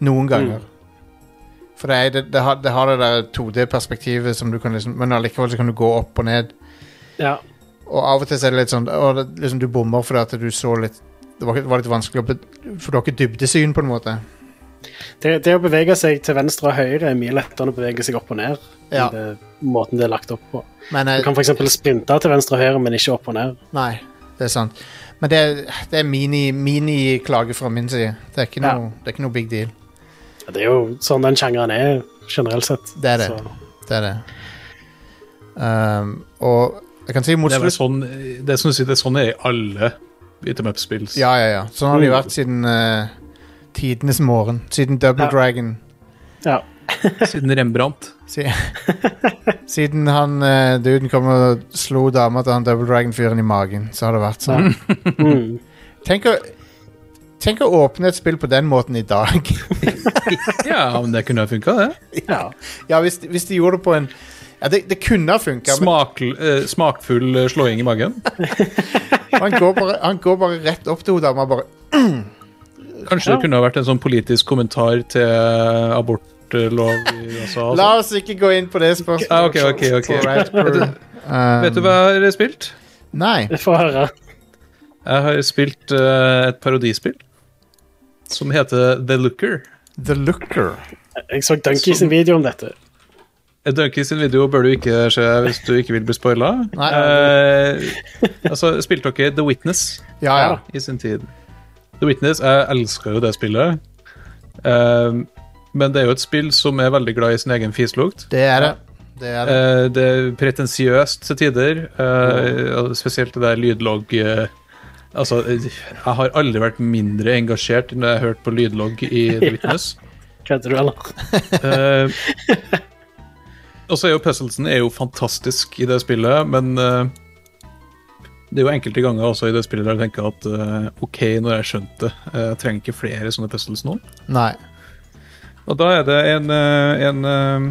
[SPEAKER 2] Noen ganger. For det, er, det, det, har, det har det der 2D-perspektivet som du kan liksom Men allikevel så kan du gå opp og ned.
[SPEAKER 4] Ja.
[SPEAKER 2] Og av og til så er det litt sånn å, det, liksom Du bommer fordi at du så litt Det var, det var litt vanskelig å be, For du har ikke dybdesyn, på en måte.
[SPEAKER 4] Det, det å bevege seg til venstre og høyre er mye lettere enn å bevege seg opp og ned. i
[SPEAKER 2] Ja.
[SPEAKER 4] Det, måten det er lagt opp på.
[SPEAKER 2] Men
[SPEAKER 4] Du
[SPEAKER 2] eh,
[SPEAKER 4] kan f.eks. sprinte til venstre og høyre, men ikke opp og ned.
[SPEAKER 2] Nei, det er sant. Men det er, det er mini- mini-klage fra min side. Det er, ikke
[SPEAKER 4] Ja.
[SPEAKER 2] noe, det er ikke noe big deal.
[SPEAKER 4] Ja, Det er jo sånn den sjangeren er generelt sett.
[SPEAKER 2] Det er det.
[SPEAKER 4] Så,
[SPEAKER 2] Det er det. Um, og jeg kan si mot
[SPEAKER 3] Det er vel
[SPEAKER 2] slutt
[SPEAKER 3] sånn det er, som du sier, det er sånn det er i alle beat em up-spill.
[SPEAKER 2] Ja, ja, ja. Sånn har det jo vært siden eh, tidenes morgen. Siden Double
[SPEAKER 4] Ja.
[SPEAKER 2] Dragon.
[SPEAKER 4] ja.
[SPEAKER 3] Siden Rembrandt.
[SPEAKER 2] Si- Siden han eh, duden kom og slo dama til han Double Dragon-fyren i magen, så har det vært sånn.
[SPEAKER 4] Mm.
[SPEAKER 2] Tenk å, tenk å åpne et spill på den måten i dag.
[SPEAKER 3] Ja, men det kunne ha funka, det.
[SPEAKER 4] ja.
[SPEAKER 2] ja, hvis, de- hvis de gjorde det på en Ja, det, det kunne ha funka, men
[SPEAKER 3] Smak, eh, smakfull eh, slåing i magen.
[SPEAKER 2] han går, bare, han går bare rett opp til hun dama og bare
[SPEAKER 3] Kanskje det kunne ha vært en sånn politisk kommentar til eh, abortlov i USA. og
[SPEAKER 2] La
[SPEAKER 3] sånn.
[SPEAKER 2] oss ikke gå inn på det spørsmålet.
[SPEAKER 3] Ah, ok, ok, ok.
[SPEAKER 2] På Rad Crew. Um,
[SPEAKER 3] Vet du hva jeg har spilt?
[SPEAKER 2] Nei.
[SPEAKER 4] Få høre.
[SPEAKER 3] Jeg har spilt eh, et parodispill som heter The Looker.
[SPEAKER 2] The Looker.
[SPEAKER 4] Jeg så Dunkey sin video om dette.
[SPEAKER 3] Et Dunkey sin video bør du ikke se hvis du ikke vil bli spoila.
[SPEAKER 2] Nei.
[SPEAKER 3] Eh, altså, spilte dere The Witness
[SPEAKER 2] Ja, ja.
[SPEAKER 3] i sin tid? The Witness, jeg elsker jo det spillet. Eh, men det er jo et spill som er veldig glad i sin egen fislukt.
[SPEAKER 2] Det er det. Det er det.
[SPEAKER 3] Eh, det er pretensiøst til tider. eh, og Spesielt det der lydlogg eh, Altså, eh, jeg har aldri vært mindre engasjert enn da jeg hørte på lydlogg i The Witness.
[SPEAKER 4] Kødder du, eller?
[SPEAKER 3] Eh, og så er jo puzzlesen er jo fantastisk i det spillet, men eh, det er jo enkelte ganger også i det spillet der jeg tenker at eh, OK, når jeg skjønte det, eh, jeg trenger ikke flere sånne puzzles nå.
[SPEAKER 2] Nei.
[SPEAKER 3] Og da er det en, eh, en eh,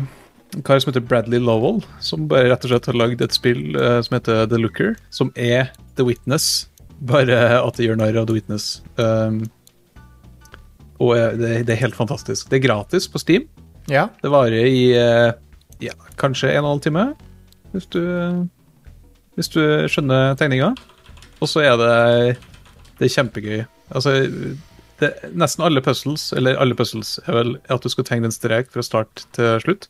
[SPEAKER 3] kar som heter Bradley Lowell, som bare rett og slett har lagd et spill eh, som heter The Looker, som er The Witness, bare at det gjør narr av The Witness. Um, og eh, det, det er helt fantastisk. Det er gratis på Steam.
[SPEAKER 2] Ja.
[SPEAKER 3] Det varer i eh, ja, kanskje en og en halv time, hvis du, hvis du skjønner tegninga. Og så er det, det er kjempegøy. Altså, det, nesten alle puzzles, eller alle puzzles, er vel at du skal tegne en strek fra start til slutt.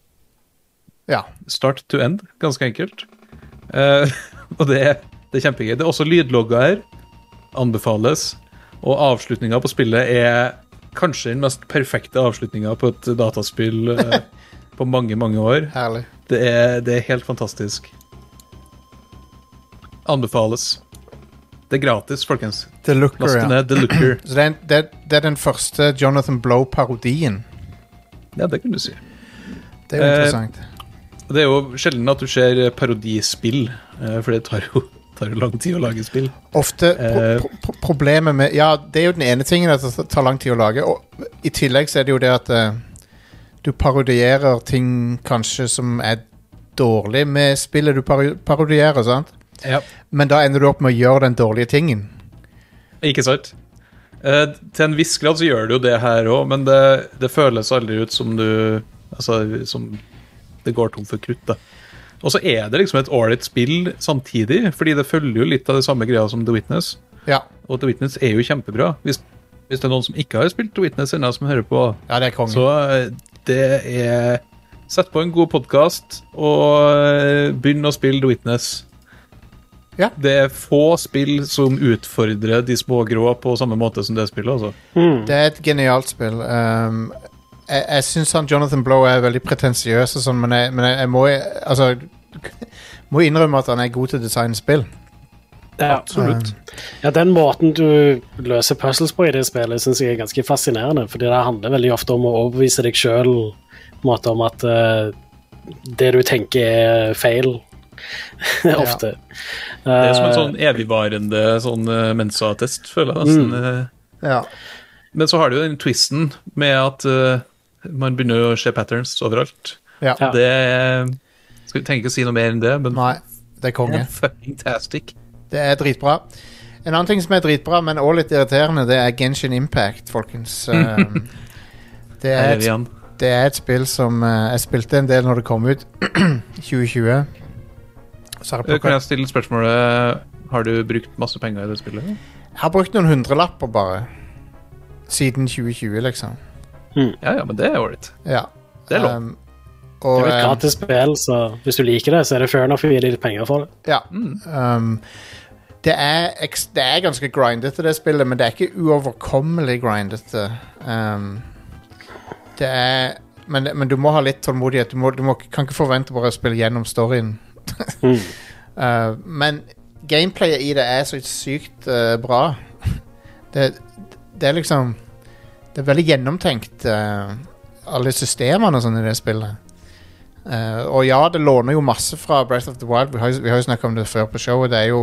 [SPEAKER 2] ja.
[SPEAKER 3] Start to end, ganske enkelt. Eh, og det, er- det er kjempegøy. Det er også lydlogger her. Anbefales. Og avslutninga på spillet er kanskje den mest perfekte avslutninga på et dataspill eh, på mange, mange år.
[SPEAKER 2] Herlig.
[SPEAKER 3] Det er, det er helt fantastisk. Anbefales. Det er gratis, folkens.
[SPEAKER 2] The Looker,
[SPEAKER 3] Last
[SPEAKER 2] ja.
[SPEAKER 3] ned The Looker.
[SPEAKER 2] Så det er, en- det, det er den første Jonathan Blow-parodien.
[SPEAKER 3] Ja, det kan du si.
[SPEAKER 2] Det er jo
[SPEAKER 3] Eh,
[SPEAKER 2] interessant.
[SPEAKER 3] Det er jo sjelden at du ser eh, parodispill, eh, for det tar jo, tar jo lang tid å lage spill.
[SPEAKER 2] Ofte pro
[SPEAKER 3] eh,
[SPEAKER 2] pro pro problemet med Ja, det er jo den ene tingen at det tar lang tid å lage. Og I tillegg så er det jo det at eh, du parodierer ting kanskje som er dårlig med spillet du paro parodierer, sant?
[SPEAKER 3] Ja.
[SPEAKER 2] Men da ender du opp med å gjøre den dårlige tingen.
[SPEAKER 3] Ikke sant? Eh, til en viss grad så gjør det jo det her òg, men det, det føles aldri ut som du Altså som det går tom for krutt, da. Og så er det liksom et ålreit spill samtidig, fordi det følger jo litt av det samme greia som The Witness.
[SPEAKER 2] Ja,
[SPEAKER 3] Og The Witness er jo kjempebra. Hvis, hvis det er noen som ikke har spilt The Witness ennå, som hører på,
[SPEAKER 2] ja det er kongen.
[SPEAKER 3] så eh, det er Sett på en god podkast og eh, begynn å spille The Witness.
[SPEAKER 2] Ja.
[SPEAKER 3] Det er få spill som utfordrer de små grå på samme måte som det spillet. altså.
[SPEAKER 2] Det er et genialt spill. Um, jeg jeg syns han Jonathan Blow er veldig pretensiøs, og sånn, men, jeg, men jeg, jeg må altså, må innrømme at han er god til å designe spill.
[SPEAKER 4] Ja. eh,
[SPEAKER 3] Absolutt.
[SPEAKER 4] ja, den måten du løser puzzles på i det spillet, syns jeg er ganske fascinerende. Fordi det handler veldig ofte om å overbevise deg sjøl om at eh, det du tenker, er feil. ofte. Eh,
[SPEAKER 3] Det er som en sånn evigvarende sånn eh, Mensa-test, føler jeg. nesten, eh.
[SPEAKER 2] Ja.
[SPEAKER 3] Men så har du jo den twisten med at eh, man begynner å se patterns overalt.
[SPEAKER 2] ja.
[SPEAKER 4] Ja.
[SPEAKER 3] Det er skal, Trenger ikke å si noe mer enn det, men
[SPEAKER 2] Nei, det er konge.
[SPEAKER 3] fantastic.
[SPEAKER 2] Det er dritbra. En annen ting som er dritbra, men også litt irriterende, det er Genshin Impact, folkens. Um, det,
[SPEAKER 3] Her
[SPEAKER 2] er
[SPEAKER 3] er vi
[SPEAKER 2] et,
[SPEAKER 3] igjen.
[SPEAKER 2] det er et spill som eh, jeg spilte en del når det kom ut. 2020. Så har jeg
[SPEAKER 3] Eh, Kan
[SPEAKER 2] plukket-
[SPEAKER 3] jeg stille spørsmålet Har du brukt masse penger i det spillet?
[SPEAKER 2] Jeg har brukt noen hundrelapper bare. Siden 2020, liksom.
[SPEAKER 3] Ja, ja, men det er ålreit.
[SPEAKER 2] Ja.
[SPEAKER 3] Det er lov.
[SPEAKER 2] Um,
[SPEAKER 4] Det
[SPEAKER 2] og,
[SPEAKER 4] er jo et
[SPEAKER 2] um,
[SPEAKER 4] gratis spill, så hvis du liker det, så er det fair enough å gi deg litt penger for det.
[SPEAKER 2] ehm, ja. Um, det, er eks- det er ganske grindete, det spillet, men det er ikke uoverkommelig grindete. Um, det er men, men du må ha litt tålmodighet. Du, må, du må, kan ikke forvente bare å spille gjennom storyen. uh, men gameplayet i det er så sykt uh, bra. Det, det er liksom Det er veldig gjennomtenkt, uh, alle systemene og sånn i det spillet. Eh, og ja, det låner jo masse fra Breath of the Wild. Vi har, jo- vi har jo snakka om det før på showet. Det er jo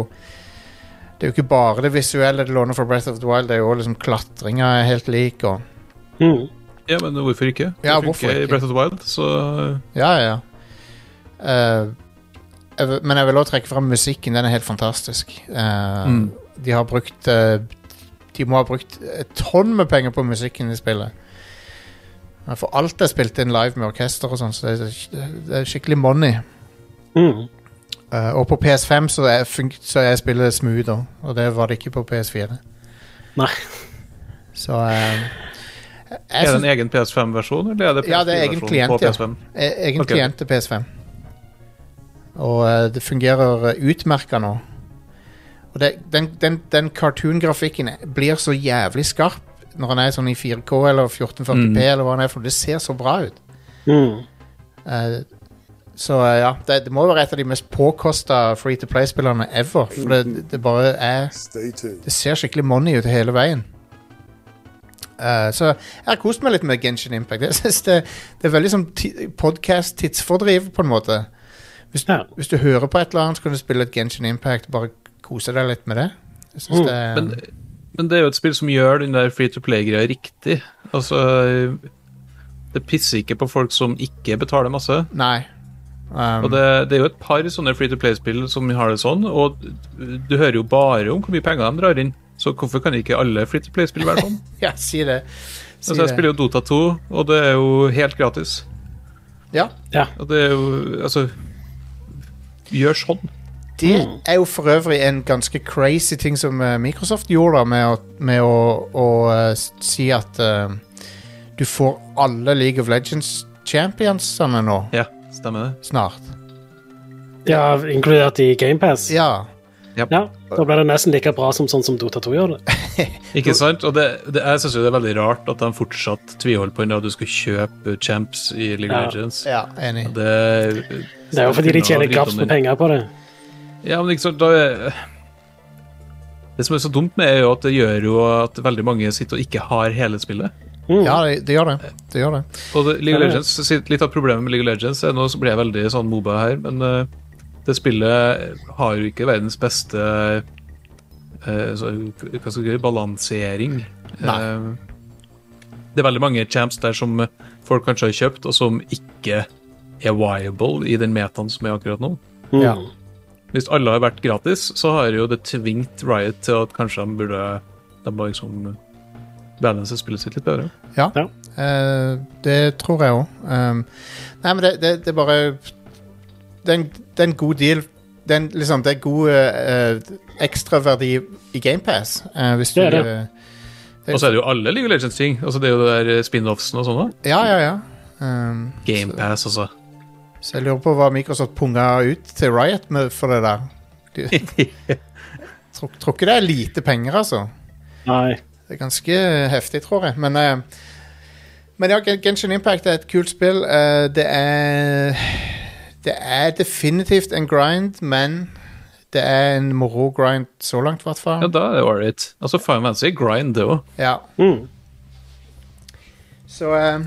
[SPEAKER 2] Det er jo ikke bare det visuelle det låner fra Breath of the Wild. Det er jo også liksom klatringa er helt lik og
[SPEAKER 4] Mm.
[SPEAKER 3] Ja, men hvorfor ikke? Det
[SPEAKER 2] Ja,
[SPEAKER 3] funker
[SPEAKER 2] hvorfor
[SPEAKER 3] i
[SPEAKER 2] ikke?
[SPEAKER 3] Breath of the Wild, så
[SPEAKER 2] Ja, ja. Eh, jeg vil- men jeg vil også trekke fram musikken. Den er helt fantastisk. Eh,
[SPEAKER 3] Mm.
[SPEAKER 2] De har brukt eh, De må ha brukt et tonn med penger på musikken i spillet. Eh, For alt er spilt inn live med orkester og sånn, så det er, det er skikkelig money.
[SPEAKER 4] Mm.
[SPEAKER 2] Eh, og på PS5 så er, fun- så er spillet smooth, også, og det var det ikke på PS4.
[SPEAKER 4] Nei.
[SPEAKER 2] Så eh, Jeg
[SPEAKER 3] er det
[SPEAKER 2] syns-
[SPEAKER 3] en egen PS5-versjon, eller er det
[SPEAKER 2] Ja, det er egen
[SPEAKER 3] PS4-versjonen
[SPEAKER 2] klient,
[SPEAKER 3] på
[SPEAKER 2] ja.
[SPEAKER 3] PS5?
[SPEAKER 2] E- Egen
[SPEAKER 3] Ok.
[SPEAKER 2] klient til PS5. Og eh, det fungerer eh, utmerket nå. Og det, den, den, den cartoon-grafikken blir så jævlig skarp når han er sånn i 4K eller 1440p,
[SPEAKER 3] Mm.
[SPEAKER 2] eller hva han er, for det ser så bra ut.
[SPEAKER 4] Mm.
[SPEAKER 2] Eh, så eh, ja, det, det må være et av de mest påkosta free to play-spillerne ever. For det, det bare er
[SPEAKER 8] Mm. Stay tuned.
[SPEAKER 2] Det ser skikkelig money ut hele veien. Eh, så jeg har kost meg litt med Genshin Impact. Jeg synes det, det er veldig sånn podkast-tidsfordriv, på en måte. Hvis,
[SPEAKER 4] Ja.
[SPEAKER 2] hvis du hører på et eller annet, så kan du spille et Genshin Impact. Bare kose deg litt med det. Jeg synes det er-
[SPEAKER 3] Mm. Men, men det er jo et spill som gjør den der free to play-greia riktig. Altså Det pisser ikke på folk som ikke betaler masse.
[SPEAKER 2] nei. Um,
[SPEAKER 3] Og det, det er jo et par sånne free to play-spill som har det sånn, og du hører jo bare om hvor mye penger de drar inn. Så hvorfor kan ikke alle free to play-spill være sånn?
[SPEAKER 2] Um, ja, si det. Si
[SPEAKER 3] altså, jeg
[SPEAKER 2] det.
[SPEAKER 3] spiller jo Dota 2, og det er jo helt gratis.
[SPEAKER 2] Ja.
[SPEAKER 3] Og det er jo Altså Gjør sånn.
[SPEAKER 2] Det
[SPEAKER 4] Mm.
[SPEAKER 2] er jo for øvrig en ganske crazy ting som eh, Microsoft gjorde da, med å, med å, å eh, s- si at eh, du får alle League of Legends-championsene nå
[SPEAKER 3] Ja, stemmer det.
[SPEAKER 2] snart.
[SPEAKER 4] Ja, inkludert i GamePass. Ja.
[SPEAKER 2] Ja.
[SPEAKER 4] ja, da blir det nesten like bra som sånn som Dota 2 gjør det.
[SPEAKER 3] Ikke sant? Og det, det, jeg syns jo det er veldig rart at de fortsatt tviholder på den der at du skal kjøpe champs i League
[SPEAKER 4] Ja.
[SPEAKER 3] of Legends.
[SPEAKER 2] ja, enig.
[SPEAKER 3] Og Det,
[SPEAKER 4] Det er jo fordi de tjener
[SPEAKER 3] Ja, drit om
[SPEAKER 4] grabs med
[SPEAKER 3] den.
[SPEAKER 4] penger på det.
[SPEAKER 3] Ja, men ikke sant, da er- Det som er så dumt med, er jo at det gjør jo at veldig mange sitter og ikke har hele spillet.
[SPEAKER 4] Mm.
[SPEAKER 2] Ja, det, det gjør det. Det gjør det.
[SPEAKER 3] Og det, League of
[SPEAKER 4] Ja, ja.
[SPEAKER 3] Legends, sitt- Litt av problemet med League of Legends er nå så blir jeg veldig sånn Moba her, men eh, det spillet har jo ikke verdens beste eh, så, hva skal jeg si, balansering.
[SPEAKER 2] Nei.
[SPEAKER 3] Eh, det er veldig mange champs der som folk kanskje har kjøpt, og som ikke er viable i den metaen som er akkurat nå.
[SPEAKER 4] Mm.
[SPEAKER 2] Ja.
[SPEAKER 3] Hvis alle har vært gratis, så har jo det tvingt Riot til at kanskje de burde de må liksom balanse spillet sitt litt bedre.
[SPEAKER 2] Ja,
[SPEAKER 4] Ja.
[SPEAKER 2] Eh, det tror jeg òg. Um, nei, men det, det, det er bare det er, en, det er en god deal. Det er, en, liksom, det er god uh, ekstraverdi i GamePass. Uh, hvis du
[SPEAKER 4] Det er det.
[SPEAKER 2] eh,
[SPEAKER 3] Og så er det jo alle League of Legends-ting. Altså Det er jo det der spin-offsen og sånn. da.
[SPEAKER 2] eh, Ja, ja, ja. Um,
[SPEAKER 3] GamePass, altså.
[SPEAKER 2] så jeg lurer på hva Microsoft punga ut til Riot med for det der. Du, tror, tror ikke det er lite penger, altså.
[SPEAKER 4] Nei.
[SPEAKER 2] Det er ganske heftig, tror jeg. Men, eh, men ja, Gen- Genshin Impact er et kult spill. Eh, det er Det er definitivt en grind, men det er en moro-grind så langt, i hvert fall.
[SPEAKER 3] Ja, da er det ålreit. Altså, Fine Fancy grind, det òg.
[SPEAKER 2] Ja.
[SPEAKER 4] Mm.
[SPEAKER 2] Så eh,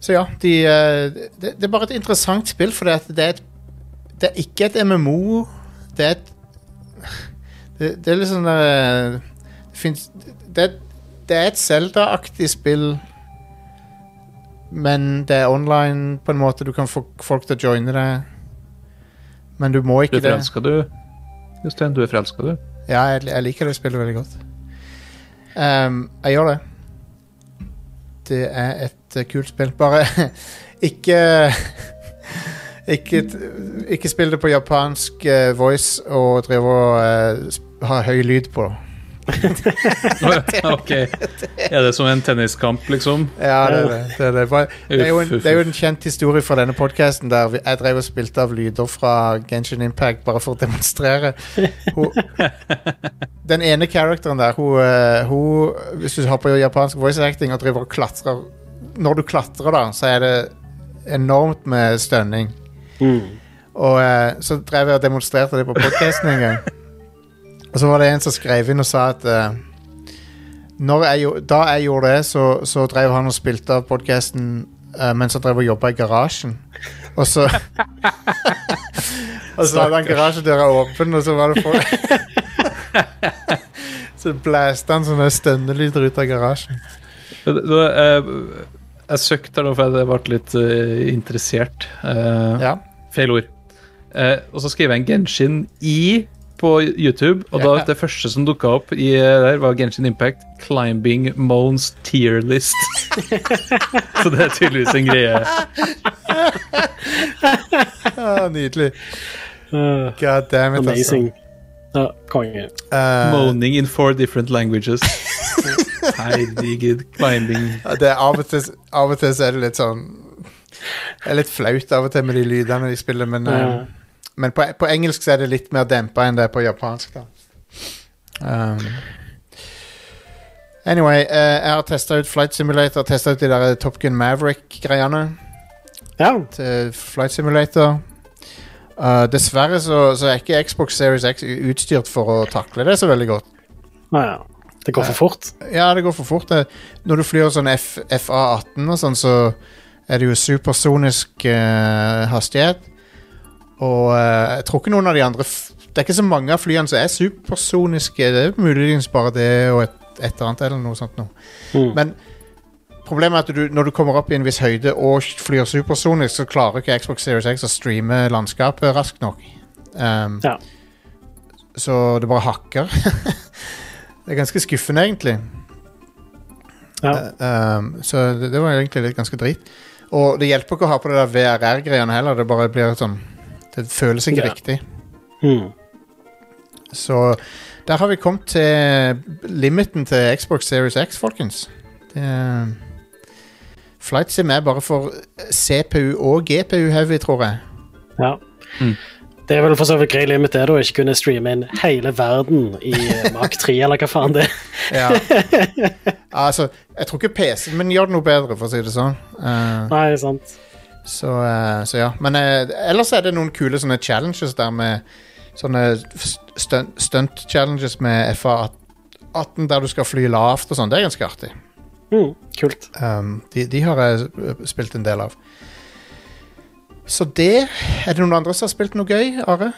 [SPEAKER 2] Så ja, de, eh, det, det er bare et interessant spill, for det er, det er, et, det er ikke et MMO. Det er et Det, det er litt sånn eh, Det finnes Det, er- det er et Zelda-aktig spill, men det er online på en måte. Du kan få folk til å joine deg, men du må
[SPEAKER 3] Du
[SPEAKER 2] ikke
[SPEAKER 3] er
[SPEAKER 2] det.
[SPEAKER 3] forelska, du. Jostein, du er forelska, du.
[SPEAKER 2] Ja, jeg, jeg liker det spillet veldig godt. Ehm, jeg gjør det. Det er et eh, kult spill. Bare ikke ikke, t- ikke spill det på japansk eh, voice og drive og eh, sp- ha høy lyd på.
[SPEAKER 3] ok. Er det som en tenniskamp, liksom?
[SPEAKER 2] Ja, det er det. Det er, det. Bare, det er, jo, en,
[SPEAKER 3] Uff, uff,
[SPEAKER 2] det er jo en kjent historie fra denne podkasten der vi- jeg drev og spilte av lyder fra Genshin Impact bare for å demonstrere. Hun, den ene karakteren der, hun, eh, hun Hvis du har på japansk voice acting og driver og klatrer Når du klatrer, da, så er det enormt med stønning.
[SPEAKER 4] Mm.
[SPEAKER 2] Og eh, så drev jeg og demonstrerte det på podcasten en gang. Og så var det en som skrev inn og sa at eh, når jeg, gjo- da jeg gjorde det, så, så drev han og spilte av podcasten eh, mens han drev og jobba i garasjen. Og så Og så hadde han garasjedøra åpen, og så var det folk Så blæste han sånne stønnelyder ut av garasjen.
[SPEAKER 3] Det- det- Jeg, jeg søkte her nå, for jeg ble litt eh, interessert. Eh,
[SPEAKER 2] Ja.
[SPEAKER 3] Feil ord. Eh, og så skriver jeg en Genshin i på YouTube, og da
[SPEAKER 2] Ja.
[SPEAKER 3] det første som dukka opp i eh, der, var Genshin Impact Climbing Moans Tier List. så det er tydeligvis en greie.
[SPEAKER 2] Ah, nydelig.
[SPEAKER 4] Uh,
[SPEAKER 2] God damn it, altså.
[SPEAKER 4] amazing. Ja, konge.
[SPEAKER 2] Eh,
[SPEAKER 3] Moaning in four different languages. Herregud, climbing.
[SPEAKER 2] Ja, Det er av, og til, av og til så er det litt sånn Det er litt flaut av og til med de lydene de spiller, men, eh, men på, på engelsk så er det litt mer dempa enn det er på japansk. da um, Anyway, eh, jeg har testa ut Flight Simulator, testa ut de der Top Gun Maverick-greiene
[SPEAKER 4] Ja.
[SPEAKER 2] til Flight Simulator. Eh, dessverre så, så er ikke Xbox Series X utstyrt for å takle det så veldig godt.
[SPEAKER 4] ja, ja. Det går for fort.
[SPEAKER 2] Ja, det går for fort. Det. Når du flyr sånn F, FA-18 og sånn, så er det jo supersonisk eh, hastighet. Og eh, jeg tror ikke noen av de andre f Det er ikke så mange av flyene som er supersoniske. Det er muligens bare det og et, et eller annet eller noe sånt noe.
[SPEAKER 4] Mm.
[SPEAKER 2] Men problemet er at du, når du kommer opp i en viss høyde og flyr supersonisk, så klarer ikke Xbox Series X å streame landskapet raskt nok. Um,
[SPEAKER 4] Ja.
[SPEAKER 2] Så det bare hakker. det er ganske skuffende, egentlig.
[SPEAKER 4] Ja.
[SPEAKER 2] Eh, um, så det, det var egentlig litt ganske drit. Og det hjelper ikke å ha på det der VRR-greiene heller. Det bare blir sånn Det føles ikke
[SPEAKER 4] Ja.
[SPEAKER 2] riktig.
[SPEAKER 4] Mm.
[SPEAKER 2] Så der har vi kommet til limiten til Xbox Series X, folkens. Det er Flight Sim er bare for CPU og GPU-heavy, tror jeg.
[SPEAKER 4] ja.
[SPEAKER 3] Mm.
[SPEAKER 4] Det er vel for så vidt grei limit det, da, å ikke kunne streame inn hele verden i eh, Mark 3, eller hva faen det er.
[SPEAKER 2] Ja. altså, jeg tror ikke PC-en min gjør det noe bedre, for å si det sånn. Eh,
[SPEAKER 4] Nei, sant.
[SPEAKER 2] Så, eh, så ja. Men eh, ellers er det noen kule sånne challenges der med Sånne st- stunt- stunt-challenges med FA18 der du skal fly lavt og sånn. Det er ganske artig.
[SPEAKER 4] Mm. Kult.
[SPEAKER 2] Um, de, de har jeg eh, spilt en del av. Så det Er det noen andre som har spilt noe gøy, Are?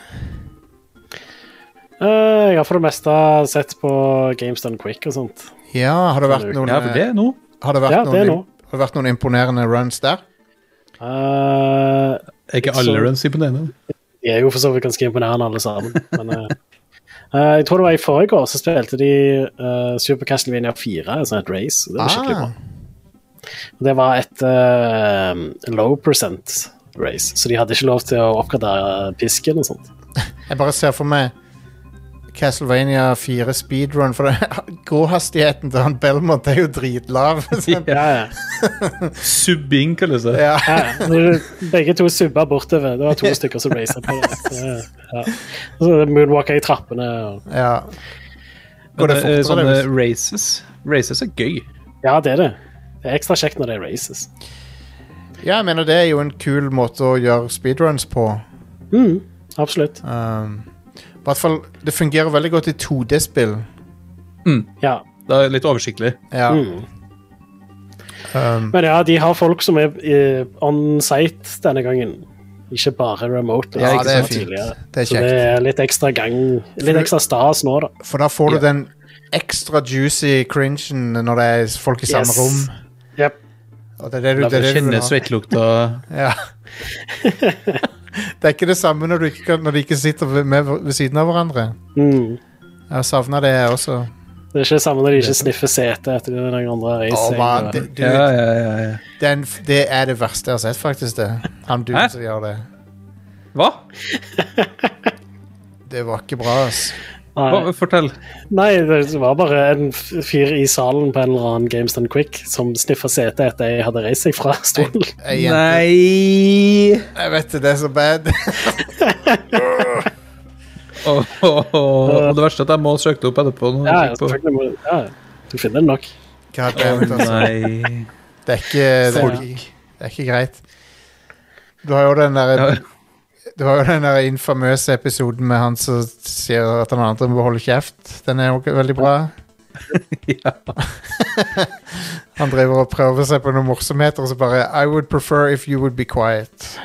[SPEAKER 4] Eh, jeg har for det meste sett på Games Done Quick og sånt.
[SPEAKER 2] Ja, har det vært noen
[SPEAKER 3] Ja, for
[SPEAKER 2] eh,
[SPEAKER 3] det er noe.
[SPEAKER 2] Har det vært,
[SPEAKER 4] Ja, det er
[SPEAKER 2] noen,
[SPEAKER 4] noe.
[SPEAKER 2] im- har det vært noen imponerende runs der?
[SPEAKER 4] Eh,
[SPEAKER 3] Er ikke alle
[SPEAKER 4] Sånn.
[SPEAKER 3] runs imponerende?
[SPEAKER 4] de er jo for så vidt ganske imponerende, alle sammen. Men eh, eh, jeg tror det var i forrige år så spilte de eh, Super Castlevania 4, altså et race. og Det var
[SPEAKER 2] Ah.
[SPEAKER 4] skikkelig bra. Det var et eh, low percent race, så de hadde ikke lov til å oppgradere pisken og sånt.
[SPEAKER 2] Jeg bare ser for meg Castlevania 4 speedrun, for det- gåhastigheten til han Belmont er jo dritlav. så-
[SPEAKER 4] Ja, ja.
[SPEAKER 3] Subbing kalles det.
[SPEAKER 2] ja.
[SPEAKER 4] Ja, ja. Når du- Begge to subba bortover. Det var to stykker som racet på det. Så, Ja. Og så moonwalka i trappene. Og...
[SPEAKER 2] ja. Går det
[SPEAKER 3] Men det er
[SPEAKER 2] fortere,
[SPEAKER 3] sånne
[SPEAKER 2] hvis-
[SPEAKER 3] races. Races er gøy.
[SPEAKER 4] Ja, det er det. Det er ekstra kjekt når det er races.
[SPEAKER 2] ja, jeg mener det er jo en kul måte å gjøre speedruns på.
[SPEAKER 4] Mm, absolutt.
[SPEAKER 2] Um, I hvert fall, det fungerer veldig godt i 2D-spill.
[SPEAKER 4] Ja.
[SPEAKER 3] Det er litt oversiktlig.
[SPEAKER 2] Ja.
[SPEAKER 4] Mm.
[SPEAKER 2] Um,
[SPEAKER 4] Men ja, de har folk som er eh, on site denne gangen. Ikke bare remote.
[SPEAKER 2] Ja,
[SPEAKER 4] ikke
[SPEAKER 2] det er
[SPEAKER 4] sant,
[SPEAKER 2] fint.
[SPEAKER 4] tidligere.
[SPEAKER 2] Det er
[SPEAKER 4] Så det
[SPEAKER 2] kjekt.
[SPEAKER 4] er litt ekstra gang Litt ekstra stas nå, da.
[SPEAKER 2] For da får du den ekstra juicy cringen når det er folk i samme
[SPEAKER 4] Yes.
[SPEAKER 2] rom.
[SPEAKER 4] Yep.
[SPEAKER 2] Og det er det du,
[SPEAKER 3] La
[SPEAKER 2] det er det
[SPEAKER 3] meg
[SPEAKER 2] du vil
[SPEAKER 3] kjenne
[SPEAKER 2] ha.
[SPEAKER 3] svettelukta.
[SPEAKER 2] Ja. det er ikke det samme når, du ikke kan, når de ikke sitter ved, med, ved siden av hverandre.
[SPEAKER 4] Mm.
[SPEAKER 2] Jeg har savna det, jeg også.
[SPEAKER 4] Det er ikke det samme når de ikke sniffer setet etter den andre
[SPEAKER 2] Å,
[SPEAKER 4] racing.
[SPEAKER 2] man, det, du,
[SPEAKER 3] Ja, ja, ja, ja.
[SPEAKER 2] den, det er det verste jeg har sett, faktisk. det Han duden
[SPEAKER 3] Hæ?
[SPEAKER 2] som gjør det.
[SPEAKER 3] Hva?
[SPEAKER 2] Det var ikke bra, ass.
[SPEAKER 4] Nei.
[SPEAKER 3] Hva? Fortell.
[SPEAKER 4] Nei, det var bare en f- fyr i salen på en eller annen Games Done Quick som sniffa setet etter jeg hadde reist meg fra stolen.
[SPEAKER 2] Ei jente.
[SPEAKER 3] Nei
[SPEAKER 2] Jeg vet det, det er så bad.
[SPEAKER 3] Åh, åh, åh. Og det verste er at jeg må søke det opp etterpå. når jeg
[SPEAKER 4] Ja,
[SPEAKER 3] kikker på-
[SPEAKER 4] selvfølgelig må ja, Du finner det nok.
[SPEAKER 2] God damn it, altså.
[SPEAKER 3] Nei
[SPEAKER 2] Det er ikke det er, ikke- det er ikke greit. Du har jo den der Du har jo den der infamøse episoden med han som sier at han andre må holde kjeft. Den er jo ikke veldig bra.
[SPEAKER 3] ja.
[SPEAKER 2] Han driver og prøver seg på noen morsomheter, og så bare I would prefer if you would be quiet.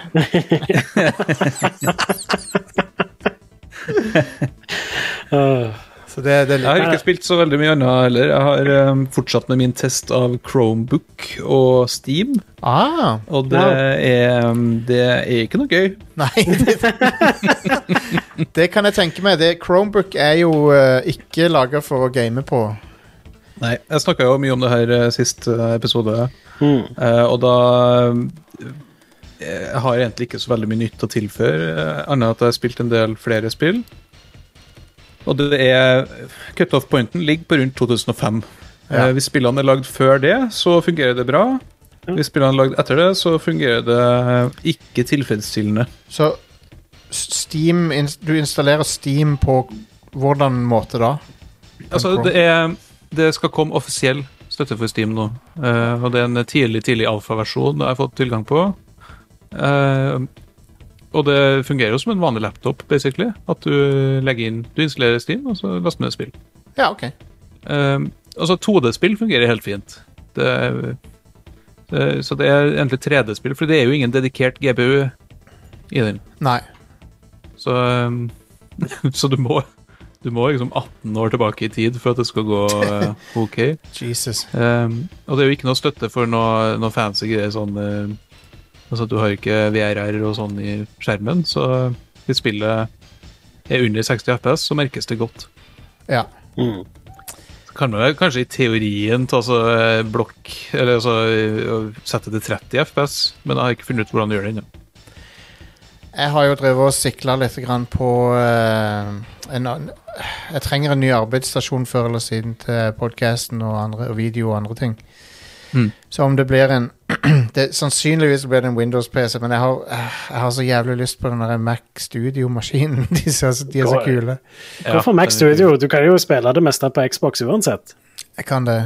[SPEAKER 4] Øh,
[SPEAKER 2] Så det, det er
[SPEAKER 3] Jeg har ikke spilt så veldig mye annet heller. Jeg har eh, fortsatt med min test av Chromebook og Steam,
[SPEAKER 2] Ah,
[SPEAKER 3] og det er, um, det er ikke noe gøy.
[SPEAKER 2] nei det, det kan jeg tenke meg. Det, Chromebook er jo eh, ikke laga for å game på.
[SPEAKER 3] Nei, Jeg snakka jo mye om det her eh, sist eh, episode,
[SPEAKER 4] mm.
[SPEAKER 3] eh, og da eh, Jeg har egentlig ikke så veldig mye nytt å tilføre, eh, annet enn at jeg har spilt en del flere spill. Og det er Cutoff-pointen ligger på rundt 2005.
[SPEAKER 2] Ja.
[SPEAKER 3] Eh, Hvis spillene er lagd før det, så fungerer det bra. Hvis spillene er lagd etter det, så fungerer det eh, ikke tilfredsstillende.
[SPEAKER 2] Så Steam, ins- du installerer Steam på hvordan måte da?
[SPEAKER 3] Altså, det, er, det skal komme offisiell støtte for Steam nå. Eh, og det er en tidlig, tidlig alfaversjon jeg har fått tilgang på. Eh, og det fungerer jo som en vanlig laptop, basically. At du legger inn Du installerer Steam, og så laster du ned spill.
[SPEAKER 2] Ja, ok.
[SPEAKER 3] Eh, altså, 2D-spill fungerer helt fint. Det, er- det, så det er egentlig 3D-spill, for det er jo ingen dedikert GPU i den.
[SPEAKER 2] Nei.
[SPEAKER 3] Så, um, så du må du må liksom 18 år tilbake i tid for at det skal gå eh, OK.
[SPEAKER 2] Jesus. Ehm,
[SPEAKER 3] Um, og det er jo ikke noe støtte for noe, noe fancy greier sånn eh, Altså at du har ikke VRR og sånn i skjermen, så hvis spillet er under 60 FPS, så merkes det godt.
[SPEAKER 2] Ja.
[SPEAKER 3] Så kan man vel kanskje i teorien ta altså, eh, blokk Eller altså eh, sette til 30 FPS, men jeg har ikke funnet ut hvordan du gjør det ennå.
[SPEAKER 2] Jeg har jo drevet og sikla litt grann på eh, en, an- Jeg trenger en ny arbeidsstasjon før eller siden til podkasten og, andre- og video og andre ting.
[SPEAKER 3] Mm.
[SPEAKER 2] Så om det blir en det, Sannsynligvis blir det en Windows-PC, men jeg har, jeg har så jævlig lyst på den der Mac Studio-maskinen. De, ser så- de er så
[SPEAKER 4] Går-
[SPEAKER 2] kule.
[SPEAKER 4] Hvorfor Mac Studio? Du kan jo spille det meste på Xbox uansett.
[SPEAKER 2] Jeg kan det.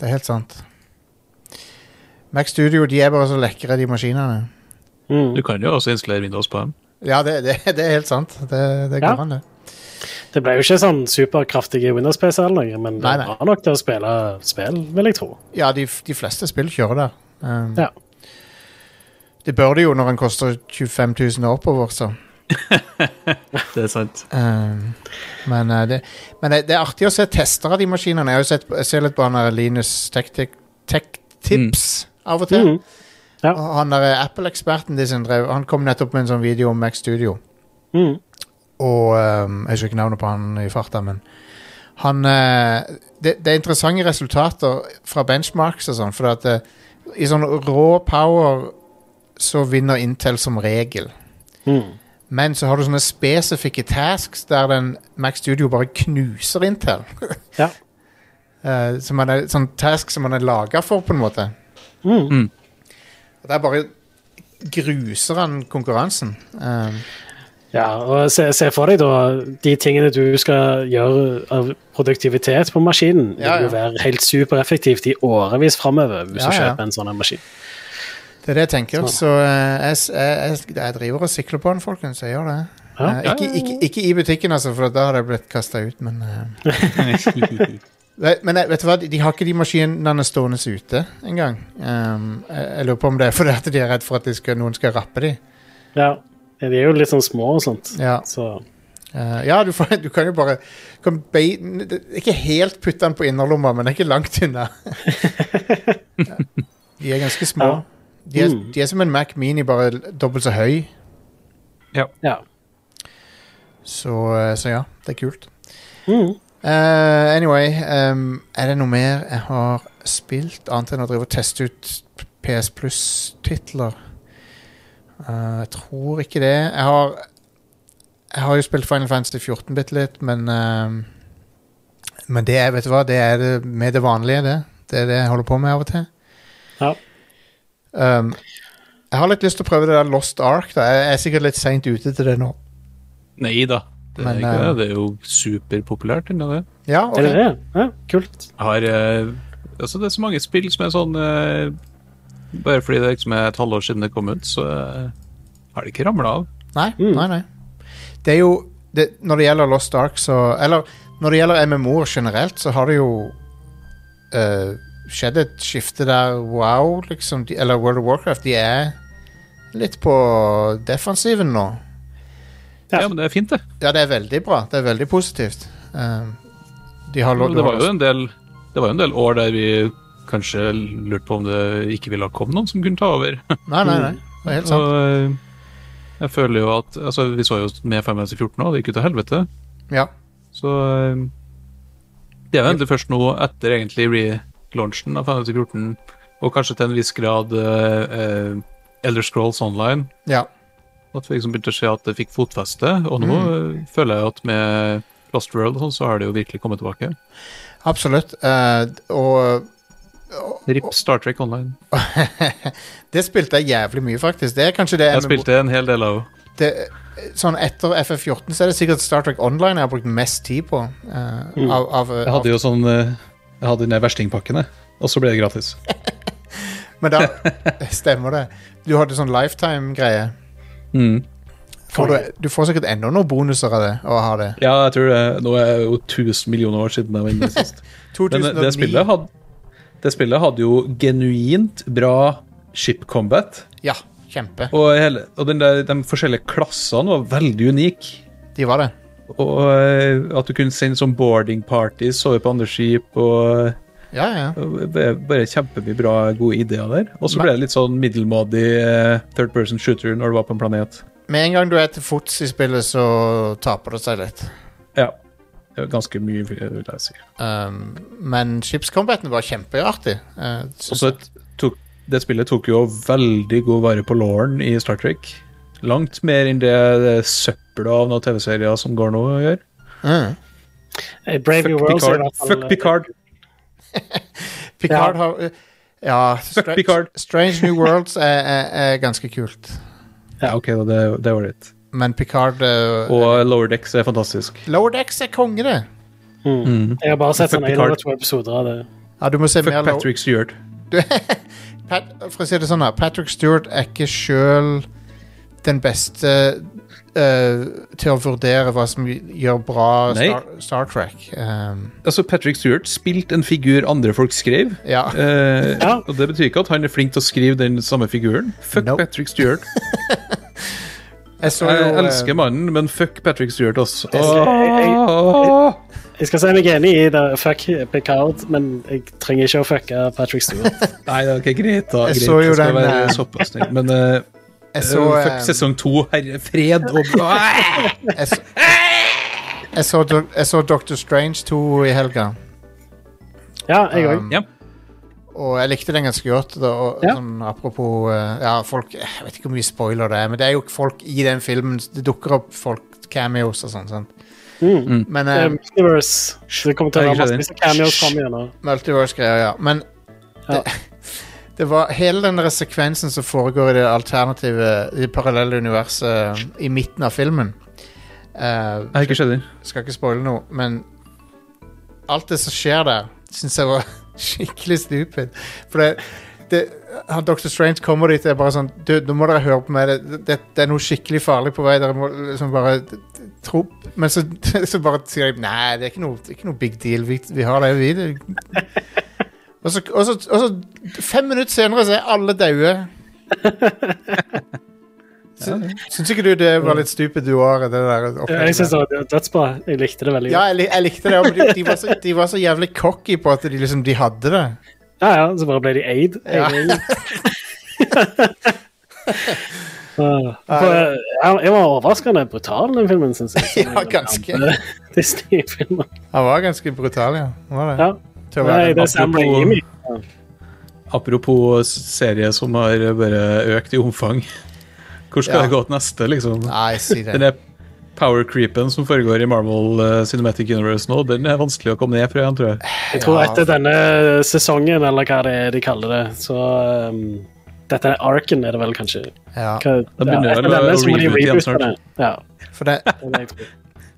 [SPEAKER 2] Det er helt sant. Mac Studio de er bare så lekre, de maskinene.
[SPEAKER 4] Mm.
[SPEAKER 3] Du kan jo også installere Windows på dem.
[SPEAKER 2] Ja, det, det, det er helt sant. Det, det går
[SPEAKER 4] Ja.
[SPEAKER 2] an, det.
[SPEAKER 4] Det ble jo ikke sånn superkraftige Windows-PC eller noe, men det
[SPEAKER 2] Nei, nei.
[SPEAKER 4] var nok til å spille spill, vil jeg tro.
[SPEAKER 2] Ja, de, f- de fleste spill kjører der. Um,
[SPEAKER 4] Ja.
[SPEAKER 2] Det bør det jo når den koster 25 000 og oppover, så.
[SPEAKER 3] Det er sant.
[SPEAKER 2] Um, men eh, det, men det, det er artig å se tester av de maskinene. Jeg har jo sett jeg ser litt på han der Linus Tech, Tech, Tech Tips av og til.
[SPEAKER 4] Mhm. Ja.
[SPEAKER 2] Og Han der Apple-eksperten de sin drev, han kom nettopp med en sånn video om Mac Studio.
[SPEAKER 4] Mhm.
[SPEAKER 2] Og um, jeg husker ikke navnet på han i farta, men han eh, det, det er interessante resultater fra benchmarks og sånn, for at eh, i sånn rå power så vinner Intel som regel.
[SPEAKER 4] Mhm.
[SPEAKER 2] Men så har du sånne spesifikke tasks der den Mac Studio bare knuser Intel.
[SPEAKER 4] Ja.
[SPEAKER 2] Eh, som man er, sånn task som man er laga for, på en måte.
[SPEAKER 4] Mm.
[SPEAKER 3] Mm.
[SPEAKER 2] Og der bare gruser han konkurransen. Eh,
[SPEAKER 4] ja, og se, se for deg da de tingene du skal gjøre av produktivitet på maskinen.
[SPEAKER 2] Ja,
[SPEAKER 4] Det vil jo være helt supereffektivt i årevis framover hvis
[SPEAKER 2] Ja,
[SPEAKER 4] du
[SPEAKER 2] ja.
[SPEAKER 4] kjøper en sånn en maskin.
[SPEAKER 2] det er det jeg tenker. Så eh, jeg, s- jeg, jeg, jeg driver og sikler på den, folkens. Jeg gjør det.
[SPEAKER 4] Ja.
[SPEAKER 2] Eh, ikke, ikke, ikke i butikken, altså, for da hadde jeg blitt kasta ut, men eh. Nei, Men eh, vet du hva, de de har ikke de maskinene stående ute engang. Um, jeg, jeg lurer på om det er fordi at de er redd for at de skal, noen skal rappe de.
[SPEAKER 4] Ja. De er jo litt sånn små og sånt.
[SPEAKER 2] Ja.
[SPEAKER 4] Så
[SPEAKER 2] Eh, ja, du, får, du kan jo bare du kan bei- n- det- Ikke helt putte den på innerlomma, men det er ikke langt unna. Ja. De er ganske små. De er, de er som en Mac Mini, bare l- dobbelt så høy.
[SPEAKER 4] ja.
[SPEAKER 2] Så, eh, så ja, det er kult.
[SPEAKER 4] Mhm.
[SPEAKER 2] Eh, anyway, ehm, er det noe mer jeg har spilt, annet enn å drive og teste ut PS Plus-titler? Eh, jeg tror ikke det. Jeg har, jeg har jo spilt Final Fantasy 14 bitte litt, men ehm, Men det er, vet du hva, det er det med det vanlige, det. Det er det jeg holder på med av og til.
[SPEAKER 4] Ja.
[SPEAKER 2] Ehm, jeg har litt lyst til å prøve det der Lost Ark. Da. Jeg er sikkert litt seint ute til det nå.
[SPEAKER 3] Nei da. Det er,
[SPEAKER 2] Men,
[SPEAKER 3] ikke,
[SPEAKER 2] eh,
[SPEAKER 3] det. det er jo superpopulært. ennå, det.
[SPEAKER 2] Ja, ok.
[SPEAKER 4] Er det det? Ja, kult.
[SPEAKER 3] Jeg har eh, Altså, det er så mange spill som er sånn eh, Bare fordi det liksom er et halvår siden det kom ut, så eh, har det ikke ramla av.
[SPEAKER 2] Nei, nei, nei. Mm. Det er jo det, Når det gjelder Lost Ark, så Eller når det gjelder MMO-er generelt, så har det jo eh, skjedd et skifte der Wow, liksom, de, eller World of Warcraft, de er litt på defensiven nå.
[SPEAKER 4] Ja.
[SPEAKER 3] Ja. men det er fint, det.
[SPEAKER 2] Ja, det er veldig bra. Det er veldig positivt. Eh, de har lo-
[SPEAKER 3] Og det var jo
[SPEAKER 2] du har-
[SPEAKER 3] en del Det var jo en del år der vi kanskje lurte på om det ikke ville ha kommet noen som kunne ta over.
[SPEAKER 2] Nei, nei, nei. Det er helt sant.
[SPEAKER 3] Mm. Og eh, jeg føler jo at Altså, vi så jo med 514 nå, det gikk jo til helvete.
[SPEAKER 2] Ja.
[SPEAKER 3] Så eh, det er jo egentlig først nå, etter egentlig relaunchen av 514, og kanskje til en viss grad eh, eh, Elder Scrolls Online,
[SPEAKER 2] ja.
[SPEAKER 3] at vi liksom begynte å se at det fikk Mm. fotfeste. Og nå eh, føler jeg at med Lost World og sånn, så har det jo virkelig kommet tilbake.
[SPEAKER 2] Absolutt. eh, og
[SPEAKER 3] Rip Star Trek Online.
[SPEAKER 2] det spilte jeg jævlig mye, faktisk. Det er kanskje det
[SPEAKER 3] Jeg spilte en hel del av henne.
[SPEAKER 2] det, Sånn etter FF14 så er det sikkert Star Trek Online jeg har brukt mest tid på. eh, av, av,
[SPEAKER 3] Mm. Jeg hadde jo sånn eh, Jeg hadde den der verstingpakken, jeg. Og så ble det gratis.
[SPEAKER 2] Men da stemmer det. Du hadde sånn lifetime-greie.
[SPEAKER 3] Mm.
[SPEAKER 2] Får du, du får sikkert enda noen bonuser av det å ha det.
[SPEAKER 3] Ja, jeg tror det. Nå er det jo 1000 millioner år siden jeg var inne sist. Men eh,
[SPEAKER 2] 2009.
[SPEAKER 3] det spillet, hadde, det spillet hadde jo genuint bra ship combat.
[SPEAKER 2] Ja, kjempe.
[SPEAKER 3] Og, hele, og den der, de forskjellige klassene var veldig unike.
[SPEAKER 2] De var det.
[SPEAKER 3] Og eh, at du kunne sende sånn boarding parties, sove på andre skip og
[SPEAKER 2] Ja, ja.
[SPEAKER 3] og det er Bare kjempemye bra, gode ideer der. Og så ble det litt sånn middelmådig eh, third person shooter når du var på en planet.
[SPEAKER 2] Med en gang du er til fots i spillet, så taper det seg litt.
[SPEAKER 3] Ja. Det var Ganske mye, vil jeg si.
[SPEAKER 2] Um, men skipscombaten var kjempeartig. eh,
[SPEAKER 3] Og
[SPEAKER 2] synes
[SPEAKER 3] så
[SPEAKER 2] jeg.
[SPEAKER 3] et- tok, det spillet tok jo veldig god vare på lauren i Star Trek. Langt mer enn det, det søppelet av noen TV-serier som går nå, gjør.
[SPEAKER 2] Mm.
[SPEAKER 4] Eh, Brave New
[SPEAKER 3] Fuck
[SPEAKER 4] World så i
[SPEAKER 3] Picard.
[SPEAKER 4] hvert fall,
[SPEAKER 3] Fuck
[SPEAKER 4] eh,
[SPEAKER 3] Picard.
[SPEAKER 2] Picard
[SPEAKER 4] Ja.
[SPEAKER 2] har eh, Ja. Stra
[SPEAKER 3] Picard.
[SPEAKER 2] Strange New Worlds er, er, er ganske kult.
[SPEAKER 3] Ja, OK, da, det, det var det.
[SPEAKER 2] Men Picard eh,
[SPEAKER 3] Og Lower Decks er fantastisk.
[SPEAKER 2] Lower Decks er konge, det.
[SPEAKER 4] Jeg har bare sett
[SPEAKER 3] Fuck
[SPEAKER 4] sånn en
[SPEAKER 3] Picard.
[SPEAKER 4] eller to episoder av det.
[SPEAKER 2] Ja, du må se mer
[SPEAKER 3] Fuck
[SPEAKER 2] Lower
[SPEAKER 3] Patrick Stewart.
[SPEAKER 2] du, Pat, For å si det sånn da, Patrick Stewart er ikke sjøl den beste eh, til å vurdere hva som gjør bra
[SPEAKER 3] Nei.
[SPEAKER 2] Star, Star Trek. Um,
[SPEAKER 3] Altså, Patrick Stewart spilte en figur andre folk skrev.
[SPEAKER 2] ja.
[SPEAKER 3] Eh,
[SPEAKER 4] Ja.
[SPEAKER 3] Og det betyr ikke at han er flink til å skrive den samme figuren. Fuck
[SPEAKER 2] Nope.
[SPEAKER 3] Patrick Stewart.
[SPEAKER 2] Jeg så jo
[SPEAKER 3] Jeg
[SPEAKER 2] eh,
[SPEAKER 3] elsker mannen, men fuck Patrick Stewart, altså.
[SPEAKER 4] Jeg skal si meg enig i det, fuck Picard, men jeg trenger ikke å fucke Patrick Stewart.
[SPEAKER 3] Nei, det er ikke greit, da.
[SPEAKER 2] Jeg
[SPEAKER 3] Greit,
[SPEAKER 2] så jo
[SPEAKER 3] jeg skal
[SPEAKER 2] den,
[SPEAKER 3] være
[SPEAKER 2] eh,
[SPEAKER 3] såpass snill. Men eh,
[SPEAKER 2] jeg så,
[SPEAKER 3] eh,
[SPEAKER 2] eh,
[SPEAKER 3] fuck sesong to, herre fred og
[SPEAKER 2] jeg så, jeg så, Doc- jeg så Doctor Strange 2 i helga.
[SPEAKER 4] Ja, jeg òg.
[SPEAKER 2] Um,
[SPEAKER 3] Ja.
[SPEAKER 2] Og jeg likte den ganske godt. Da, og,
[SPEAKER 4] Ja.
[SPEAKER 2] sånn, apropos eh, ja, folk, Jeg vet ikke hvor mye spoiler det er, men det er jo folk i den filmen. Det dukker opp folk, cameos og sånn. sant?
[SPEAKER 4] Mm.
[SPEAKER 2] Men eh,
[SPEAKER 4] Multiverse. Det kommer til å
[SPEAKER 3] Jeg
[SPEAKER 4] være
[SPEAKER 3] skjønner.
[SPEAKER 4] masse cameos fram igjennom.
[SPEAKER 2] Multiverse-greier, ja. Men
[SPEAKER 4] Ja.
[SPEAKER 2] Det, det var hele den der sekvensen som foregår i det alternative, i det parallelle universet i midten av filmen. Eh,
[SPEAKER 3] Jeg har ikke skjedd den.
[SPEAKER 2] skal ikke spoile noe, men alt det som skjer der, syns jeg var skikkelig stupid. For det, det han Dr. Strange kommer dit og er bare sånn Du, nå må dere høre på meg. Det, det, det er noe skikkelig farlig på vei. Dere må liksom bare tro Men så, så bare sier de Nei, det er ikke noe, det er ikke noe big deal. Vi, vi har det, vi. Det. Og, så, og, så, og så Fem minutter senere så er alle daue. Syns ikke du det var litt stupid du var? Det der
[SPEAKER 4] Jeg
[SPEAKER 2] opplegget
[SPEAKER 4] synes
[SPEAKER 2] der?
[SPEAKER 4] det var dødsbra. Jeg likte det veldig
[SPEAKER 2] Ja,
[SPEAKER 4] godt.
[SPEAKER 2] jeg, lik- jeg likte det. Men de, de, var så, de var så jævlig cocky på at de liksom de hadde det.
[SPEAKER 4] Ja, ja, så bare ble de aid.
[SPEAKER 2] Ja.
[SPEAKER 4] Jeg- Ah, for, eh, jeg jeg var overraskende brutal, den filmen, syns jeg.
[SPEAKER 2] Ja, ganske.
[SPEAKER 4] Disney-filmer.
[SPEAKER 2] Han var ganske brutal, ja. Han Var det.
[SPEAKER 4] Ja.
[SPEAKER 2] Til å
[SPEAKER 4] Nei,
[SPEAKER 2] være
[SPEAKER 4] det er
[SPEAKER 2] en-
[SPEAKER 4] Sam
[SPEAKER 3] Apropos-
[SPEAKER 4] Raimi.
[SPEAKER 3] Apropos serie som har bare økt i omfang. Hvor skal
[SPEAKER 2] Ja.
[SPEAKER 3] det gå til neste, liksom?
[SPEAKER 2] Nei, si det.
[SPEAKER 3] Den der power-creepen som foregår i Marvel eh, Cinematic Universe nå, den er vanskelig å komme ned fra igjen, tror jeg.
[SPEAKER 4] Jeg tror
[SPEAKER 2] Ja.
[SPEAKER 4] etter denne sesongen, eller hva det er de kaller det, så um, Dette er arken, er det vel kanskje?
[SPEAKER 2] Ja,
[SPEAKER 4] Hva,
[SPEAKER 3] Da begynner
[SPEAKER 4] etter
[SPEAKER 3] vel å-
[SPEAKER 4] denne så må de
[SPEAKER 3] å reboote igjen snart.
[SPEAKER 4] reboote det. Ja,
[SPEAKER 2] for det,
[SPEAKER 4] det er det jeg tror.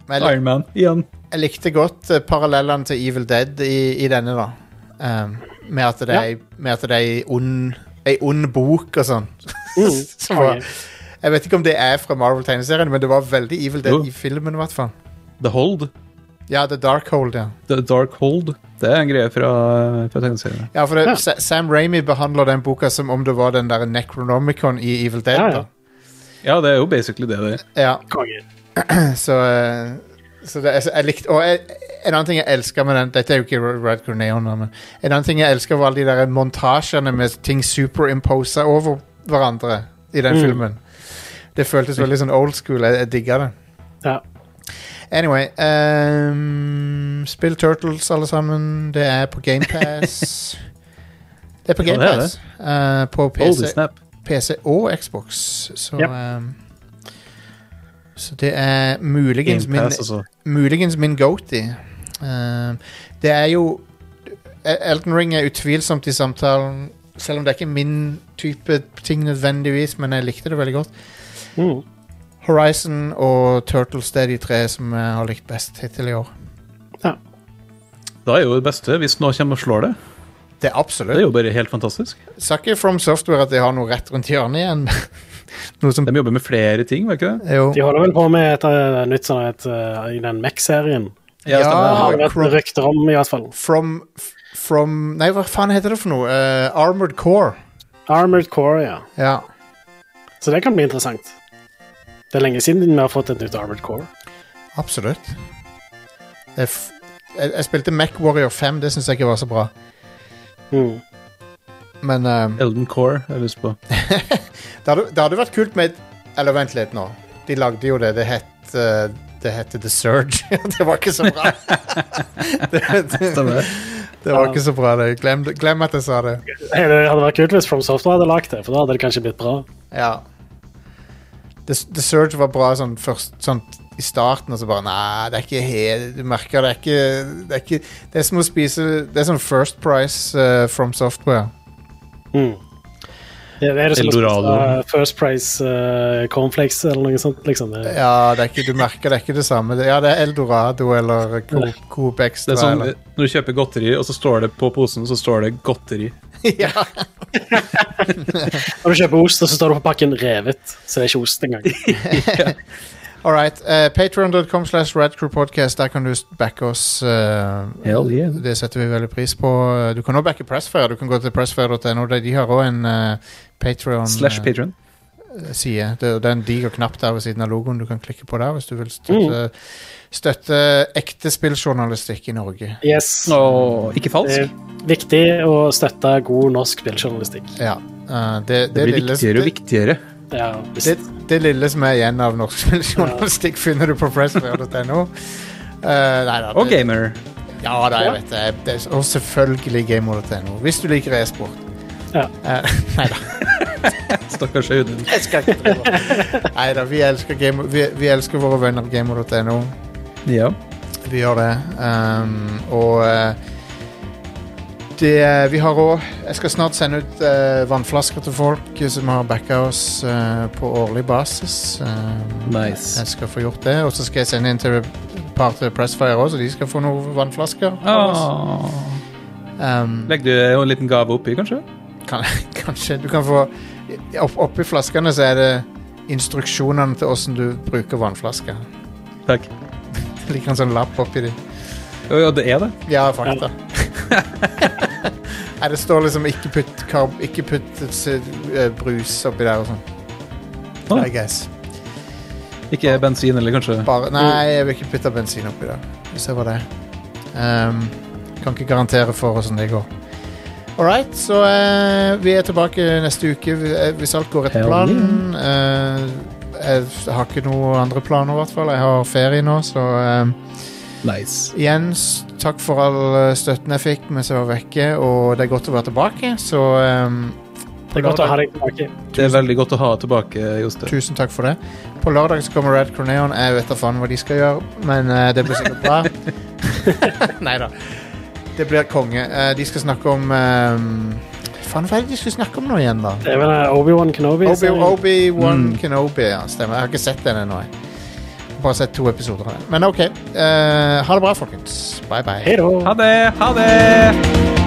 [SPEAKER 2] men jeg,
[SPEAKER 3] Iron Man igjen.
[SPEAKER 2] jeg likte godt eh, parallellene til Evil Dead i, i denne, da. Um, med, at det er, med at det er ei ond, ei ond bok og sånn. Som var,
[SPEAKER 4] Mm, konge.
[SPEAKER 2] jeg vet ikke om det er fra Marvel-tegneserien, men det var veldig Evil Dead
[SPEAKER 3] Jo.
[SPEAKER 2] i filmen, i hvert fall.
[SPEAKER 3] The Hold.
[SPEAKER 2] Ja, The Dark Hold, ja.
[SPEAKER 3] The Dark Hold. Det er en greie fra, fra tegneseriene.
[SPEAKER 2] Ja, for det, Sa- Sam Raimi behandler den boka som om det var den der Necronomicon i Evil Dead.
[SPEAKER 4] Ja, ja.
[SPEAKER 2] da.
[SPEAKER 3] Ja, det er jo basically det det er.
[SPEAKER 2] Ja,
[SPEAKER 4] Konge.
[SPEAKER 2] så, eh, så det, jeg, jeg likte Og jeg, en annen ting jeg elsker med den Dette er jo ikke Red Greneon, men en annen ting jeg elsker, var alle de der montasjene med ting superimposa over hverandre i
[SPEAKER 3] Mm.
[SPEAKER 2] den filmen. Det føltes veldig sånn old school. Jeg, jeg digga det.
[SPEAKER 4] Ja.
[SPEAKER 2] Anyway ehm, Spill Turtles, alle sammen. Det er på GamePass. det er på
[SPEAKER 3] Ja, det er
[SPEAKER 2] GamePass. Uh, på
[SPEAKER 3] Holy
[SPEAKER 2] PC,
[SPEAKER 3] snap.
[SPEAKER 2] PC og Xbox. Så,
[SPEAKER 4] Yep.
[SPEAKER 2] ehm, så det er muligens
[SPEAKER 3] Game
[SPEAKER 2] min
[SPEAKER 3] Pass, altså.
[SPEAKER 2] Muligens min goatee. Eh, det er jo E-, Elden Ring er utvilsomt i samtalen, selv om det er ikke min type ting nødvendigvis, men jeg likte det veldig godt.
[SPEAKER 4] Mm.
[SPEAKER 2] Horizon og Turtles det er de tre som jeg har likt best hittil i år.
[SPEAKER 3] Da er jo det beste, hvis noen kommer og slår det.
[SPEAKER 2] Det er
[SPEAKER 3] Det er
[SPEAKER 2] absolutt.
[SPEAKER 3] jo bare helt fantastisk.
[SPEAKER 2] Sa ikke From Software at de har noe rett rundt hjørnet igjen? noe som
[SPEAKER 3] De jobber med flere ting, var ikke det?
[SPEAKER 2] Jo.
[SPEAKER 4] De holder vel på med et eh, nytt sånn et eh, i den Mech-serien.
[SPEAKER 2] Ja,
[SPEAKER 4] Det har
[SPEAKER 2] stemmer.
[SPEAKER 4] det vært rykter om, i hvert fall.
[SPEAKER 2] From f- From Nei, hva faen heter det for noe? Eh, Armored Core.
[SPEAKER 4] Armored Core, ja.
[SPEAKER 2] Ja.
[SPEAKER 4] Så det kan bli interessant. Det er lenge siden vi har fått et nytt Armored Core.
[SPEAKER 2] Absolutt. Jeg, f jeg, jeg spilte Mac Warrior 5, det syns jeg ikke var så bra.
[SPEAKER 4] Mm.
[SPEAKER 2] Men eh,
[SPEAKER 3] Elden Core, jeg lyst på.
[SPEAKER 2] det, hadde, det hadde vært kult med et Eller vent litt nå. De lagde jo det. Det het eh, det hette The Surge. det var ikke så bra. det, det,
[SPEAKER 3] Stemmer.
[SPEAKER 2] det var ikke så bra, det. Glem, det- glem at jeg sa det.
[SPEAKER 4] Hey, Det hadde vært kult hvis From Software hadde lagd det, for da hadde det kanskje blitt bra.
[SPEAKER 2] Ja. The, The Surge var bra sånn, først, sånn i starten, og så bare Nei, det er ikke helt Du merker det er ikke Det er, ikke, det er som å spise Det er sånn First Price eh, from software.
[SPEAKER 4] Mm. Det, det er det som å
[SPEAKER 3] Eldorado.
[SPEAKER 4] spise, eh, First Price eh, Cornflakes eller noe sånt. liksom. Det,
[SPEAKER 2] Ja, det er ikke, du merker det er ikke det samme. Det- Ja, det er Eldorado eller Coop, Coop Extra.
[SPEAKER 3] Det er sånn,
[SPEAKER 2] eller.
[SPEAKER 3] Når du kjøper godteri, og så står det på posen så står det 'godteri'.
[SPEAKER 2] ja.
[SPEAKER 4] Når du kjøper ost, og så står det på pakken 'revet', så det er ikke ost engang.
[SPEAKER 2] All right. Uh, Patron.com slash radcrewpodcast. Der kan du s- backe oss. eh,
[SPEAKER 3] Hell yeah.
[SPEAKER 2] Det setter vi veldig pris på. Du kan også backe Pressfire. Du kan gå til pressfire.no. De de har også en eh, uh, Patron
[SPEAKER 3] Slash patron.
[SPEAKER 2] side. Det, det er en diger knapp der ved siden av logoen du kan klikke på der hvis du vil støtte,
[SPEAKER 3] Mm.
[SPEAKER 2] støtte ekte spilljournalistikk i Norge.
[SPEAKER 4] Yes.
[SPEAKER 3] Og ikke
[SPEAKER 4] Det
[SPEAKER 3] falsk.
[SPEAKER 4] er viktig å støtte god norsk spilljournalistikk.
[SPEAKER 2] Ja. eh, det, det,
[SPEAKER 3] Det blir
[SPEAKER 2] lille,
[SPEAKER 3] viktigere
[SPEAKER 2] det,
[SPEAKER 3] og viktigere.
[SPEAKER 4] Ja,
[SPEAKER 2] det,
[SPEAKER 4] visst.
[SPEAKER 2] det lille som er igjen av norsk spilljournalistikk, finner du på pressfair.no. Eh, nei da. det-
[SPEAKER 3] Og gamer.
[SPEAKER 2] Ja da, jeg vet det. det. er- Og selvfølgelig gamer.no. Hvis du liker e-sport.
[SPEAKER 4] Ja.
[SPEAKER 2] Eh, nei da.
[SPEAKER 3] Stakkars Audun.
[SPEAKER 2] Jeg skal ikke prøve. Nei da, vi elsker, gamer, vi, vi elsker våre venner på gamer.no.
[SPEAKER 3] Ja.
[SPEAKER 2] Vi gjør det. Ehm, og eh, det eh, Vi har òg Jeg skal snart sende ut eh, vannflasker til folk som har backa oss eh, på årlig basis. Ehm,
[SPEAKER 3] Nice.
[SPEAKER 2] Jeg skal få gjort det. Og så skal jeg sende inn til et par til Pressfire òg, så de skal få noen vannflasker. av oss.
[SPEAKER 3] Ah.
[SPEAKER 2] Ehm,
[SPEAKER 3] Legg du en liten gave oppi, kanskje?
[SPEAKER 2] kan, kanskje du kan få opp, Oppi flaskene så er det instruksjonene til åssen du bruker vannflasker.
[SPEAKER 3] Takk.
[SPEAKER 2] Det ligger en sånn lapp oppi dem.
[SPEAKER 3] Jo, ja, det er det.
[SPEAKER 2] Ja, fakta. Nei, det står liksom 'ikke putt, karb, ikke putt eh, brus oppi der' og sånn.
[SPEAKER 3] Ah.
[SPEAKER 2] I guess.
[SPEAKER 3] Ikke bensin, eller kanskje
[SPEAKER 2] Bare, nei, jeg vil ikke putte bensin oppi der. Vi ser hva det er. Ehm, kan ikke garantere for åssen det går. All right, så eh, vi er tilbake neste uke vi- eh, hvis alt går etter
[SPEAKER 3] Hell
[SPEAKER 2] planen. Eh, jeg har ikke noen andre planer, i hvert fall. Jeg har ferie nå, så ehm,
[SPEAKER 3] Nice.
[SPEAKER 2] Igjen, s- takk for all eh, støtten jeg fikk mens jeg var vekke, og det er godt å være tilbake. Så ehm,
[SPEAKER 4] Det er godt å ha deg tilbake.
[SPEAKER 3] Det er veldig godt å ha tilbake, Jostein.
[SPEAKER 2] tusen takk for det. På lørdag så kommer Red Corneon. Jeg vet da faen hva de skal gjøre, men eh, det blir sikkert bra. Nei da. Det blir konge. Eh, de skal snakke om ehm, Faen, hva er det de skulle snakke om nå igjen, da?
[SPEAKER 4] Det er vel eh, Obi-Wan Mm. Kenobi.
[SPEAKER 2] Obi-
[SPEAKER 4] serien.
[SPEAKER 2] Obi-Wan Kenobi, ja. Stemmer. Jeg har ikke sett den ennå. jeg. Bare sett to episoder av den. Men OK. eh, ha det bra, folkens. Bye, bye.
[SPEAKER 4] Hei da.
[SPEAKER 3] Ha det! Ha det!